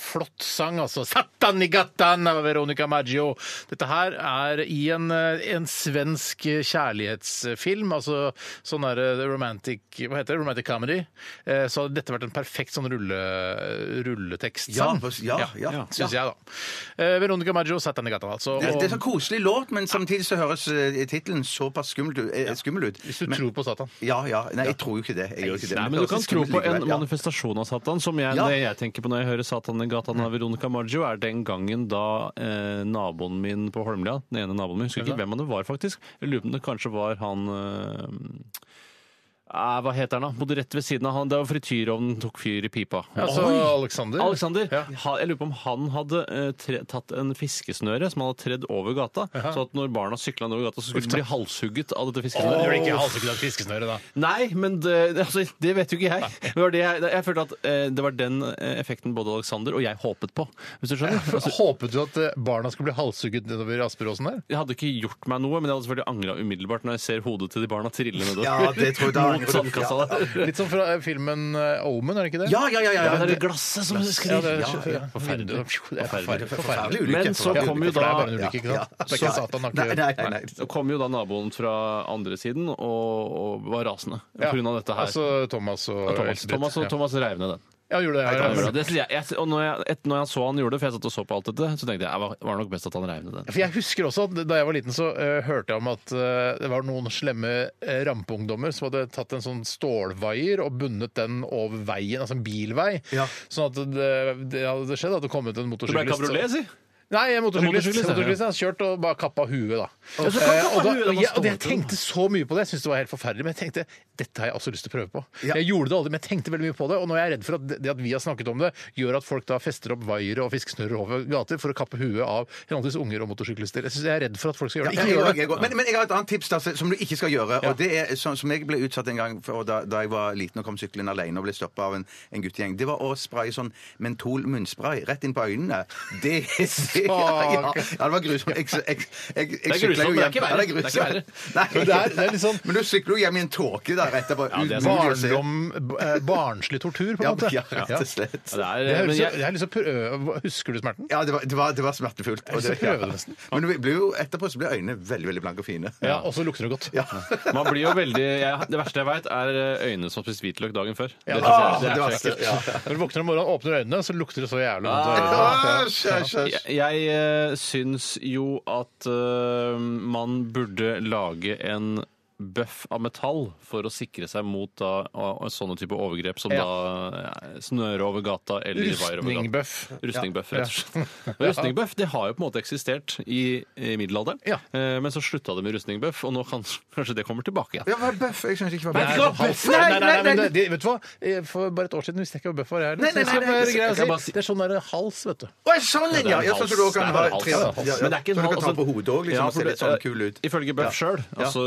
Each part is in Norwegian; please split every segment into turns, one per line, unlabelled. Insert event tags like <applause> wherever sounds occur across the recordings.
Flott sang, altså. 'Satan i gatan' av Veronica Maggio. Dette her er i en, eh, en svensk kjærlighetsfilm, altså sånn derre romantic Hva heter det? Romantic comedy. Eh, Så hadde dette vært en perfekt sånn rulle,
Ja,
rulletekstsang.
ja, ja, ja.
Syns jeg, da. Eh, Veronica Maggio, 'Satan i gatan', altså.
Det, det er så
Og
koselig låt, men samtidig så høres eh, tittelen såpass skummel, ut- eh, skummel ut.
hvis du
Men-
tror på Satan.
Ja, ja. Nei, jeg tror jo ikke det. Jeg gjør ikke det.
Nei, men
det
du kan
høres
tro
skummelt
på en
likevel, ja.
manifestasjon av Satan, som jeg,
Ja. Mm.
det jeg tenker på når jeg hører Satan i gata av Veronica Maggio, er den gangen da eh, naboen min på Holmlia, den ene naboen min, jeg husker ikke hvem han det var faktisk, jeg lurer på om det kanskje var han eh, eh, hva heter han da? Bodde rett ved siden av han. Det var frityrovnen tok fyr i pipa.
Altså Alexander.
Alexander,
Ja.
ha, jeg lurer på om han hadde eh, tre, tatt en fiskesnøre som han hadde tredd over gata, så at når barna sykla nedover gata, så skulle de bli halshugget av dette
Du
fiskesnøret.
blir ikke halshugget av et fiskesnøre, da.
Nei, men det, altså, det vet jo ikke jeg. Det var det jeg, jeg følte at eh, det var den eh, effekten både Alexander og jeg håpet på. Hvis du
<laughs>
skjønner? Altså,
Håpet du at eh, barna skulle bli halshugget nedover Asperåsen der?
jeg hadde ikke gjort meg noe, men jeg hadde selvfølgelig angra umiddelbart når jeg ser hodet til de barna trille nedover.
Ja, det tror jeg da angrer
Mot
du.
sandkassa der.
Litt som fra eh, filmen eh, Omen, er det ikke det?
Ja, ja, ja. ja,
Ja,
ja.
det er det glasset som sklir.
Ja, det er-
Ja,
ja,
forferdelig.
Det er Forferdelig.
Forferdelig
Forferdelig.
ulykke.
Men så
forferdelig
kom jo
ulykke.
For det er bare
da
en ulykke, ikke sant? Det er
Ja.
ikke Satan, det er
Nei,
ikke-
nei, nei, nei.
så kom jo da naboen fra andre siden og, og var rasende
Ja,
pga. dette her.
Altså Thomas og
Ja, Thomas,
Elisabeth.
Thomas, og-
ja.
Thomas reiv ned den.
Ja, gjorde det.
Han gjorde
Ja,
det. Det sier jeg, jeg, og når jeg, et, når jeg så han gjorde det, for jeg satt og så på alt dette, så tenkte jeg det var, var nok best at han reiv ned den.
for jeg husker også at Da jeg var liten, så eh, hørte jeg om at eh, det var noen slemme eh, rampeungdommer som hadde tatt en sånn stålvaier og bundet den over veien, altså en bilvei.
Ja.
Sånn at det, det hadde skjedd at det kom ut en
Det ble
motorsyklist.
kabriolet, si!
Nei, en motorsyklist.
Motorsyklist, ja.
motorsyklist ja. altså. Kjørt og bare kappa huet, da.
så kan
Eh,
kappa
og, da
huet, da,
og, jeg, og jeg
ståltråd.
tenkte så mye på det. Jeg syntes det var helt forferdelig, men jeg tenkte dette har jeg også lyst til å prøve på.
Ja.
Jeg gjorde det aldri, men jeg tenkte veldig mye på det. Og nå er jeg redd for at det at vi har snakket om det, gjør at folk da fester opp vaiere og fiskesnører over gater for å kappe huet av henholdsvis unger og motorsyklister. Jeg synes jeg er redd for at folk skal gjøre det.
Ja,
Ikke
jeg
gjør
også, jeg
det.
også. Men, men jeg har et annet tips da, som du ikke skal gjøre. Og det er sånn som jeg ble utsatt en gang for, da, da jeg var liten og kom syklende alene og ble stoppa av en, en guttegjeng. Det var å spraye sånn mentol munnspray rett inn på øynene. Det, det ja, ja, ja, det var grusomt. Jeg, jeg, jeg, jeg
Det er grusomt,
sykler jo
men det er
hjem-
ikke
Ja, det
verre.
er
Det er ikke
grusomt.
verre.
Nei.
Men det er- det er litt sånn-
Men du sykler jo hjem i en tåke der etterpå.
det er
Umulig å se.
Barndom, eh, barnslig tortur, på en
Ja,
måte.
ja, rett og slett.
Ja, det
Jeg
er,
har
men
lyst til å-
jeg,
jeg har lyst til å prøve Husker du smerten?
Ja, det var, det var, det var smertefullt. Og
Jeg
det,
prøver det nesten.
Men du ble jo, etterpå så ble øynene veldig veldig blanke og fine.
Ja, og så lukter det godt.
<laughs> Ja.
man blir jo veldig jeg, Det verste jeg veit, er øyne som har spist hvitløk dagen før. Det, synes
Ah,
jeg, det
det
er
var
så
sterkt,
ekkelt.
ja.
Når du våkner om morgenen, åpner øynene, så lukter det så jævlig vondt. i øynene.
Ah, skjøs, skjøs.
Jeg, jeg eh, syns jo at eh, man burde lage en bøff av metall for å sikre seg mot da, og- og sånne type overgrep som
Ja.
da eh, snøre over gata eller vaier over gata.
Rustningbøff.
Rustningbøff, rett og slett. Og Rustningbøff det har jo på en måte eksistert i, i middelalderen,
Ja.
eh, men så slutta det med rustningbøff, og nå kan, <laughs> kanskje det kommer tilbake igjen.
Ja, hva er bøff? Jeg skjønner ikke hva
Nei,
bøff
hva
er.
er bøff?
sånn Nei, nei, nei,
nei,
men det, vet du hva? Eh, For bare et år siden visste jeg ikke hva bøff var. Jeg heller.
Nei, nei,
liksom Så jeg skal
nei, nei,
bare greie å
jeg kan bare
si,
si-
det er sånn der hals, vet du.
Å, ja, sånn, ja!
en
ja sånn som du også kan ha
hals. Det er en
tre
hals.
ja, ja.
Men det er ikke
Så
en
du
hals,
kan ta
altså-
på hodet òg, liksom,
Ja,
og
for
se litt
det- eh,
sånn kul ut.
Ifølge Bøff sjøl, altså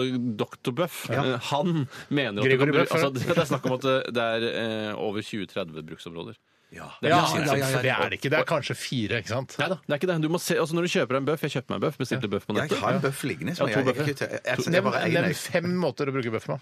doktor Bøff, eh, han mener at du
Gregory
kan bruke
Bøff, ja.
altså, Det er snakk om at eh, det er eh, over 20-30 bruksområder.
Ja.
Det er,
Ja,
ikke-
ja, ja, ja. Det er det ikke. Det er kanskje fire, ikke sant?
Nei da, det er ikke det. Du må se, altså Når du kjøper deg en bøff Jeg kjøpte meg en bøff, bestilte bøff på
Jeg
nettet.
har en bøff liggende. som jeg-
Ja,
jeg
to bøffer.
ikke- jeg- jeg- jeg- jeg
Nevn,
bare eier
nevn
den.
fem måter å bruke bøff på.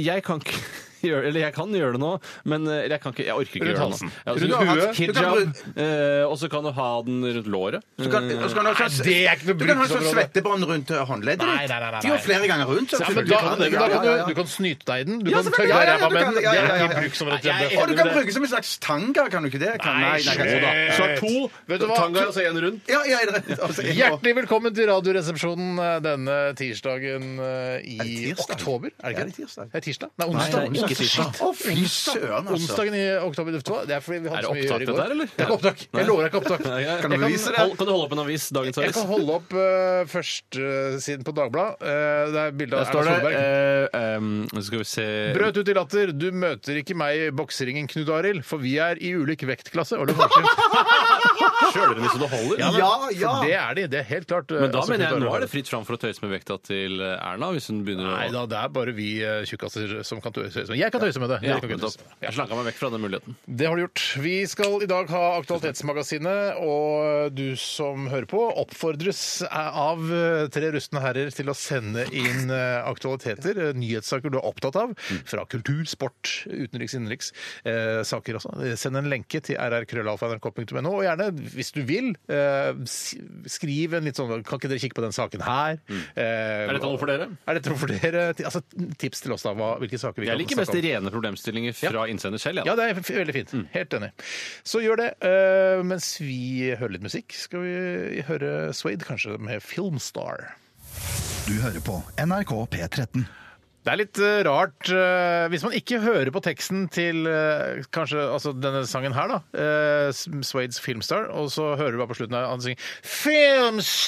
Jeg kan ikke <laughs> gjøre Eller jeg kan gjøre det nå, men eh, jeg kan ikke Jeg orker
Rundt
ikke gjøre det
halsen.
nå. Ja, altså,
Rundt
du har
huet.
hatt
Du kan
hijab, eh, og så kan du ha den rundt låret.
Du kan, og så kan du ha sånn-
Nei, det er ikke noe
du kan ha sånn
bruksområde.
svettebånd rundt eh, håndleddet
Nei,
ditt.
nei, nei, nei,
De går
nei.
flere ganger rundt. så
Ja, men
selvfølgelig
da,
kan
da
det- ja,
kan
ja, ja.
du, du kan snyte deg i den. Du
Ja,
kan
selvfølgelig.
tørre
Ja, ja,
ræva
du
med
kan-
den. Det
ja, ja,
er
ja,
ikke
ja.
bruksområdet
Nei,
til
jeg
bøff.
Og
er
du kan bruke det som en slags tanga, kan du ikke det? Kan,
Nei,
Jo
kanskje-
da. Du skal ha to.
Vet du hva?
Tanga, altså én rundt.
Ja, ja, er det rett? Altså, jeg-
Hjertelig velkommen til Radioresepsjonen eh, denne tirsdagen eh,
Er det
i
tirsdag?
oktober. Er det
Ja,
ikke
det er tirsdag.
Er det tirsdag? Nei,
Nei,
onsdag.
det er ikke tirsdag.
Å, fy søren, altså.
Onsdagen i oktober. vet du hva? Det er fordi vi
Er
hadde så
det
mye å
opptak
gjøre i
dette
går.
her, eller?
Det er ikke opptak. Jeg lover det er ikke opptak.
Kan
du bevise det?
Hold, kan du holde opp en avis? Dagens
Jeg
avis?
kan holde opp eh, først eh, siden på Dagbladet. Eh, det er bilde av
Der
Erna
står det
Solberg.
eh, em, Skal vi se
Brøt ut i latter. Du møter ikke meg i bokseringen, Knut Arild, for vi er i ulik vektklasse. Og det, ja,
Kjøler den hvis du holder?
Ja, ja.
det er de. Det er helt klart. eh,
Men da
altså,
mener
Knut
jeg
Arild
nå
har
er det
det.
fritt fram for å tøyse med vekta til eh, Erna, hvis hun begynner
Nei
å
da, det er bare vi eh, tjukkaser som kan tøyse. Men Jeg kan tøyse med det. Dere kan ikke tøyse med det.
Jeg slanka meg vekk fra den muligheten.
Det har du gjort. Vi skal i dag ha Aktualitetsmagasinet, og du som hører på, oppfordres av tre rustne herrer til å sende inn eh, aktualiteter, eh, nyhetssaker du er opptatt av,
Mm.
fra kultur, sport, utenriks, innenriks, eh, saker også. Eh, Send en lenke til rrkrøllalfa.nrk.no, og gjerne, hvis du vil, eh, s- skriv en litt sånn Kan ikke dere kikke på den saken her?
Mm.
Eh,
Er dette noe for dere?
Er dette noe for dere? Altså, tips til oss, da. Hva, hvilke saker vi
Jeg
kan
liker best de rene problemstillinger fra innsender selv.
ja, Mm.
Ja.
det er f- veldig fint. Helt enig. Så gjør det. eh, mens vi hører litt musikk, skal vi høre Swade, kanskje, med Filmstar.
Du hører på NRK P13.
Det er litt eh, rart eh, Hvis man ikke hører på teksten til eh, kanskje altså denne sangen her, da, eh, S- Swades 'Filmstar', og så hører du bare på slutten her han synger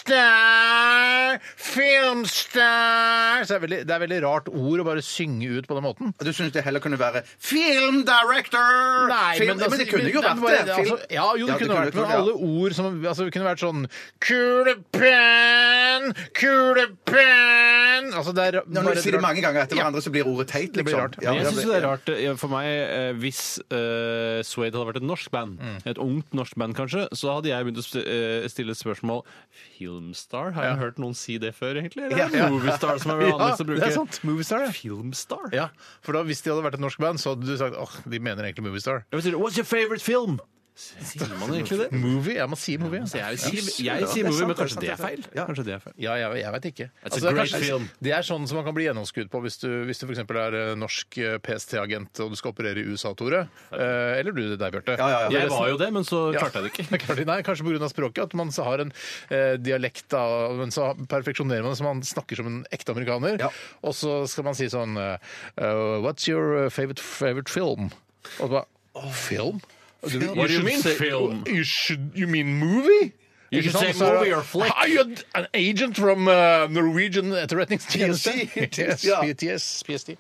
'Filmstar, Filmstar' Så det er, veldig, det er veldig rart ord å bare synge ut på den måten.
Du syns det heller kunne være film director! film, men, det kunne jo vært det. Film.
Altså, ja, jo, det
Ja,
kunne vært Men
ja.
alle ord som altså, det kunne vært sånn Kulepenn! Kulepenn! Altså, det er
Når
bare
du sier det
rart.
mange ganger etter hverandre, så blir ordet teit, liksom.
Det blir rart.
Ja,
Men jeg
det
synes
blir-
det er rart eh, for meg eh, hvis uh, Suede hadde vært et norsk band,
Mm.
et ungt norsk band kanskje, så hadde jeg begynt å st- eh, stille et spørsmål Filmstar? Har jeg hørt noen si det før, egentlig? Eller er det
Ja.
Moviestar som er
<laughs> Ja,
vanligst å bruke?
det er sant. Moviestar, ja.
Filmstar?
Ja, for da Hvis de hadde vært et norsk band, så hadde du sagt åh, de mener egentlig Moviestar.
Jeg betyr, What's your favorite film? Sier man egentlig det?
Movie? Ja, man sier movie.
Så
Ja,
jeg sier, jeg
det er
sier movie,
sant,
men
det er
kanskje
sant,
det
det
er
er
feil? Kanskje det er feil.
ja jeg, jeg veit ikke. Altså,
a
det, er
great film.
det er sånn som man kan bli gjennomskudd på hvis du, hvis du f.eks. er eh, norsk eh, PST-agent og du skal operere i USA, Tore. Eh, eller du, det er deg, Bjarte.
Ja, ja, ja.
Jeg var jo det, men så
Ja.
klarte jeg det ikke.
<laughs> Det er klart, nei, kanskje pga. språket, at man så har en eh, dialekt da, men så perfeksjonerer man det så man snakker som en ekte amerikaner.
Ja.
Og så skal man si sånn eh, uh, What's your favorite, favorite film? Og så bare oh, Film? Du-
What do you
should
mean
say-
film?
You, should, you mean movie?
You
Ikke
should
sant?
say
Så er det,
movie or flick.
Are you an agent from uh, Norwegian etterretningstjeneste? PST.
Ja.
PTS, PST.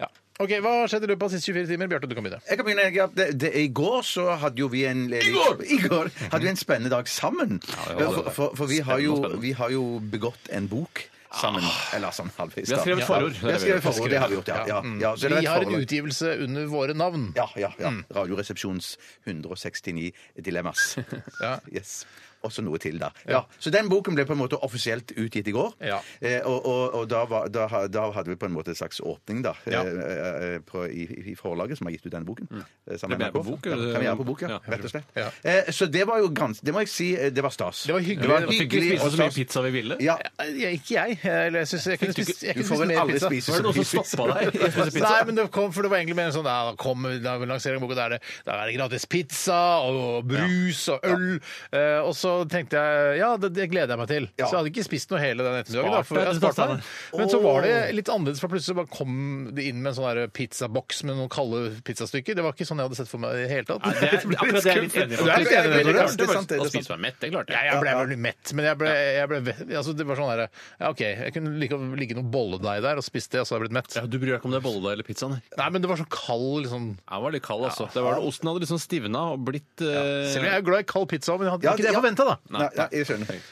Ja. Ok, Hva har skjedd i løpet av de siste 24 timer? Bjarte, du kan begynne.
Jeg kan begynne, ja. det, det, I går så hadde jo vi en <laughs> I går! hadde vi en spennende dag sammen. for for, for vi, har jo,
Spennende, spennende.
vi har jo begått en bok sammen. Eller sånn halvveis.
Vi har
da.
skrevet
Ja.
forord.
Vi har skrevet forord, Det har vi gjort, ja. ja, ja så det er
Vi
et
har en
forord.
utgivelse under våre navn.
Ja, ja, ja. Radioresepsjons 169 dilemmas.
Ja.
Yes. Og så noe til, da. Ja. Så den boken ble på en måte offisielt utgitt i går.
Ja.
Eh, og og, og da, var, da, ha- da hadde vi på en måte en slags åpning, da,
Ja.
eh, eh, på, i, i forlaget som har gitt ut den boken. eh, sammen
Premiere
med NRK.
på bok,
Ja,
eller?
premiere på bok, ja.
Ja.
Rett og slett.
Ja.
Eh, så det var jo gransk... Det må jeg si, eh, det var stas.
Det var hyggelig.
Vi fikk ikke spise
og
så mye
stas.
pizza vi ville.
Ja.
Ja, ikke jeg. Eller jeg synes jeg kunne spist, jeg
Du
kunne
får
spist
vel
mer
aldri
pizza.
spise
Var det
så
noen
mye
som
pizza.
<laughs> stoppa deg? i å spise pizza?
Nei, men det kom, for det var egentlig mer en sånn ja, da kom, da lanserer boka, da er det, da er det gratis pizza og brus og øl. Eh, og så tenkte jeg ja, det, det gleder jeg meg til.
Ja.
Så jeg hadde ikke spist noe hele den ettermiddagen. Da, for
Spart deg,
jeg
du
sparte
sa
meg. Men så var det litt annerledes, for plutselig bare kom de inn med en sånn der pizzaboks med noen kalde pizzastykker. Det var ikke sånn jeg hadde sett for meg i det hele tatt.
Nei, det er-
ble litt
akkurat det er jeg litt
skuffet.
enig i,
Du er litt enig i det,
Jeg
Tore?
klarte det er sant, det er
Å
sant.
spise meg mett, det klarte
Ja,
jeg.
jeg ble veldig mett, men jeg ble, jeg ble altså, Det var sånn der, ja, OK, jeg kunne like godt ligge noe bolledeig der og spist det, og så hadde jeg blitt mett.
Ja, du bryr deg ikke om det er bolle eller pizza, nei.
Nei, men det var så kald liksom
Jeg var litt kald, altså. Det var det, osten hadde liksom stivna og blitt eh,
Selv om jeg er glad i kald pizza, men jeg hadde
Ja,
ikke det
det-
forventa, da.
Nei, nei, jeg skjønner.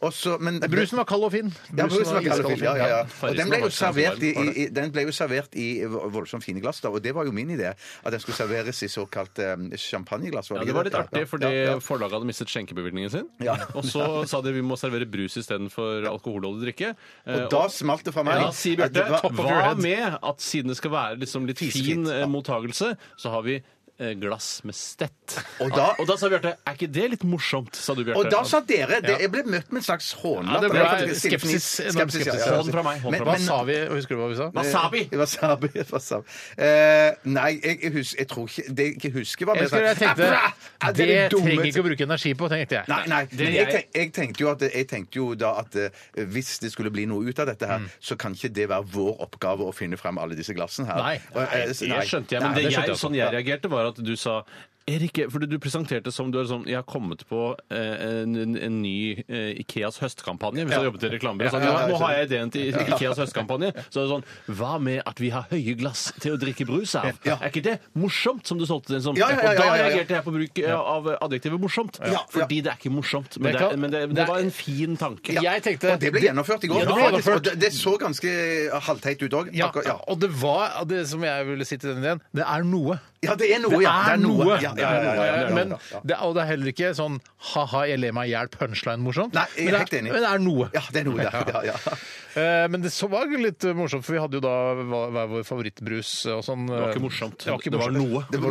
Og så- men,
Brusen var kald og fin.
Ja, brusen var
iskald og
kalorifer,
fin.
ja, ja, ja. Og
Farrisen
den ble
var
jo
ikke så
servert i,
varm, var
i, i- den ble jo servert i voldsomt fine glass, da, og det var jo min idé. At den skulle serveres i såkalt um, champagneglass.
Ja, Det var litt artig, fordi
ja, ja.
forlaget hadde mistet skjenkebevilgningen sin.
<laughs> Ja.
Og så sa de vi må servere brus istedenfor alkoholholdig drikke. Eh,
Og da smalt det fra meg.
Ja, sier
at det
Bjarte.
var-
Hva med at siden det skal være liksom litt
Fisket,
fin eh,
ja.
mottagelse, så har vi eh, glass med stett.
Og da-
og da sa Bjarte er ikke det litt morsomt? sa du, Bjarte.
Og da sa dere det, Jeg ble møtt med en slags hånlapp.
Ja, det ble
Jeg følte ikke
skepsis,
sinnsni-
enorm
skepsis, ja,
skepsis.
ja.
Hånd fra meg, hånd
Men-
fra
Hva
meg.
men-
sa vi? Husker du hva vi sa?
Wasabi!
Eh, Wasabi. wasabi. Eh, nei, jeg, jeg, husker, jeg tror ikke Det jeg ikke husker, var
Jeg husker jeg
<laughs>
tenkte
"Ah,
Det
dere dumme
trenger ikke å bruke energi på, tenkte jeg.
Nei, nei.
er
men jeg,
jeg.
tenk, jeg, tenkte jo at, jeg tenkte jo da at eh, hvis det skulle bli noe ut av dette her, så kan ikke det være vår oppgave å finne frem alle disse glassene her.
Nei,
Og, eh,
nei,
s-
det skjønte jeg, men
Men det
det skjønte
jeg,
jeg også.
sånn jeg reagerte, var at du sa Erik, fordi du presenterte som du er sånn Jeg har kommet på eh, en, en, en ny eh, Ikeas høstkampanje. Hvis du har jobbet i reklamebyrå. Sånn,
Ja, ja,
ja,
ja,
nå har jeg ideen til Ikeas høstkampanje. Så er det sånn Hva med at vi har høye glass til å drikke brus av?
Ja.
Er ikke det morsomt, som du solgte den som?
Ja, ja, ja, ja, ja,
Og da
ja.
reagerte jeg på bruk eh, av adjektivet morsomt.
Ja.
Fordi det er ikke morsomt.
Det
Men det,
kan-
er- men det,
det
det
er-
var en fin tanke.
Jeg tenkte
Og det ble gjennomført i går.
Ja, det ble
faktisk.
gjennomført.
Og det, det så ganske eh, halvteit ut òg.
Ja,
Ja.
og det var det som jeg ville si til den ideen, det er noe.
ja, det er noe, ja.
Det er noe.
Ja, ja, ja, ja, ja, ja, ja.
Men det, og det er heller ikke sånn ha-ha, jeg ler meg i hjel, punchline morsomt.
Nei, jeg er
men,
helt
det
enig.
men det er noe.
Ja, det er noe, ja. ja, ja.
Eh, Men det så var jo litt eh, morsomt, for vi hadde jo da hva- hver vår favorittbrus og sånn.
Det var ikke morsomt.
Det var, ikke
Det var
morsomt.
noe.
Det var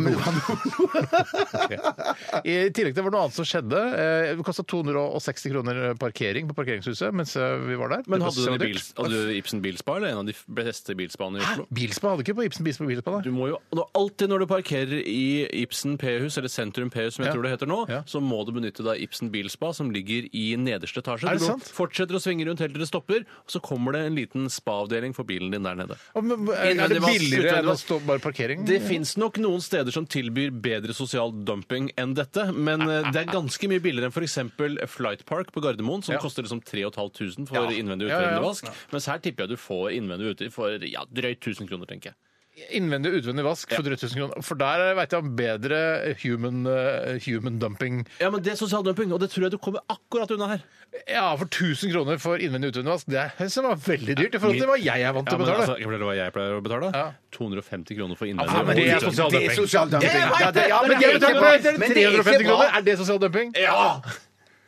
<laughs>
noe.
I tillegg til det var noe annet som skjedde. Eh, Det kosta 260 kroner parkering på parkeringshuset mens eh, vi var der.
Men
Det var
hadde du, den i
sødyrt.
bil, hadde du Ibsen Bilspa, eller en av de beste bilspaene i
Hæ?
Oslo?
Bilspa hadde ikke på Ibsen Bilspa Bilspa,
Du
nei.
må jo, nå, alltid når du parkerer i Ibsen P-hus, eller Sentrum P-hus som jeg
Ja.
tror det heter nå,
Ja.
så må du benytte deg av Ibsen Bilspa, som ligger i nederste etasje.
Er det
du
sant?
fortsetter å svinge rundt helt til det stopper, og så kommer det en liten spa-avdeling for bilen din der nede.
Og, men, eh, Er er det
Innvendig vask,
billigere enn å
utvendig
stå bare parkering?
Det fins nok noen steder som tilbyr bedre sosial dumping enn dette, men eh, det er ganske mye billigere enn f.eks. Flight Park på Gardermoen, som
Ja.
koster liksom 3500 for innvendig og
Ja, ja, ja.
utvendig vask. Mens her tipper jeg du får innvendig og utvendig for ja, drøyt 1000 kroner, tenker jeg.
Innvendig og utvendig vask for drøyt 1000 kroner. For der veit jeg om bedre human, eh, human dumping.
Ja, men det er sosial dumping, og det tror jeg du kommer akkurat unna her.
Ja, for 1000 kroner for innvendig og utvendig vask, det er- som var veldig dyrt i forhold til hva jeg er vant
Ja,
til å
men
betale.
altså, ikke det hva jeg pleier å betale?
Ja.
250 kroner for
Ja, men
innvendig.
det er
og utvendig.
sosial
Det
dumping.
er sosial dumping. Ja, det- ja,
men
men det er ikke bra. Men det er
350
ikke
kroner,
bra.
er det sosial dumping?
Ja!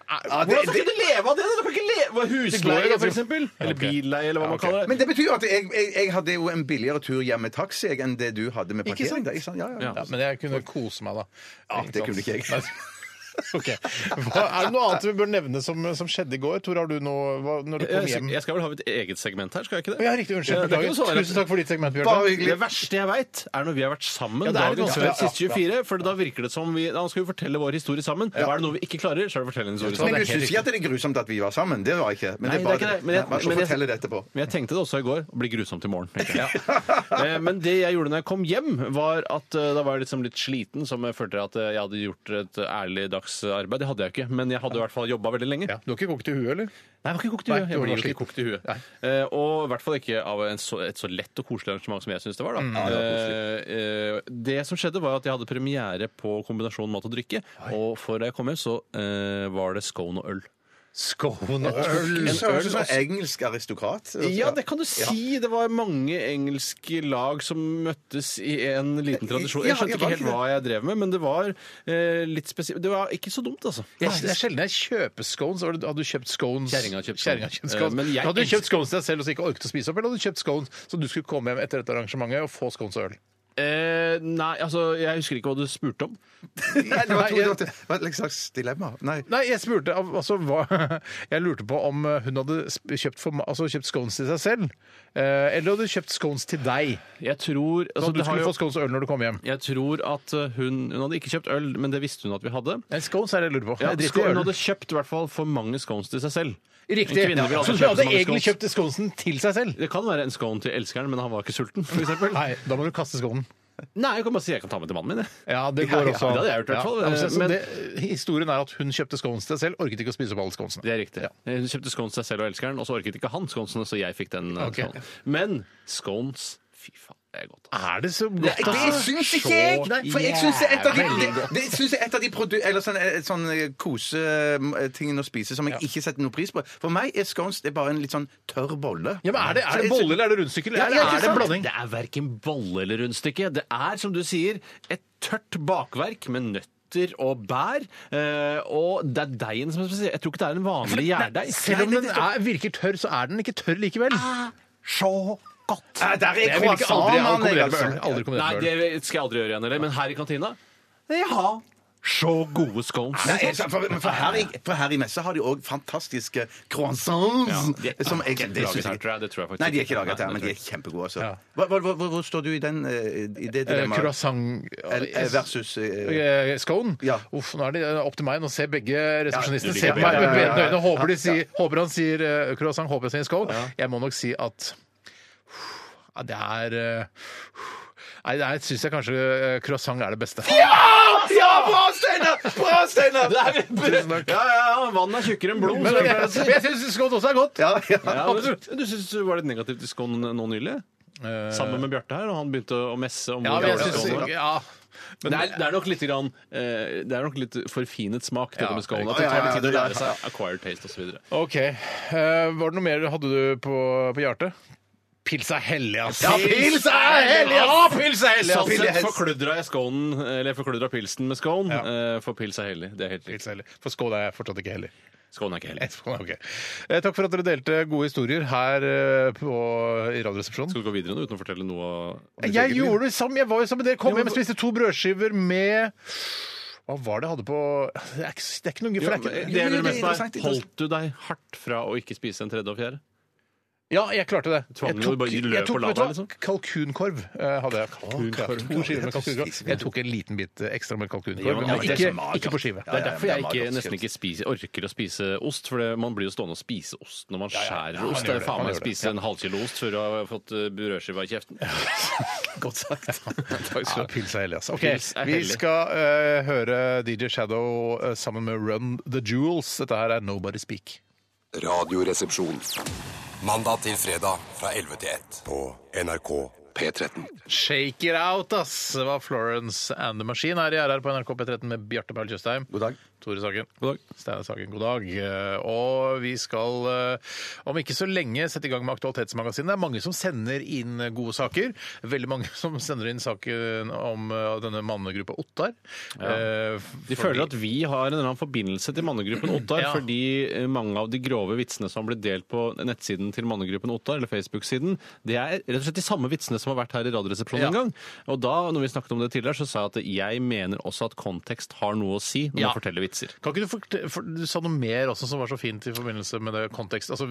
Ja, det-
Hvordan skal
det-
du leve av det? da? Du kan ikke leve av
Det går
husleie,
jo
for eksempel. Eller
Ok.
billeie, eller hva
Ja,
man
ok.
<laughs> kaller det.
Men det betyr jo at jeg, jeg, jeg hadde jo en billigere tur hjem med taxi jeg, enn det du hadde med
Ikke sant?
parkering. da, Ikke sant? Ja, ja,
Ja.
ja.
Ja, men jeg kunne kose meg, da.
Ja, det kunne ikke jeg.
Nei. Ok. Hva, er det noe annet vi bør nevne som, som skjedde i går? Tor, har du noe hva, når du kom
Jeg,
hjem?
jeg skal vel ha mitt eget segment her, skal jeg ikke det?
Ja, riktig. Unnskyld.
Ja, det er ikke
beklager.
noe sånn at-
Tusen takk for ditt segment,
Bare
Bjørte.
hyggelig.
Det verste jeg veit, er når vi har vært sammen
Ja, det er litt
dagen
vanskelig.
før siste 24. For da virker det som vi Da skal vi fortelle vår historie sammen. Og er det noe vi ikke klarer, så er det å fortelle en historie
Men
sammen.
du syns ikke at det er grusomt at vi var sammen? Det var ikke. Men
Nei,
det er
det er
bare
ikke det. Men
Nei,
jeg-
man skal
men jeg-
fortelle det etterpå.
Men jeg tenkte det også i går. Det blir grusomt i morgen. tenkte jeg. <laughs> Eh, Men det jeg gjorde når jeg kom hjem, var at eh, da var jeg liksom litt sliten, som jeg følte at eh, jeg hadde gjort et ærlig dagsarbeid. Det hadde jeg ikke, men jeg hadde i hvert fall jobba veldig lenge.
Ja, du har ikke kokt i huet, eller?
Nei, jeg var ikke kokt i
Nei,
huet.
du
Jeg
var
blir jo ikke
sliten.
kokt i huet.
Nei.
Eh, og i hvert fall ikke av en så, et så lett og koselig arrangement som jeg syns Mm, det var. Da. Eh, eh, det som skjedde, var at jeg hadde premiere på kombinasjonen mat og drikke. Og for da jeg kom hjem, så eh, var det scone og øl.
Skåne
Du
øl.
ser ut som en engelsk aristokrat.
Ja, det kan du si. Det var mange engelske lag som møttes i en liten tradisjon.
Ja,
Eh, Jeg skjønte
jeg var
ikke
ikke
helt
det.
hva jeg drev med, men det var eh, litt spesielt. Det var ikke så dumt, altså.
Det er det er sjelden jeg kjøper scones. Har du- Hadde du kjøpt scones?
Kjerringa har kjøpt
Kjerringa har
scones.
kjøpt scones.
Eh, men jeg
hadde du
elsker-
kjøpt scones til deg selv og så ikke orket å spise opp, eller hadde du kjøpt scones så du skulle komme hjem etter dette arrangementet og få scones og øl?
Eh, nei, altså, jeg husker ikke hva du spurte om.
Nei, det var to-
Nei, jeg-
det var et- det var et slags dilemma. Nei.
Nei, jeg spurte av- altså, hva, <laughs> Jeg lurte på om eh, hun hadde sp- kjøpt, for, ma- altså, kjøpt scones til seg selv, eh, eller hadde kjøpt scones til deg.
Jeg tror altså,
Så du
det har
skulle
jo-
få scones og øl når du kom hjem.
Jeg tror at eh, hun Hun hadde ikke kjøpt øl, men det visste hun at vi hadde.
Nei, scones er det jeg lurer på.
Ja,
Jeg driter i
hun
øl.
hadde kjøpt i hvert fall for mange scones til seg selv.
Riktig.
En kvinne vil
så hun
aldri kjøpe så
hadde
mange
egentlig
scones.
kjøpt sconesen til seg selv?
Det kan være en scone til elskeren, men han var ikke sulten. For eksempel.
Nei, da må du kaste sconen.
Nei, jeg kan bare si jeg kan ta med til mannen min. jeg.
Ja, det
Ja,
går
ja,
også.
det hadde jeg gjort i hvert fall.
Ja, altså, så
Men-
det, historien er at hun kjøpte scones til seg selv, orket ikke å spise opp alle
Det
sconsene.
er riktig. Hun kjøpte scones til seg selv og elskeren, og så orket ikke han sconesene, så jeg fikk den. eh,
Ok.
sconen. Men scones Fy faen, det er godt. altså.
Er det så godt?
Det-
altså?
Det syns ikke jeg!
Nei,
For jeg syns det er et av de,
jævlig
det, det syns jeg er et av de produ Eller sånn, eh, sånn eh, kosetingene å spise som jeg ikke setter noe pris på. For meg er scones det er bare en litt sånn tørr bolle.
Ja, men er det,
Så
er det
jeg-
bolle, eller er det rundstykke, eller
Ja,
er
ja,
det-
ikke
er det en
sant?
blanding?
Det er verken bolle eller rundstykke. Det er, som du sier, et tørt bakverk med nøtter og bær. eh, og det er deigen som er spesiell. Jeg tror ikke det er en vanlig gjærdeig.
Selv om den er, virker tørr, så er den ikke tørr likevel.
Ah, så godt.
Nei, der
Jeg
er
vil ikke aldri
croissanten,
aldri
jeg,
kombinere med øl.
altså.
Aldri kombinere
Nei,
med øl.
det skal jeg aldri gjøre igjen heller. Men her i kantina Jeg har så gode scones.
Nei, jeg- for, men for, her i, for her i messa har de òg fantastiske croissants.
Ja, de-
som jeg,
de er ikke
det synes
laget her,
jeg-
tror jeg. Det tror jeg faktisk
Nei, de er
ikke.
ikke laget her,
Nei,
men de
det
er kjempegode. Altså.
Ja.
Hva- hva- hva- Hvor står du i, den, eh, i det
Eh,
dilemmaet?
Croissant
Eh, Versus eh,
Eh, Scone?
Ja.
Uff, nå er det eh, opp til meg. Nå ser begge resepsjonistene
Ja,
ser på meg
ja, ja,
med
ja, ja.
bedende øyne. Håper, de sier, håper han sier eh, croissant, håper han sier scone. Jeg må nok si at uff, ja, det er eh, uff. Nei, det syns jeg kanskje eh, croissant er det beste. Ja!
Ja, bra, Steinar! Bra, Steinar!
Tusen takk. <laughs> Ja, ja, vann er tjukkere enn blod.
Men
som
<laughs>
jeg pleier å si.
jeg syns skål også er godt.
Ja, ja.
Ja, men du syns det var litt negativt til Skåne nå nylig? Sammen med Bjarte her, og han begynte å messe om
Ja, men
hvor
jeg
jævlig
synes,
Skåne var.
ja. Men-
det, er, det, er nok litt grann, eh, det er nok litt forfinet smak, dette
Ja,
med skålen.
riktig.
At det
Ja,
tar
ja,
litt tid å
ja,
lære seg acquired taste osv.
OK. Eh, var det noe mer hadde du på, på hjertet? Pils er hellig, ass.
Ja, pils er hellig, ass!
Ja, pils er hellig,
Sånn
ass!
sett forkludra jeg skålen, eller forkludra pilsen med skålen,
Ja.
eh, for pils er hellig. Det er helt
Pils
riktig.
er hellig. For skål er fortsatt ikke hellig.
Skålen er ikke hellig.
Ok. Eh, Takk for at dere delte gode historier her eh, på, i Radioresepsjonen.
Skal du gå videre nå uten å fortelle noe av
Jeg gjorde det sammen, jeg var jo sammen med dere. Kom hjem og spiste to brødskiver med Hva var det jeg hadde på Det er ikke, det er ikke noe for det er ikke,
det jeg lurer mest på er,
interessant, interessant.
Holdt du deg hardt fra å ikke spise en tredje og fjerde?
Ja, jeg klarte det.
Tvang
Jeg
du bare i løpet
jeg tok
og la
vet du hva?
deg, liksom?
Kalkunkorv eh, hadde jeg. To skiver med kalkunkorv. Jeg tok en liten bit eh, ekstra med
Ja,
kalkunkorv.
men
men
det er
Ikke,
så magert.
ikke på skive.
Det er derfor jeg
men det er
ikke,
magert,
nesten ikke spiser, orker å spise ost. For det, man blir jo stående og spise ost når man skjærer
man
ost.
gjør
Det er
det,
faen
man
meg
gjør
å
det.
spise en halvkilo ost før du har fått eh, brødskiva i kjeften.
<laughs> Godt sagt.
Takk
Ja,
skal du ha.
pils er hellig, altså. Ok,
Pils er
vi
hellig.
skal eh, høre DJ Shadow eh, sammen med Run The Jewels. Dette her er Nobody Speak.
Radioresepsjon. Mandag til fredag fra 11 til 1 på NRK P13.
Shake it out, ass! Det var Florence and the Machine her i RR på NRK P13 med Bjarte Paul Tjøstheim.
God dag.
Tore Sagen.
God dag.
Steinar Sagen, god dag. Eh, Og vi skal eh, om ikke så lenge sette i gang med Aktualitetsmagasinet. Det er mange som sender inn gode saker. Veldig mange som sender inn saken om eh, denne mannegruppa Ottar. Eh,
De
fordi-
føler at vi har en eller annen forbindelse til mannegruppen Ottar,
Ja.
fordi eh, mange av de grove vitsene som ble delt på nettsiden til mannegruppen Ottar, eller Facebook-siden, det er rett og slett de samme vitsene som har vært her i Radioresepsjonen
Ja.
en gang. Og da, når vi snakket om det tidligere, så sa jeg at jeg mener også at kontekst har noe å si når
Ja.
man forteller vitser.
Kan ikke du fortelle, for, Du sa noe mer også som var så fint i forbindelse med det kontekst. Altså,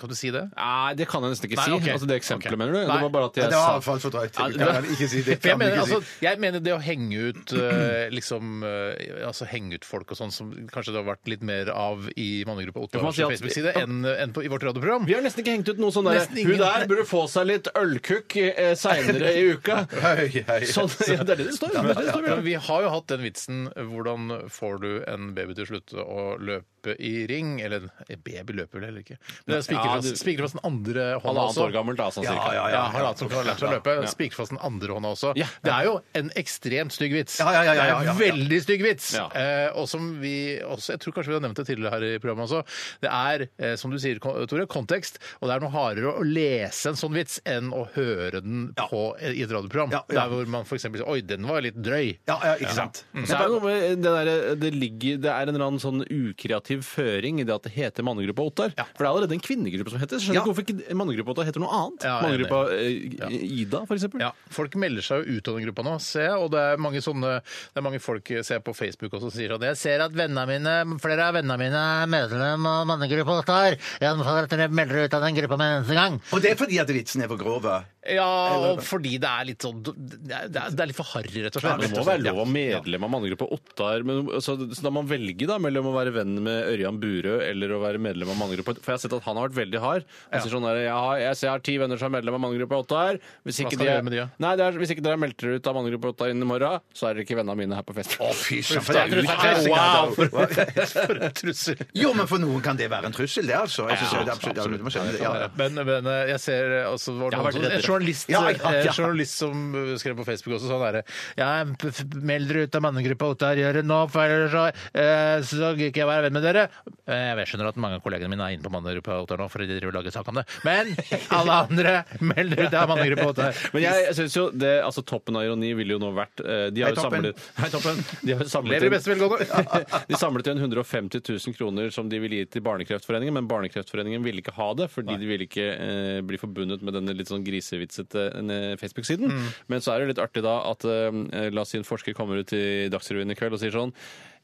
kan du si det?
Nei, det kan jeg nesten ikke
Nei,
si.
ok.
Altså Det eksempelet,
Ok.
mener du?
Nei.
Det var bare at
Ja,
jeg
det var i
sa
hvert fall for drøyt.
Ja,
Jeg kan ikke si det.
For <laughs> jeg,
Kan
mener,
ikke si.
altså, jeg mener det å henge ut eh, liksom, eh, altså henge ut folk og sånn som kanskje det har vært litt mer av i mannegruppa
Ja,
Ottar
man
på
sier at-
Facebook-side enn enn på- i vårt radioprogram.
vi har nesten ikke hengt ut noe sånn der
Nesten ingen.
Hun der burde få seg litt ølkukk eh, seinere i
<laughs>
uka.
Hei, hei.
Sånn, <laughs> ja, det er det det står. Det er det det står
Men
Bjørn.
vi har jo hatt den vitsen hvordan får du en baby til å slutte å løpe i ring? Eller en baby løper vel heller ikke. Men det er
Ja, du-
spikerfast, spikerfast den andre hånda
Halvannet
også.
år gammelt, da, sånn
Ja,
cirka.
ja,
Ja, har hatt som har lært seg å løpe.
Ja.
Spikerfast den andre hånda også.
Ja.
Det er jo en ekstremt stygg vits.
Ja, ja, ja, ja, ja, ja.
Det er en veldig stygg vits.
Ja.
Eh, og som vi også, jeg tror kanskje vi har nevnt det tidligere her i programmet også, det er, eh, som du sier, Ko- Tore, kontekst, og det er noe hardere å lese en sånn vits enn å høre den på, eh, i et radioprogram.
Ja, ja.
Der hvor man for eksempel sier, oi, den var litt drøy.
Ja, ja, ikke sant.
Så er det, noe med det, der, eh, det, ligger, det er en eller annen sånn ukreativ føring i det at det heter mannegruppa Ottar. For det er allerede en kvinnegruppe som heter det. Så skjønner
Ja.
ikke hvorfor ikke mannegruppa Ottar heter noe annet.
Ja, jeg er
mannegruppa eh, Ida, for
<laughs>
eksempel.
Ja, Folk melder seg jo ut av den gruppa nå, ser jeg. Og det er mange, sånne, det er mange folk jeg ser på Facebook også som sier at jeg ser at vennene mine, flere av vennene mine er medlem av mannegruppa Ottar. Jeg anbefaler at dere melder dere ut av den gruppa med en eneste gang.
Og det er fordi at vitsen er for grove.
Ja, og fordi det er litt sånn Det er, det er litt for harry, rett og slett.
Men det må være lov å være medlem av mannegruppa Ottar. Men, så, så da må man velge da, mellom å være venn med Ørjan Burøe eller å være medlem av mannegruppa For jeg har sett at han har vært veldig hard. Han sier sånn der, jeg, har, jeg, ser jeg har ti venner som er medlem av mannegruppa Ottar. Hvis ikke
skal du
de er-
gjøre med de, da?
Nei, det er, hvis ikke dere melder dere ut av mannegruppa Ottar innen i morgen, så er dere ikke vennene mine her på fest.
fy søren.
det er trussel.
Wow, <laughs>
For en trussel.
Jo, men for noen kan det være en trussel, det, altså. Jeg synes det er absolutt, absolutt. må skjønne det. Ja, ja.
Men, men eh, jeg ser eh, altså, var det
Jeg har
noen som,
vært redd
en
for det.
journalist,
Ja, ja,
eh,
ja.
journalist som eh, skrev på Facebook også sånn derre Jeg p- f- meld dere ut av mannegruppa Ottar Gjøre nå, for ellers så, eh, så gidder ikke jeg være venn med dere. Eh, Jeg skjønner at mange av kollegene mine er inne på mannegruppa Ottar nå, for de driver og lager sak om det. Men alle andre, <laughs> meld dere ut av mannegruppa Ottar.
Men jeg synes jo det, altså Toppen av ironi ville jo nå vært eh, De har
Hei,
jo
Toppen.
samlet, <laughs> hei, toppen. De har jo
Lever i
samlet,
beste velgående.
inn- <laughs> de samlet inn 150 000 kroner som de ville gi til Barnekreftforeningen, men Barnekreftforeningen ville ikke ha det, fordi de ville ikke eh, bli forbundet med denne litt sånn grisevitsete eh,
Mm.
Facebook-siden. Men så er det litt artig da at eh, la oss si en forsker kommer ut i Dagsrevyen i kveld og sier sånn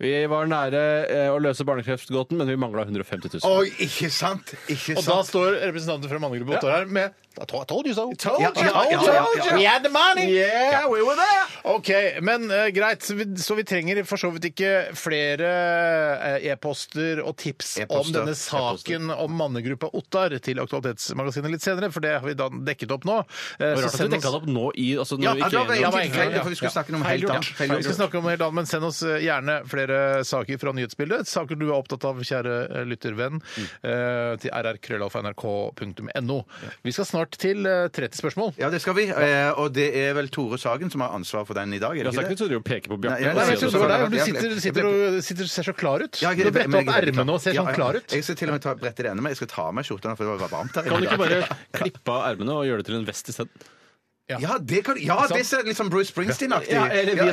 Vi var nære eh, å løse barnekreftgåten, men vi mangla 150 000.
Oi, ikke sant! Ikke
Og da
sant.
står representanten fra mannegruppa Ottar her med I told you so.
you, told you.
We had the money!
Yeah, we were there!
OK, men eh, greit. Så vi, så vi trenger for så vidt ikke flere eh, e-poster og tips om
E-poster,
denne saken om mannegruppa Ottar til Aktualitetsmagasinet litt senere, for det har vi da dekket opp nå. Eh,
Det
så
var rart at
send
du dekka
oss-
det opp nå i altså,
Ja,
når
Ja,
vi ikke
da
er
var
enige
jeg
om-
var egentlig-
tilfeldig, for vi skulle snakke om noe helt
Feilgjort.
annet.
Vi skal snakke om noe helt annet, men send oss eh, gjerne flere saker fra nyhetsbildet. Saker du er opptatt av, kjære eh, lyttervenn,
Mm.
eh, til rrkrøllalfa.nrk.no. Vi skal snart til eh, 30 spørsmål.
Ja, det skal vi. Eh, Og det er vel Tore Sagen som har ansvar for den i dag, er
Jeg
det
sa
ikke
ikke
det?
at du trodde å peke på
Nei,
Bjarte.
jeg-
og
Nei,
si
jeg
at
trodde
du-
synes det var
det
deg.
var-
Du sitter, sitter og sitter, ser så klar ut.
Ja, jeg-
Du bretter
men
opp
jeg- jeg-
ermene og ser sånn
Ja,
klar ut.
Jeg skal til og med ta, brette det ene, men jeg skal ta av meg skjorta nå, for det var varmt her.
Kan du ikke
i dag.
bare klippe av ermene og gjøre det til en vest isteden?
Ja, det kan Ja, det er litt sånn Bruce Springsteen-aktig.
Ja, eller
ja, ja.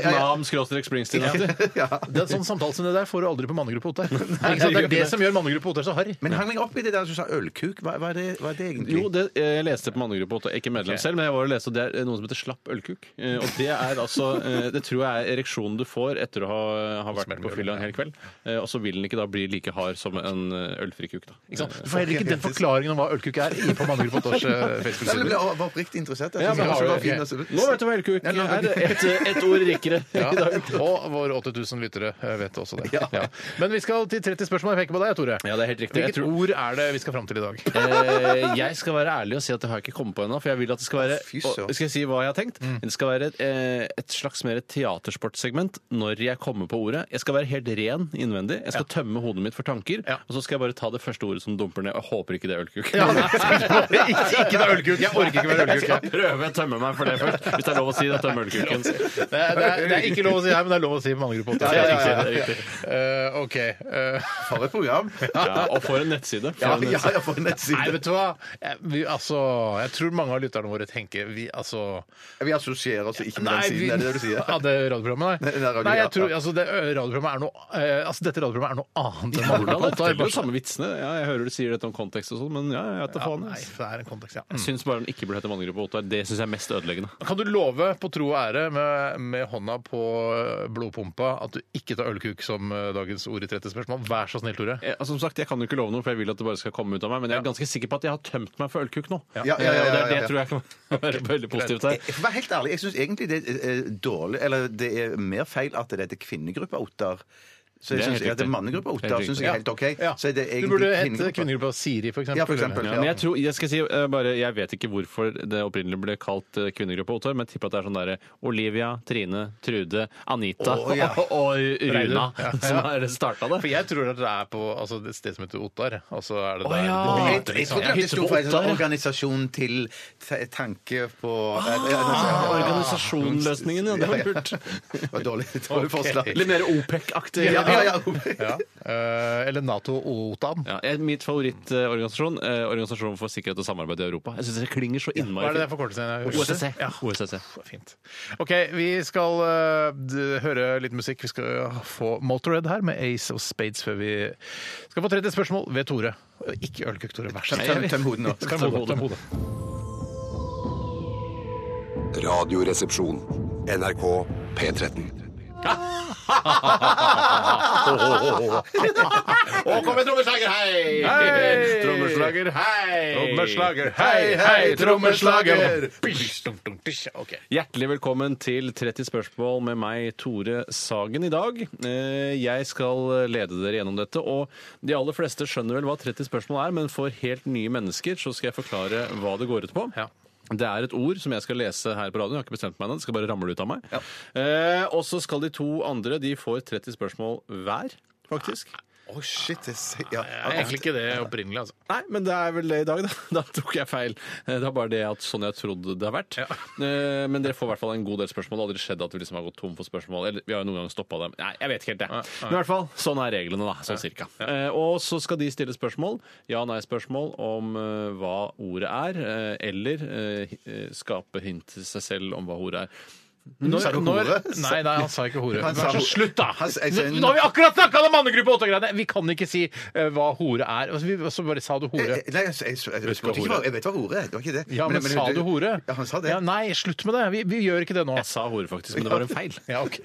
Det
Vietnam-Springsteen-aktig.
er en sånn samtale som det der får du aldri på Mannegruppa <laughs> Ottar. Ikke sant?
gjør
Det
ikke
er det
det.
som gjør Mannegruppa Ottar så harry.
Men hang meg opp i det der du sa ølkuk. Hva, hva, er, det, hva er det egentlig?
Jo, det, eh, jeg leste på mannegruppa, og ikke medlem
Ok.
selv, men jeg var og leste, og det er noe som heter slapp ølkuk. Eh, Og det er altså eh, Det tror jeg er ereksjonen du får etter å ha, ha vært på fylla en hel kveld. Eh, Og så vil den ikke da bli like hard som en eh, ølfri kuk, da.
Ikke sant? Du får heller ikke den forklaringen om hva ølkuk er inne på Mannegruppa <laughs> Ottars eh,
Nei, men jeg
Facebook-side.
ble jeg var oppriktig interessert. Jeg
Ja,
synes
men
det
har
var
du-
fin,
ok.
altså.
Nå vet du hva ølkuk
Ja, nå-
er. Ett et ord rikere
Ja,
i dag.
og våre 8000 lyttere eh, vet også det. Ja. Men vi skal til 30 spørsmål. Jeg peker på deg, Tore.
Ja, det er helt riktig. Jeg
Hvilket
tror-
ord er det vi skal fram til <laughs> i dag?
Eh, jeg skal være ærlig og si at det har jeg ikke kommet på ennå. For jeg vil at det skal være
Fy søren.
og, Skal jeg si hva jeg har tenkt?
Mm.
Det skal være et, eh, et slags mer teatersportsegment når jeg kommer på ordet. Jeg skal være helt ren innvendig. Jeg skal tømme hodet mitt for tanker.
Ja.
Og så skal jeg bare ta det første ordet som dumper ned. Jeg håper ikke det er ølkuk. <laughs>
ikke, ikke <laughs> det er ølkuk. Jeg orker ikke være ølkuk.
Jeg skal prøve å tømme meg for det først, hvis det er lov å si det. Tømme ølkuken.
Det er, det, er, det er ikke lov å si her, men det er lov å si i mannegruppa. Ottars.
Ja, ja, ja, ja.
Eh, OK. eh,
For et program.
Ja, og for en nettside. For
Ja,
en
ja,
nettside.
ja, for en
nei,
nettside.
vet du hva? Jeg, vi, altså, jeg tror mange av lytterne våre tenker vi, altså,
Vi assosierer oss ikke med den
vi-
siden, er det det du sier?
Ja, det radioprogrammet, nei.
<laughs> Det- det er radio-
nei jeg
ja,
tror,
ja.
altså, det, radioprogrammet er noe, eh, altså, dette radioprogrammet er noe annet enn
Hvordan?
mannegruppa.
Jeg forteller jo
Ottar.
samme vitsene. Ja, jeg hører du sier dette om kontekst og sånn, men ja, jeg vet da
Ja,
faen.
nei,
jeg.
det er en kontekst, ja.
Jeg
Mm.
syns bare den ikke burde hete Mannegruppa Ottar. Det syns jeg er mest ødeleggende.
Kan du love på tro og ære med, med hånda på blodpumpa at du ikke tar ølkuk som eh, dagens ord i 30 spørsmål? Vær så snill, Tore.
Jeg, Eh, altså, som sagt, jeg kan jo ikke love noe, for jeg vil at det bare skal komme ut av meg. Men jeg er ganske sikker på at jeg har tømt meg for ølkuk nå.
Ja, ja, ja,
Eh, og
ja, ja,
Det, det
ja.
tror jeg kan <laughs> være veldig positivt her.
Jeg får være helt ærlig, jeg syns egentlig det er eh, dårlig Eller det er mer feil at det heter kvinnegruppa Ottar. Så
Det er
jeg
helt
syns det
riktig.
er mannegruppa
Helt
Ottar, syns jeg
riktig.
er helt OK.
Ja.
Så er det
du
egentlig
burde hete
kvinnegruppa.
kvinnegruppa Siri, for eksempel.
Ja, for eksempel.
Ja, men jeg tror, jeg skal si eh, bare, jeg vet ikke hvorfor det opprinnelig ble kalt eh, kvinnegruppa Ottar, men jeg tipper at det er sånn derre Olivia, Trine, Trude, Anita
Å, ja.
<laughs> og, og Runa
Ja.
som har starta
For
det.
jeg tror at det er på altså, et sted som heter Ottar. Altså er det
Å,
der
ja.
det begynner,
Jeg,
liksom.
jeg trodde at det sto for en
Hytte på
sånn
Ottar.
organisasjon til te- tanke på
Ah, organisasjonsløsningen, ja. Det var lurt.
Det var dårlig, dårlig forslag.
<laughs> Litt mer OPEC-aktig.
Ja, ja, ja.
Ja. Eh, eller Nato-OTAN.
Ja, jeg- mitt favorittorganisasjon, eh, Organisasjonen for sikkerhet og samarbeid i Europa. Jeg syns det klinger så
Hva
innmari
er det der
fint.
forkortelsen?
OSSE.
Ja.
OSSE.
Fint. OK, vi skal eh, d- høre litt musikk. Vi skal eh, få Motorhead her med Ace of Spades før vi skal få 30 spørsmål ved Tore. Ikke ølkøkk, Tore. Vær så
Tøm,
snill.
tøm, tøm hodet nå.
Tøm hodet, tøm hodet.
Radioresepsjon. NRK P13.
Å, kom med trommeslager, hei!
Hei!
Trommeslager, hei!
Trommeslager,
hei,
hei, trommeslager!
Bish, dunk, dunk, bish. Ok.
Hjertelig velkommen til 30 spørsmål med meg, Tore Sagen, i dag. Eh, Jeg skal lede dere gjennom dette, og de aller fleste skjønner vel hva 30 spørsmål er, men for helt nye mennesker så skal jeg forklare hva det går ut på.
Ja.
Det er et ord som jeg skal lese her på radioen. Jeg har ikke bestemt meg ennå. Det skal bare ramle ut av meg. Eh, og så skal de to andre de får 30 spørsmål hver, faktisk.
Å, shit. Det er, ja.
Det er egentlig ikke det opprinnelig, altså.
Nei, men det er vel det i dag, da. <laughs> Da tok jeg feil. Eh, Det er bare det at sånn jeg trodde det har vært. <laughs> Eh, Men dere får i hvert fall en god del spørsmål. Det har aldri skjedd at vi liksom har gått tom for spørsmål. Eller vi har jo noen gang stoppa dem. Nei, jeg vet ikke helt det. Men i hvert fall, sånn er reglene, da. Sånn cirka. Eh, Og så skal de stille spørsmål. Ja-nei-spørsmål om eh, hva ordet er. eh, Eller eh, hi- eh, skape hint til seg selv om hva ordet er.
Når,
Sa du
når,
hore?
nei, nei, han sa ikke hore.
Han sa
Vær så
ho-
slutt, da!
Han sa- jeg sa-
Nå har vi akkurat snakka om mannegruppe 8-greiene! Vi kan ikke si eh, hva hore er. Altså, vi, så bare sa du hore.
Eh, Nei, jeg, jeg, jeg, jeg,
Husker
spurte
hore.
ikke hva- jeg vet hva hore er. Det var ikke det.
Ja, men, sa du hore?
Ja, han sa det.
Ja, nei, slutt med det. Vi, vi gjør ikke det nå.
Jeg sa hore, faktisk, men det var en feil.
Ja, ok.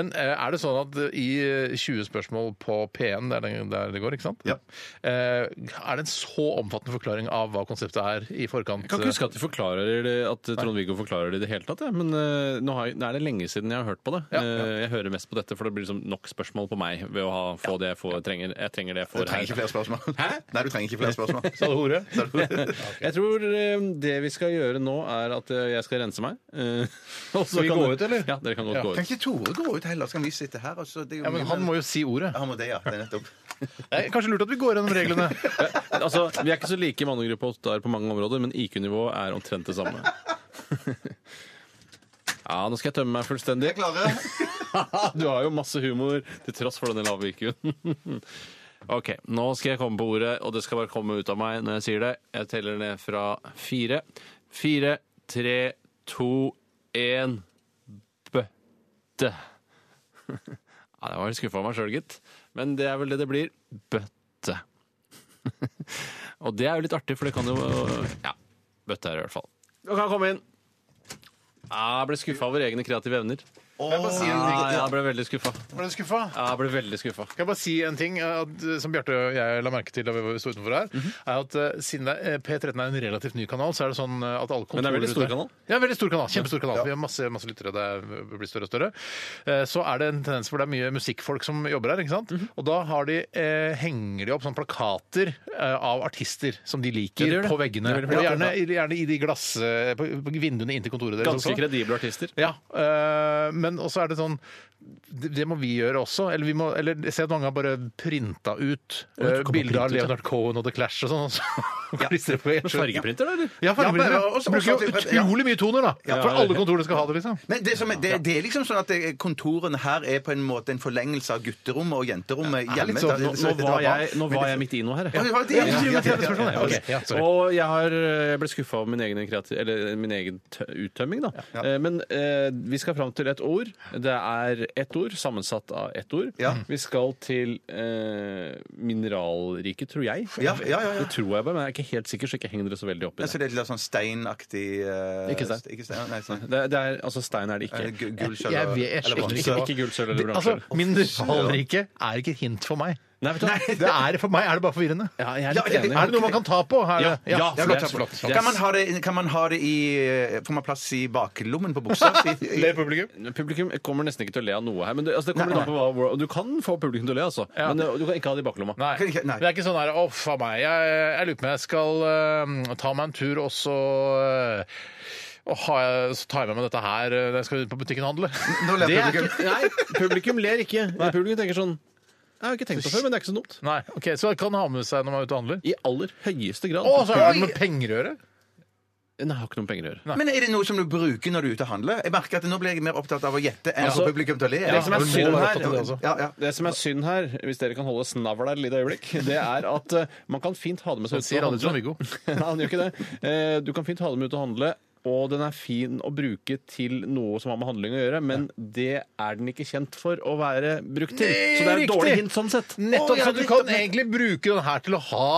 Men eh, er det sånn at eh, i eh, 20 spørsmål på P1, der det, der det går, ikke sant?
Ja.
Eh, er det en så omfattende forklaring av hva konseptet er i forkant?
Jeg kan ikke huske at, de forklarer det, at Trond-Viggo forklarer det i det hele tatt, jeg. men eh, nå, har jeg, nå er det lenge siden jeg har hørt på det.
Ja, ja.
Eh, Jeg hører mest på dette, for det blir liksom nok spørsmål på meg ved å ha, få det jeg, får, trenger. jeg trenger det jeg
Du
får
trenger ikke flere spørsmål. Hæ? Nei, du trenger ikke flere spørsmål.
Sa du hore?
Sa du hore? <laughs>
Jeg tror eh, det vi skal gjøre nå, er at eh, jeg skal rense meg. eh, <laughs> og så
vi
kan
gå
du-
ut, eller?
Ja, dere kan godt
Ja.
gå
Kan
ut.
ikke Tore gå ut heller? Så kan vi sitte her. Og så, det er jo
Ja, men
mye-
han må jo si ordet.
Han må det, ja. Det er nettopp.
Det er kanskje lurt at vi går gjennom
<laughs>
reglene.
Altså, Vi er ikke så like i mannegruppe åtte her på mange områder, men IQ-nivået er omtrent det samme. Ja, nå skal jeg tømme meg fullstendig.
Jeg klarer.
<laughs> Du har jo masse humor til tross for denne lave IQ-en. <laughs> OK, nå skal jeg komme på ordet, og det skal bare komme ut av meg når jeg sier det. Jeg teller ned fra fire. Fire, tre, to, én bøtte. <laughs> Ja, det var litt skuffa av meg sjøl, gitt. Men det er vel det det blir. Bøtte. Og det er jo litt artig, for det kan jo Ja, bøtte er det i hvert fall. Du kan komme inn. Ja, jeg ble skuffa over egne kreative evner.
Jeg bare sier en
Ja,
ting.
jeg ble veldig skuffa.
Var du skuffa?
Ja, jeg ble veldig skuffa.
Kan jeg bare si en ting eh, at, eh, som Bjarte og jeg la merke til da vi var- sto utenfor her?
Mhm.
er at eh, Siden det, er- eh, P13 er en relativt ny kanal, så er det sånn eh, at alle
Men det er
kontorer
veldig stor
ute-
kanal?
Ja, veldig stor kanal. Kjempestor kanal. Vi har masse, masse lyttere. Det er- blir større og større. Eh, Så er det en tendens hvor det er mye musikkfolk som jobber her. ikke sant?
Mhm.
Og da har de, eh, henger de opp sånne plakater eh, av artister som de liker,
Ja, de gjør det.
på veggene.
Det er veldig
og
flott,
gjerne, gjerne i de glass... eh, På, på vinduene inntil kontoret deres. sånn.
Ganske
også.
kredible artister.
Ja, øh, men også er det sånn det, det må vi gjøre også. Eller, vi må, eller jeg ser at mange har bare printa ut
Å, det
øh,
kan man
bilder av
printe ut, ja.
Leonard Cohen og The Clash og sånn. og så <laughs> klistrer på et skjørt.
Fargeprinter, da, eller?
Ja, fargeprinter.
Ja, men også-
Bruker jo
også-
utrolig mye toner, da.
Ja,
For
ja,
alle
ja.
kontorene skal ha det, liksom.
Men det, som, er- det, det er liksom sånn at det- kontorene her er på en måte en forlengelse av gutterommet og jenterommet hjemme.
litt sånn.
Det-
Nå,
det-
nå,
det- det
var
bra.
jeg, nå var jeg midt i noe her.
Ja,
jeg.
det var det.
Ja, du driver med TV-spørsmål, ja.
ja.
Ok, ja, sorry.
og jeg har eh, ble skuffa av min egen, kreativ, eller min egen tø- uttømming, da. Eh, Men eh, vi skal fram til et ord. Det er ett ord sammensatt av ett ord.
Ja.
Vi skal til eh, mineralriket, tror jeg.
Ja, ja, ja, ja.
Det tror jeg bare, men jeg er ikke helt sikker, så ikke heng dere så veldig opp
Ja,
i
Så
det.
det er litt sånn steinaktig eh,
Ikke stein.
Ikke stein, nei, sånn.
Det, det er, altså, stein er det
Eh,
ikke.
gu- Gull, sølv
Jeg
og-
vet
eller
ikke-
bronse.
Ikke, ikke gull, sølv eller
Altså,
bransje.
Mineralrike er ikke et hint for meg.
Nei, vet du hva?
Det er, for meg er det bare forvirrende.
Ja, jeg er litt
Ja, ja,
enig.
Er det noe man kan ta på? Er det-
Ja, ja,
Ja,
det
godt,
er
flott.
flott.
Kan man ha det, kan man ha det i eh, Får man plass i baklommen på <laughs> buksa?
Ler publikum?
Publikum kommer nesten ikke til å le av noe her. Men det, altså, det kommer litt an på hva, hvor- Du kan få publikum til å le, altså.
Ja.
Men eh, du kan ikke ha det i baklomma.
Nei.
Kan ikke- nei.
Det er ikke sånn her Å, faen meg. Jeg, jeg lurer på om jeg skal eh, ta meg en tur, og så eh, og ha, så tar jeg med meg dette her eh, når jeg skal ut på butikken og handle.
Nå ler
Det er
publikum.
ikke-
Nei, publikum ler ikke. Publikum tenker sånn Jeg har ikke tenkt på det før, men det er ikke så dumt.
Nei, ok, Så det kan ha med seg når man er ute og handler.
I aller høyeste grad.
Å, så er det med penger å gjøre?
Nei, jeg har ikke noen penger å gjøre.
Men er det noe som du bruker når du er ute og handler? Jeg merker at Nå blir jeg mer opptatt av å gjette enn å
Altså,
få publikum til å le.
det som er
Ja,
synd
må være
her-
opptatt av det også. ja, ja.
Det som er synd her, hvis dere kan holde snavla et lite øyeblikk, det er at eh, man kan fint ha det med seg
Det sier alle til Viggo.
<laughs> Nei, han gjør ikke det. Eh, Du kan fint ha dem ut og handle. Og den er fin å bruke til noe som har med handling å gjøre, men det er den ikke kjent for å være brukt til. Så det er et
Riktig.
dårlig hint sånn sett.
Nettopp,
Å, ja,
så du
nettopp,
kan
nettopp.
egentlig bruke den her til å ha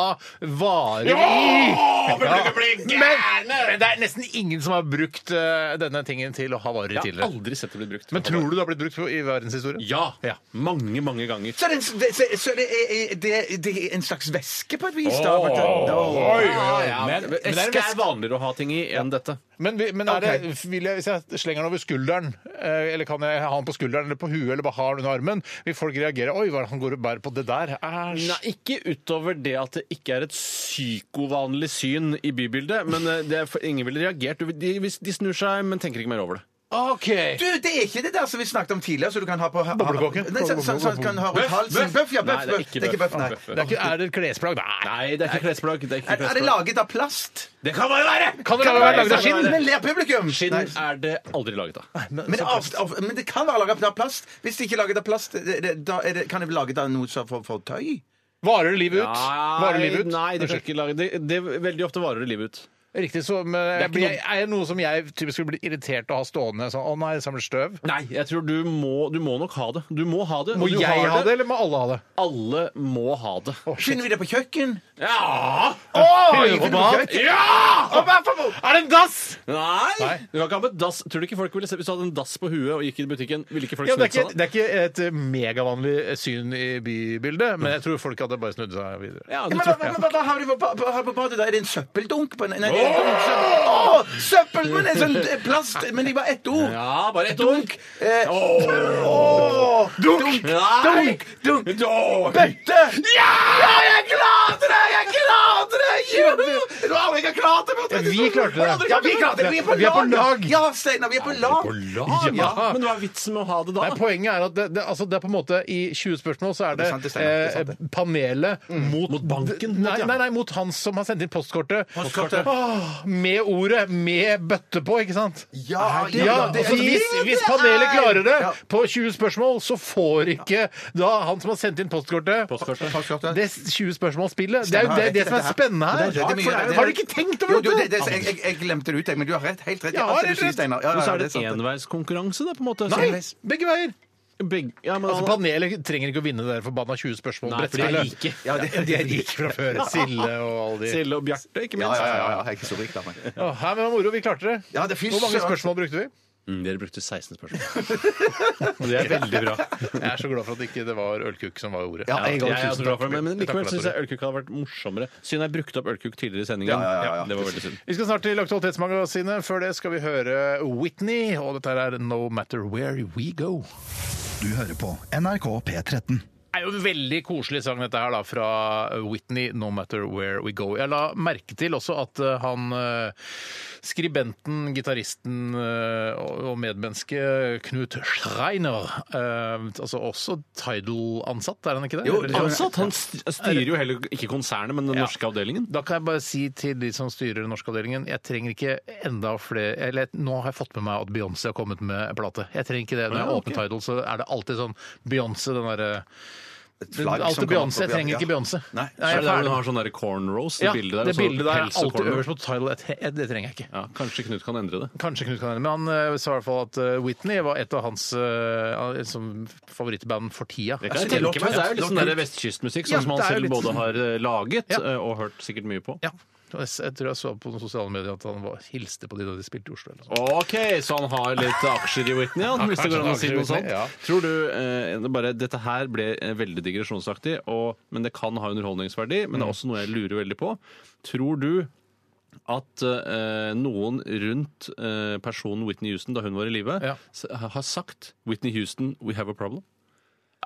varer i. Ja. Men, men det er nesten ingen som har brukt eh, denne tingen til å ha varer i
Jeg har
tidligere.
aldri sett det bli brukt.
Men tror du det har blitt brukt for- i verdenshistorien?
Ah, Ja! Mange, mange ganger.
Så, det, så, så det, er, det, det er en slags væske, på et vis? Da,
Åh.
vet du. Da-
Men, men eske er vanligere å ha ting i enn dette.
Men, vi- men er det, vil jeg, hvis jeg slenger den over skulderen, eh, eller kan jeg ha den på skulderen eller på huet, eller bare ha den under armen, vil folk reagere 'oi, hva er det han går og bærer på det der'? Æsj.
Nei, ikke utover det at det ikke er et psykovanlig syn i bybildet. Men eh, det er, for ingen ville reagert. Du- De, hvis- de snur seg, men tenker ikke mer over det.
OK!
Du, det er ikke det der som vi snakket om tidligere, så du kan ha på ha-
Boblekåke?
Nei, så- Sånn som du kan ha rundt halsen.
bøff?
Bøff, ja,
Nei,
bøff.
det er
bøff.
ikke
Det er ikke
bøff.
bøff, nei.
Bøff.
Det er, ikke, er det et klesplagg? Nei.
Nei, det er ikke klesplagg. Det er ikke
Er, er det
klesplagg.
laget av plast?
Det kan være! være!
Kan det være laget av
Kan det
skinn?
være?
Men ler publikum!
Skinn
Nei.
er det aldri laget av.
Men, av, av, men det kan være laget av plast. Hvis det ikke er laget av plast, det, det, da er det, kan det bli laget av noe som for, for tøy?
Varer livet ut? Varer livet ut?
Nei, det, kan ikke lage, det, det veldig ofte varer det livet ut.
Riktig. Så, men,
er
er,
ikke
blir, er det noe som jeg typisk skulle bli irritert av å ha stående? Sånn, 'Å nei, det samler støv'.
Nei, jeg tror du må, du må nok ha det. Du må ha det.
Må
og du
jeg
har
ha det, eller må alle ha det?
Alle må ha det.
Finner vi det på kjøkken?
Ja!
Finner du på
bad?
kjøkken?
Ja!
Er det en dass?!
Nei!
Nei.
Du kan ikke ha med dass. Tror du ikke folk ville se Hvis du hadde en dass på huet og gikk i butikken, ville ikke folk
Ja,
sånn?
det, er ikke,
snudd seg da?
det er ikke et eh, megavanlig syn i bybildet, men jeg tror folk hadde bare snudd seg videre.
Ja,
Ja,
det
men hva,
tror jeg.
hva, hva har du på, ba- ba- har du på badet? da? Er det en søppeldunk? På, en- nei, det er en søppel, Åh, søppel! Men en sånn eh, plast Men det var ett ord.
Ja, bare ett dunk.
Eh, åh, dunk!
Nei!
Dunk! Dunk!
Dunk.
Bøtte! Ja! jeg klarte det! Jeg klarte det! Juhu! Det var alle jeg klarte det, men-
vi klarte det.
Ja, vi klarte det. Vi er på
Vi er på
lag.
lag.
Ja, Steinar, vi er på lag.
Ja, men hva er vitsen med å ha det da?
Nei, poenget er at det, det, altså det er på en måte i 20 spørsmål så er det,
er sant, det stemmer, det Mm. er sant,
eh, panelet mot,
Mot banken,
Nei,
mot, ja.
nei, nei, mot han som har sendt inn postkortet. Åh, med ordet, med bøtte på, ikke sant?
Ja,
Ja, altså, hvis, hvis panelet klarer det på 20 spørsmål, så får ikke da han som har sendt inn postkortet
Postkortet.
Det s- 20 spørsmål-spillet. Det er jo
Stemmer,
det,
rett i
det som er
dette her.
spennende
Det
her.
er det mye, det er det.
Har du ikke tenkt over
Jo, jo,
dette?
det, det, jeg, jeg, jeg glemte det ut, jeg, men du har rett, helt rett. i
Ja,
alt
helt
det du sier,
rett.
Steinar. Ja,
Men
ja,
så er det
sant, det.
enveiskonkurranse, da, på en måte.
Nei, begge veier.
Begge, ja, men
Altså,
han-
Panelet trenger ikke å vinne det der forbanna 20 spørsmål.
Nei, for de er
brettspillet.
rike.
Ja, de, de
<laughs>
er rike fra før. Sille og alle de.
Sille og Bjarte,
Ja,
ikke minst.
ja, ja, ja, jeg er ikke så rik, da. men-
Å, her, men det var moro, vi klarte det.
Ja, det finnes-
Hvor mange spørsmål brukte vi?
Mm, dere brukte 16 spørsmål. Og det er veldig bra.
<laughs> Jeg er så glad for at ikke det var ølkukk som var ordet.
Ja,
jeg
jeg
går
er også glad for det, men- men
Takk for
likevel
det,
syns jeg ølkuk hadde vært morsommere. Siden jeg brukte opp ølkuk tidligere i sendingen.
Ja, ja, ja, ja.
Det var veldig synd.
Vi skal snart til Aktualitetsmagasinet. Før det skal vi høre Whitney, og dette her er No Matter Where We Go.
Du hører på NRK P13.
Det er jo en veldig koselig sang dette her da, fra Whitney, 'No Matter Where We Go'. Jeg la merke til også at eh, han eh, skribenten, gitaristen eh, og og medmennesket Knut Schreiner, eh, altså også Tidal-ansatt, er han ikke det?
Jo,
Eller- liksom-
Ansatt, altså, han st- styrer jo heller ikke konsernet, men den
Ja.
norske avdelingen.
Da kan jeg bare si til de som styrer den norske avdelingen, jeg trenger ikke enda flere Eller nå har jeg fått med meg at Beyoncé har kommet med plate. Jeg trenger ikke det. Når jeg
Ja,
åpner Tidal, så er det alltid sånn Beyoncé, den derre
Et flagg som
Alltid
kommer opp
Beyoncé.
opp
Jeg
i-
trenger ikke
ja.
Beyoncé. Nei,
Nei,
Så
jeg
er
er
det der hun
ferdig.
har sånn der cornrows, det
Ja,
bildet der.
det
og så
bildet der er
pels og
alltid
cornrows.
øverst på Tidal. Jeg tre- jeg- Det trenger jeg ikke.
Ja, kanskje Knut kan endre det.
Kanskje Knut kan det, men han eh, sa i hvert fall at eh, Whitney var et av hans eh, som favorittband for tida.
Det, kan
jeg
jeg tenke
tenker meg.
meg. det er jo litt
Ja,
sånn
det er
der vestkystmusikk
Ja,
sånn som han
det er jo
selv
litt-
både har eh, laget
Ja.
eh, og hørt sikkert mye på.
Ja. Jeg s- jeg tror jeg så på noen sosiale medier at han var, hilste på de da de spilte i Oslo. Eller noe sånt.
OK, så han har litt aksjer i Whitney, han,
Ja,
hvis det
kanskje
går an å
han har
si
aksjer i
noe
Whitney,
sånt.
ja.
Tror du eh, det bare, Dette her ble eh, veldig digresjonsaktig, og, men det kan ha underholdningsverdi. Men det
Mm.
er også noe jeg lurer veldig på. Tror du at eh, noen rundt eh, personen Whitney Houston da hun var i live,
Ja.
s- har sagt 'Whitney Houston, we have a problem'?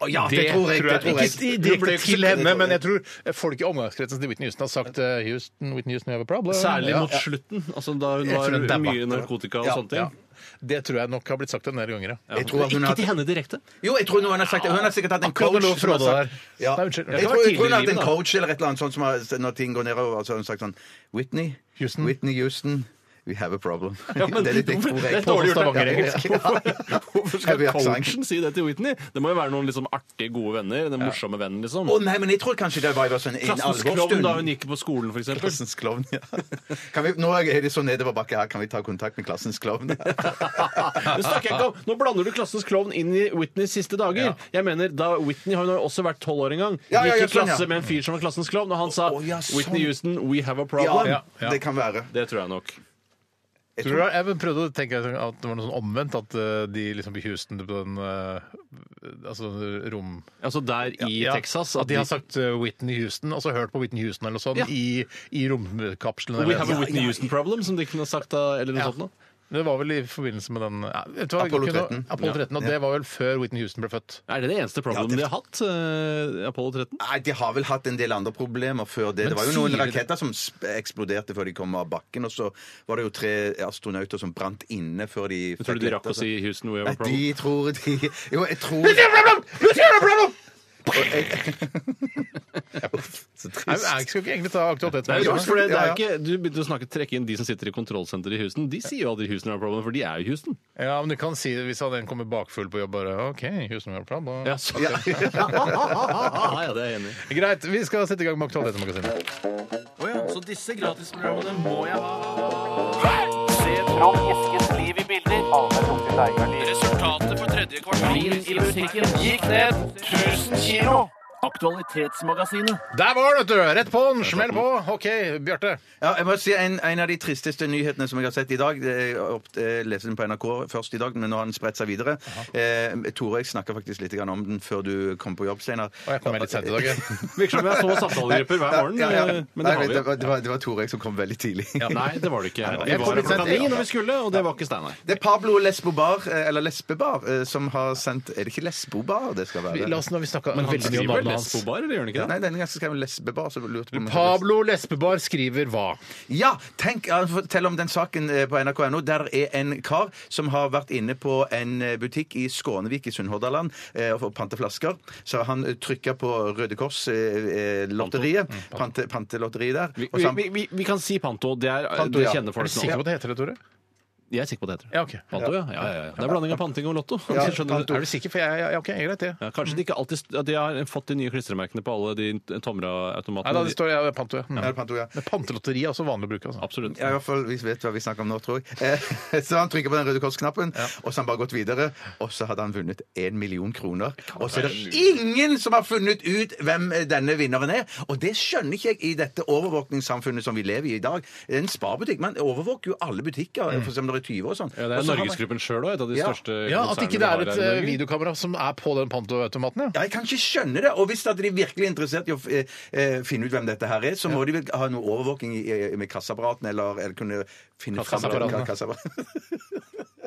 Å, Ja, det tror jeg. Det tror jeg.
Ikke i-
Det ble
direkte
ikke-
til
det
henne,
tror
men
jeg.
jeg tror folk i omgangskretsen til Whitney Houston har sagt eh, Houston, Whitney Houston, you have a problem.
Særlig
Ja,
mot
ja.
slutten, altså da hun
Etter hun
var
dabba.
mye narkotika og
Ja,
sånne ting.
Ja. Det tror jeg nok har blitt sagt en del ganger, ja.
Jeg tror at hun har-
Ikke til henne direkte.
Jo, jeg tror noen har sagt det. Hun har sikkert hatt en
Akkurat
coach
nå,
som har
Frode,
sagt-
der.
Ja.
Nei, unnskyld. Det
Jeg tror
var
jeg tror hun har hatt
tidlig i
en
livet,
coach eller et eller annet sånt som har, når ting går nedover, så har hun sagt sånn Whitney,
Houston.
Whitney Houston, we have a problem. <laughs>
men
litt- tror
hvorfor-
jeg
det er
på
dårlig gjort av
stavangerengelsk. Ja.
Hvorfor skal
vi ha accent?
coachen si det til Whitney? Det må jo være noen liksom artige, gode venner. Den morsomme vennen, liksom.
<laughs> Å nei, men jeg tror kanskje det var sånn en
Klassens klovn da hun
alvorstund.
gikk på skolen, for eksempel.
Klassens klovn, ja. <laughs> Kan vi, nå er det så nedoverbakke her, kan vi ta kontakt med klassens klovn? <laughs>
Det snakker jeg ikke om. Nå blander du Klassens klovn inn i Whitneys siste dager. Jeg mener, da Whitney har jo også vært tolv år en gang.
Ja, ja, ja,
Gikk i
sånn, ja.
klasse med en fyr som var Klassens klovn, og han sa
Å, ja, sånn.
Whitney Houston, we have a
Ja,
problem.
ja.
det kan være.
Det tror jeg nok.
Jeg
Tror du, det? jeg prøvde å tenke at det var noe sånn omvendt, at eh, de liksom i Houston på den eh, altså rom...
Altså der i
Ja,
Texas
At de har sagt eh, Whitney Houston, og så hørt på Whitney Houston eller noe sånt
Ja.
i, i romkapselen.
We have a
Ja,
Whitney Houston problem, som de kunne ha sagt da, eller noe
Ja.
sånt noe.
Det var vel i forbindelse med den ja, vet du hva,
Apollo
kunne-
13.
Apollo 13, og det var vel før Whitney Houston ble født.
Er det det eneste problemet
det-
de har hatt? eh, Apollo 13?
Nei, De har vel hatt en del andre problemer før det. det var jo
sier
noen
du-
raketter som sp- eksploderte før de kom av bakken. Og så var det jo tre astronauter som brant inne før de
Jeg tror du de rakk å si Houston, we have a
Nei,
problem?
de tror de Jo, jeg tror Og jeg- Så trist.
Jeg, jeg skal ikke egentlig ta
Nei,
aktualitetsmagasinet.
men for det, det er
Ja, ja.
ikke, du begynte å snakke, trekke inn de som sitter i kontrollsenteret i Houston. De sier jo aldri Houston har problem, for de er jo Houston.
Ja, men du kan si det hvis han en kommer bakfull på jobb, bare OK, Houston we have a problem.
Ja, så, ja. ja, det er jeg enig i.
Greit, vi skal sette i gang med Aktualitetsmagasinet.
Å ja, så
disse gratisprogrammene må jeg ha. Resultatet for tredje kvartal i musikken gikk ned 1000 kilo. Aktualitetsmagasinet.
Der var den, vet du! Rett på den! Smell på! OK, Bjarte.
Ja, jeg må si en, en av de tristeste nyhetene som jeg har sett i dag. det er- Jeg opp- eh, leste den på NRK først i dag, men nå har den spredt seg videre. Eh, Tore, jeg snakka faktisk litt grann om den før du kom på jobb, Steinar.
Å, jeg kom meg litt sent i dag, jeg.
Virker som jeg så samtalegrupper hver morgen,
Ja, ja.
eh, men
Nei,
det har
vet
vi
du,
jo.
det, var, det var Tore jeg som kom veldig tidlig.
Ja, nei, det var det ikke. Vi
Jeg kom
var
litt
her klokka
sent, jeg.
ni når vi skulle, og det var ikke Steinar.
Det er Pablo Lesbobar, eh, eller Lesbebar, eh, som har sendt Er det ikke Lesbobar det skal være?
La oss nå, vi snakka
Men han skriver
skriver
navnet hans
lesbo-
på bar, eller gjør han ikke det?
Nei, denne gangen skrev jeg Lesbebar. Så jeg lurte på om-
Pablo Lesbebar skriver hva?
Ja! tenk, ja, Fortell om den saken eh, på nrk.no. Der er en kar som har vært inne på en eh, butikk i Skånevik i Sunnhordland eh, og pante flasker. Så han eh, trykka på Røde Kors-lotteriet. Pante, pantelotteriet der.
Vi,
Og så han-
vi, vi, vi kan si Panto. Det, er,
Panto,
det
ja.
kjenner
Er
folk
du
nå.
sikker på at det heter det, Tore?
Jeg er sikker på det heter det.
Ja, ok.
Panto, ja. Ja, ja, ja. Det er blanding av panting og lotto.
Ja,
Skjønner du?
Panto.
Er du sikker? For jeg, ja, ok, greit det.
sånn- Ja, kanskje de ikke alltid ja, De har fått de nye klistremerkene på alle de
Nei, da
Tomra-automatene.
det står ja, panto. Ja.
Ja, det er panto, ja.
Men Pantelotteri er også vanlig å bruke. Altså.
Absolutt.
Ja, i hvert fall, Vi vet hva vi snakker om nå, tror jeg. Eh, <laughs> Så han trykker på den røde kors-knappen, og så har han bare gått videre. Og så hadde han vunnet én million kroner. Og så er det ingen som har funnet ut hvem eh, denne vinneren er! Og det skjønner ikke jeg i dette overvåkningssamfunnet som vi lever i i dag. En sparebutikk Man overvåker jo alle butikker, for eksempel når det er 20 og sånn.
Mm. Ja, det
Og så
er
har man-
Norgesgruppen sjøl òg, et av de
Ja.
største
Ja, At ikke det er
konsernene
et
vi har her i
eh,
Norge.
videokamera som er på den pantoautomaten. Ja.
Ja, jeg kan ikke skjønne det. Og hvis at de virkelig er interessert i å eh, eh, finne ut hvem dette her er, så må de vel ha noe overvåking i, i- med kassaapparatene, eller, eller kunne finne fram
Kassaapparatene.
<laughs> Kassaapparatene.